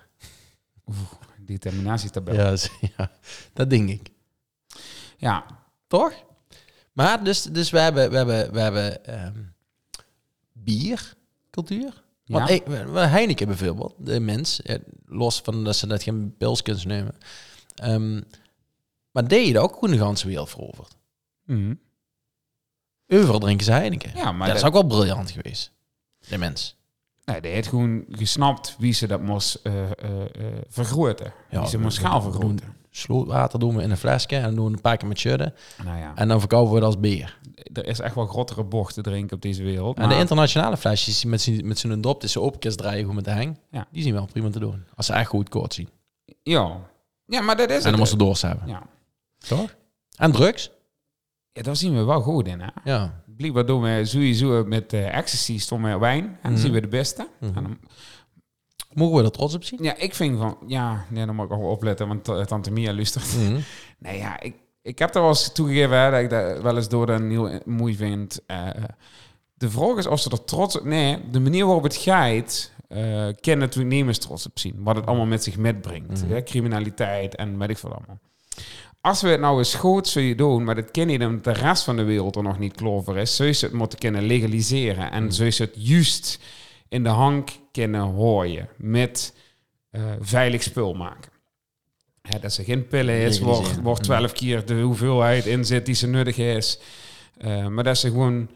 [SPEAKER 1] Determinatietabel. Ja.
[SPEAKER 2] Ja, z- ja, dat denk ik.
[SPEAKER 1] ja.
[SPEAKER 2] Toch? Maar dus, dus we hebben, we hebben, we hebben ehm, biercultuur. Want ik, wel, Heineken bijvoorbeeld, de mens, eh, los van dat ze net geen pilskens nemen. Ehm, maar deed je dat ook gewoon de ganse wereld veroverd?
[SPEAKER 1] Mhm.
[SPEAKER 2] Overal drinken ze Heineken.
[SPEAKER 1] Ja, maar
[SPEAKER 2] dat,
[SPEAKER 1] dat-
[SPEAKER 2] is ook wel briljant geweest. De mens.
[SPEAKER 1] Nee, die heeft gewoon gesnapt wie ze dat moest eh, eh, eh, vergroten.
[SPEAKER 2] Ja,
[SPEAKER 1] wie ze moest schaal vergroten.
[SPEAKER 2] Slootwater doen we in een flesje en doen we een paar keer met chudden.
[SPEAKER 1] Nou ja,
[SPEAKER 2] En dan verkopen we het als bier.
[SPEAKER 1] er is echt wel grottere bocht te drinken op deze wereld.
[SPEAKER 2] En de
[SPEAKER 1] maar-
[SPEAKER 2] internationale flesjes die met z'n- met zo'n dop dus tussen openkist draaien goed met de hang,
[SPEAKER 1] Ja.
[SPEAKER 2] die zien wel prima te doen. Als ze echt goed koort zien.
[SPEAKER 1] ja. ja, maar dat is
[SPEAKER 2] En dan
[SPEAKER 1] het.
[SPEAKER 2] moesten ze doors hebben.
[SPEAKER 1] Ja.
[SPEAKER 2] Toch? En drugs?
[SPEAKER 1] Ja, daar zien we wel goed in, hè?
[SPEAKER 2] Ja.
[SPEAKER 1] Blijkbaar doen we sowieso met eh ecstasy stomme wijn. En dan
[SPEAKER 2] Mhm.
[SPEAKER 1] zien we de beste.
[SPEAKER 2] Mhm.
[SPEAKER 1] En dan-
[SPEAKER 2] Mogen we er trots op zien?
[SPEAKER 1] ja, ik vind van... Ja, nee, dan moet ik wel opletten, want eh, tante Mia luistert. Nee, ja, ik, ik heb er wel eens toegegeven hè, dat ik dat wel eens door een heel moei vind. Eh, de vraag is of ze er trots op... Nee, de manier waarop het gaat... eh kennen natuurlijk nemers trots op zien. Wat het allemaal met zich metbrengt.
[SPEAKER 2] Mhm.
[SPEAKER 1] hè, criminaliteit en weet ik veel allemaal. Als we het nou eens goed zullen doen, maar dat ken je dan de rest van de wereld er nog niet klover is, zou je het moeten kunnen legaliseren. En zou je het juist in de hank kunnen hooien met eh, veilig spul maken. Hè, dat ze geen pillen is,
[SPEAKER 2] Legaliseren.
[SPEAKER 1] wordt wordt twaalf keer de hoeveelheid in zit die ze nuttig is. Eh, maar dat ze gewoon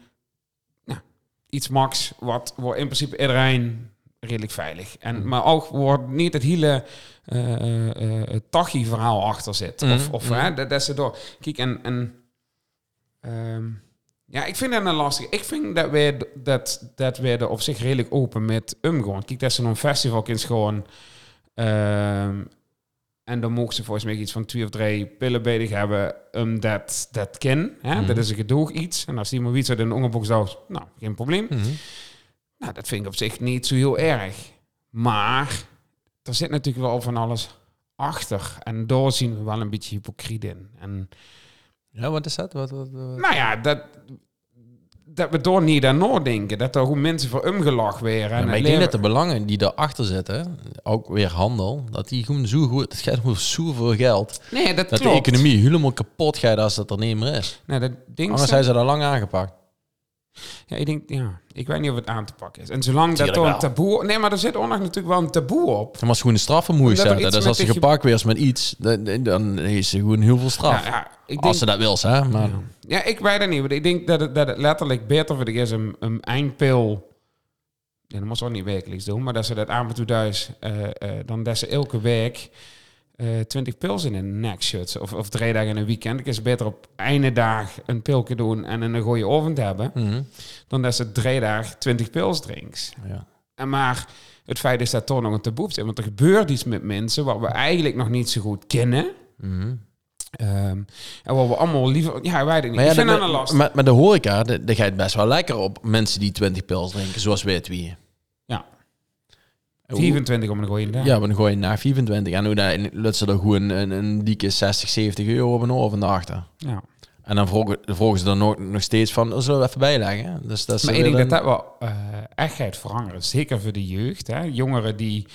[SPEAKER 1] nou, iets max wat voor in principe iedereen redelijk veilig.
[SPEAKER 2] Mhm.
[SPEAKER 1] En, maar ook wordt niet het hele eh tachi verhaal achter zit.
[SPEAKER 2] Mhm,
[SPEAKER 1] Of, of
[SPEAKER 2] mhm.
[SPEAKER 1] hè, dat, dat ze door. Kijk, en, en ehm, ja, ik vind dat een lastig. Ik vind dat wij, d- dat, dat wij er op zich redelijk open met omgaan. Kijk, dat ze een festival kunnen gewoon. ehm, en dan mogen ze volgens mij iets van twee of drie pillen bij zich hebben. om dat, dat ken. Hè?
[SPEAKER 2] Mhm.
[SPEAKER 1] Dat is een gedoog iets. En als iemand iets uit een ongeboek zou, nou, geen probleem. Nou, dat vind ik op zich niet zo heel erg. Maar er zit natuurlijk wel van alles achter. En daar zien we wel een beetje hypocriet in. En
[SPEAKER 2] Ja, wat is dat? Wat, wat, wat-
[SPEAKER 1] nou ja, dat, dat we door niet aan nadenken. Dat er gewoon mensen voor omgelach weer.
[SPEAKER 2] Ja,
[SPEAKER 1] En
[SPEAKER 2] maar
[SPEAKER 1] het
[SPEAKER 2] ik denk dat de
[SPEAKER 1] leven-
[SPEAKER 2] belangen die daarachter zitten, ook weer handel, dat die gewoon zo goed, het gaat om zoveel geld,
[SPEAKER 1] nee, dat,
[SPEAKER 2] dat
[SPEAKER 1] klopt.
[SPEAKER 2] de economie helemaal kapot gaat als dat er niet meer is.
[SPEAKER 1] Nee, dat denk
[SPEAKER 2] Anders
[SPEAKER 1] ze-
[SPEAKER 2] zijn ze daar lang aangepakt.
[SPEAKER 1] Ja, ik denk, ja, ik weet niet of het aan te pakken is. En zolang dat
[SPEAKER 2] Tuurlijk
[SPEAKER 1] toch een
[SPEAKER 2] wel.
[SPEAKER 1] taboe... Nee, maar er zit ondanks natuurlijk wel een taboe op.
[SPEAKER 2] Maar als gewoon een straf vermoeid
[SPEAKER 1] Omdat er
[SPEAKER 2] zijn,
[SPEAKER 1] iets
[SPEAKER 2] dus
[SPEAKER 1] met
[SPEAKER 2] als ze
[SPEAKER 1] de ge-
[SPEAKER 2] gepakt weer met iets, dan, dan- dan is ze gewoon heel veel straf.
[SPEAKER 1] Ja, ja, ik denk,
[SPEAKER 2] als ze dat wil, hè. Maar
[SPEAKER 1] Ja. Ja, ik weet het niet. want Ik denk dat het, dat het letterlijk beter voor de is een, een eindpil. Ja, dat moet ze ook niet wekelijks doen, maar dat ze dat aan en toe thuis, eh, eh, dan dat ze elke week eh, twintig pils in hun nek shutsen. Of, of drie dagen in een weekend. Ik is beter op einde dag een pilke doen en een goede avond hebben,
[SPEAKER 2] Mhm.
[SPEAKER 1] dan dat ze drie dagen twintig pils drinkt.
[SPEAKER 2] ja.
[SPEAKER 1] En maar het feit is dat toch nog een taboe is. Want er gebeurt iets met mensen wat we eigenlijk nog niet zo goed kennen.
[SPEAKER 2] Mhm.
[SPEAKER 1] Ehm, en wat we allemaal liever... Ja, wij het niet.
[SPEAKER 2] Maar, ja,
[SPEAKER 1] ik vind
[SPEAKER 2] de,
[SPEAKER 1] dat een last.
[SPEAKER 2] maar, maar de horeca, de, de gaat best wel lekker op mensen die 20 pils drinken, zoals weet wie.
[SPEAKER 1] Ja.
[SPEAKER 2] En hoe-
[SPEAKER 1] 24 om een goede dag.
[SPEAKER 2] Ja, maar dan gooi je na 24. En hoe dan lut ze er gewoon een, een dikke 60, 70 euro op een oven achter.
[SPEAKER 1] Ja.
[SPEAKER 2] En dan vroegen, vroegen ze dan nog, nog steeds van, oh, zullen we even bijleggen? Dus dat is
[SPEAKER 1] Maar ik denk dat dat wel eh, echt gaat veranderen. Zeker voor de jeugd. Hè? Jongeren die...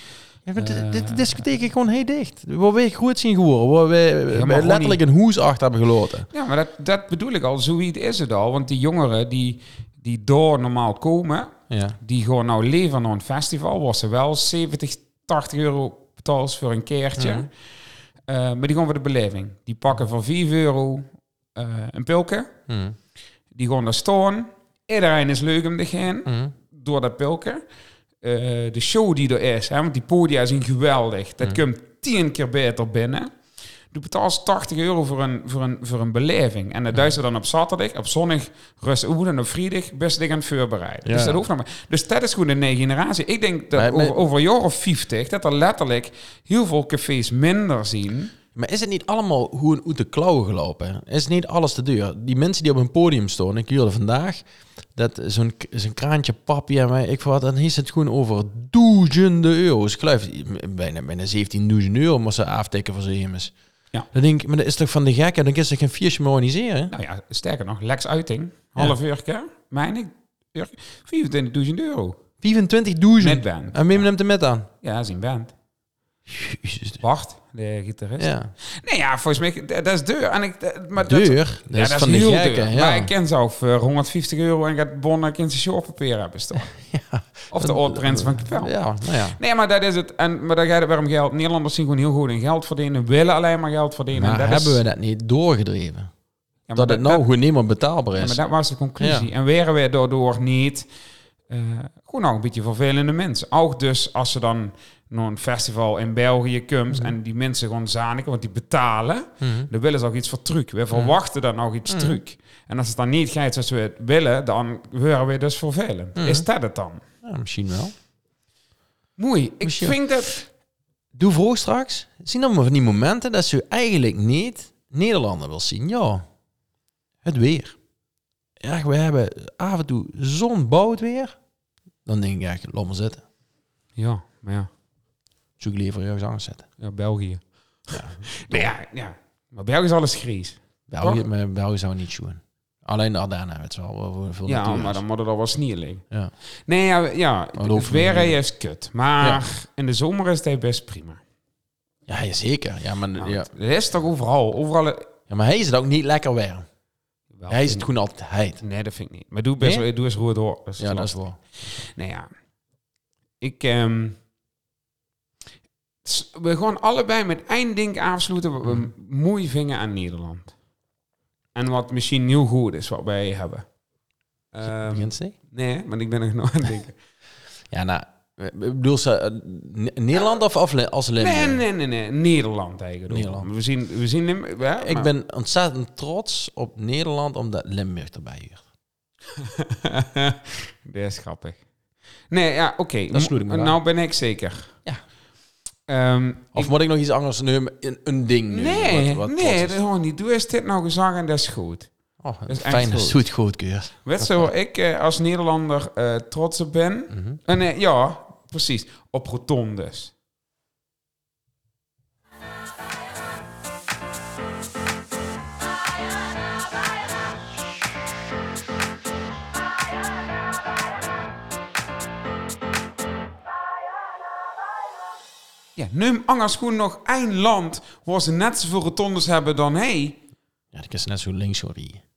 [SPEAKER 1] eh,
[SPEAKER 2] dit discotheek is gewoon heel dicht. Waar we goed zien geworden. Waar we
[SPEAKER 1] maar gewoon
[SPEAKER 2] letterlijk een hoes achter hebben geloten.
[SPEAKER 1] Ja, maar dat, dat bedoel ik al. Zoiets is het al. Want die jongeren die, die door normaal komen...
[SPEAKER 2] Ja.
[SPEAKER 1] Die gewoon nou leven aan een festival... Was ze wel 70, 80 euro betaald voor een keertje.
[SPEAKER 2] Mhm.
[SPEAKER 1] Eh, maar die gaan voor de beleving. Die pakken voor 5 euro eh, een pilke. Die gaan daar staan. Iedereen is leuk om te gaan. door dat pilken. Eh, de show die er is, hè, want die podia zijn geweldig. Dat komt tien keer beter binnen. Je betaalt 80 euro voor een, voor een, voor een beleving. En dat duist ze dan op zaterdag, op zondag, rust oefen en op vrijdag best dik aan het voorbereiden.
[SPEAKER 2] Ja.
[SPEAKER 1] Dus dat hoeft nog maar. Dus dat is goed een nieuwe generatie. Ik denk dat
[SPEAKER 2] Maar- maar-
[SPEAKER 1] over, over een jaar of 50, dat er letterlijk heel veel cafés minder zien.
[SPEAKER 2] Maar is het niet allemaal hoe uit de klauwen gelopen? Is niet alles te duur? Die mensen die op een podium stonden, ik hoorde vandaag dat zo'n zo'n kraantje papier, maar ik verwacht, dan is het gewoon over duizenden euro's. Ik geloof bijna, bijna 17.000 euro moest ze aftikken voor zo'n immers.
[SPEAKER 1] Ja.
[SPEAKER 2] Dan denk ik, maar dat is toch van de gekken, dan kun je toch geen viertje meer organiseren?
[SPEAKER 1] Nou ja, sterker nog, Lex Uiting, half uur, mijn ik, uur, 24.000 euro.
[SPEAKER 2] 25.000.
[SPEAKER 1] Met band.
[SPEAKER 2] En wie neemt er met aan?
[SPEAKER 1] Ja, zijn band.
[SPEAKER 2] Jezus.
[SPEAKER 1] Wacht, de gitarist.
[SPEAKER 2] Ja.
[SPEAKER 1] Nee, ja, volgens mij, dat dat is duur. En ik, dat- maar dat-
[SPEAKER 2] Duur. Dat
[SPEAKER 1] ja,
[SPEAKER 2] is
[SPEAKER 1] dat
[SPEAKER 2] van
[SPEAKER 1] is
[SPEAKER 2] de
[SPEAKER 1] heel
[SPEAKER 2] gekken.
[SPEAKER 1] duur.
[SPEAKER 2] Ja.
[SPEAKER 1] Maar ik ken ze ook voor 150 euro en ik had bonnen in zijn showpapier hebben staan.
[SPEAKER 2] Ja.
[SPEAKER 1] Of de oorprins van Capel.
[SPEAKER 2] Ja, nou ja.
[SPEAKER 1] Nee, maar dat is het. En, maar daar gaat het weer om geld. Nederlanders zien gewoon heel goed in geld verdienen. Willen alleen maar geld verdienen.
[SPEAKER 2] Maar
[SPEAKER 1] en dat is-
[SPEAKER 2] hebben we dat niet doorgedreven?
[SPEAKER 1] Ja, maar
[SPEAKER 2] dat het nou
[SPEAKER 1] dat-
[SPEAKER 2] gewoon niemand betaalbaar
[SPEAKER 1] ja, maar
[SPEAKER 2] is.
[SPEAKER 1] dat was de conclusie. En waren we daardoor niet... eh, eh, gewoon nog een beetje vervelende mensen. Ook dus als ze dan naar een festival in België komt en die mensen gewoon zaniken, want die betalen, dan willen ze ook iets voor truc. We verwachten dan ook iets truc. En als het dan niet gaat zoals we het willen, dan worden we dus vervelend. Is dat het dan?
[SPEAKER 2] Ja, misschien wel.
[SPEAKER 1] Moei, ik
[SPEAKER 2] Misschien-
[SPEAKER 1] vind dat...
[SPEAKER 2] Doe vroeg straks. Zien dan maar van die momenten dat ze eigenlijk niet Nederlander wil zien. Ja, het weer. Echt, we hebben af en toe zo'n bout weer. Dan denk ik echt, laat maar zitten.
[SPEAKER 1] Ja, maar ja.
[SPEAKER 2] Zoek liever ergens anders zitten.
[SPEAKER 1] Ja, België. Nee, Ja, ja. Maar België is alles Gries.
[SPEAKER 2] België, maar België zou niet zoen. Alleen de Ardennen hebben het wel wel voor- voor
[SPEAKER 1] Ja,
[SPEAKER 2] natuur.
[SPEAKER 1] maar dan moet het al wel sneeuw liggen.
[SPEAKER 2] Ja.
[SPEAKER 1] Nee, ja, ja
[SPEAKER 2] dat hoeft
[SPEAKER 1] het weer
[SPEAKER 2] niet.
[SPEAKER 1] is kut. Maar in de zomer is het best prima. Nou,
[SPEAKER 2] Ja, ja, zeker. Ja, maar, ja.
[SPEAKER 1] Het is toch overal? Overal...
[SPEAKER 2] Ja, maar hij is het ook niet lekker warm. hij is het gewoon altijd heet.
[SPEAKER 1] Nee, dat vind ik niet. Maar doe, best
[SPEAKER 2] Nee?
[SPEAKER 1] wel, doe eens roer door. Dat is
[SPEAKER 2] Ja, dat is
[SPEAKER 1] lastig.
[SPEAKER 2] wel.
[SPEAKER 1] Nee, ja. Ik... ehm, s- we gaan allebei met één ding afsluiten wat we
[SPEAKER 2] Hmm.
[SPEAKER 1] moei vingen aan Nederland. En wat misschien nieuw goed is wat wij hebben. Ehm,
[SPEAKER 2] Begint ze?
[SPEAKER 1] nee, want ik ben er nog aan het denken.
[SPEAKER 2] Ja, nou, ik bedoel ze eh, N- Nederland of afle- als Limburg?
[SPEAKER 1] Nee, nee, nee, nee. Nederland eigenlijk.
[SPEAKER 2] Nederland.
[SPEAKER 1] We zien, we zien hem. Ja,
[SPEAKER 2] Ik ben ontzettend trots op Nederland omdat Limburg erbij huurt.
[SPEAKER 1] Dat is grappig. Nee, ja, oké.
[SPEAKER 2] Dat sluit ik me
[SPEAKER 1] Mo-
[SPEAKER 2] aan.
[SPEAKER 1] Nou ben ik zeker.
[SPEAKER 2] Ja.
[SPEAKER 1] Ehm,
[SPEAKER 2] Of moet ik nog iets anders nemen? Een, een ding
[SPEAKER 1] ik-
[SPEAKER 2] nu?
[SPEAKER 1] nee,
[SPEAKER 2] wat- wat
[SPEAKER 1] nee, dat
[SPEAKER 2] trots is.
[SPEAKER 1] gewoon niet. Doe eens dit nou gezag en dat is goed.
[SPEAKER 2] Oh,
[SPEAKER 1] is echt
[SPEAKER 2] fijn,
[SPEAKER 1] goed.
[SPEAKER 2] zoet goedkeur.
[SPEAKER 1] Weet je waar ik eh, als Nederlander eh, trots op ben?
[SPEAKER 2] Mhm.
[SPEAKER 1] Eh, nee, ja, precies. Op rotondes. Ja, neem angers gewoon nog één land waar ze net zoveel rotondes hebben dan hij.
[SPEAKER 2] Ja, dat is net zo links hoor hier.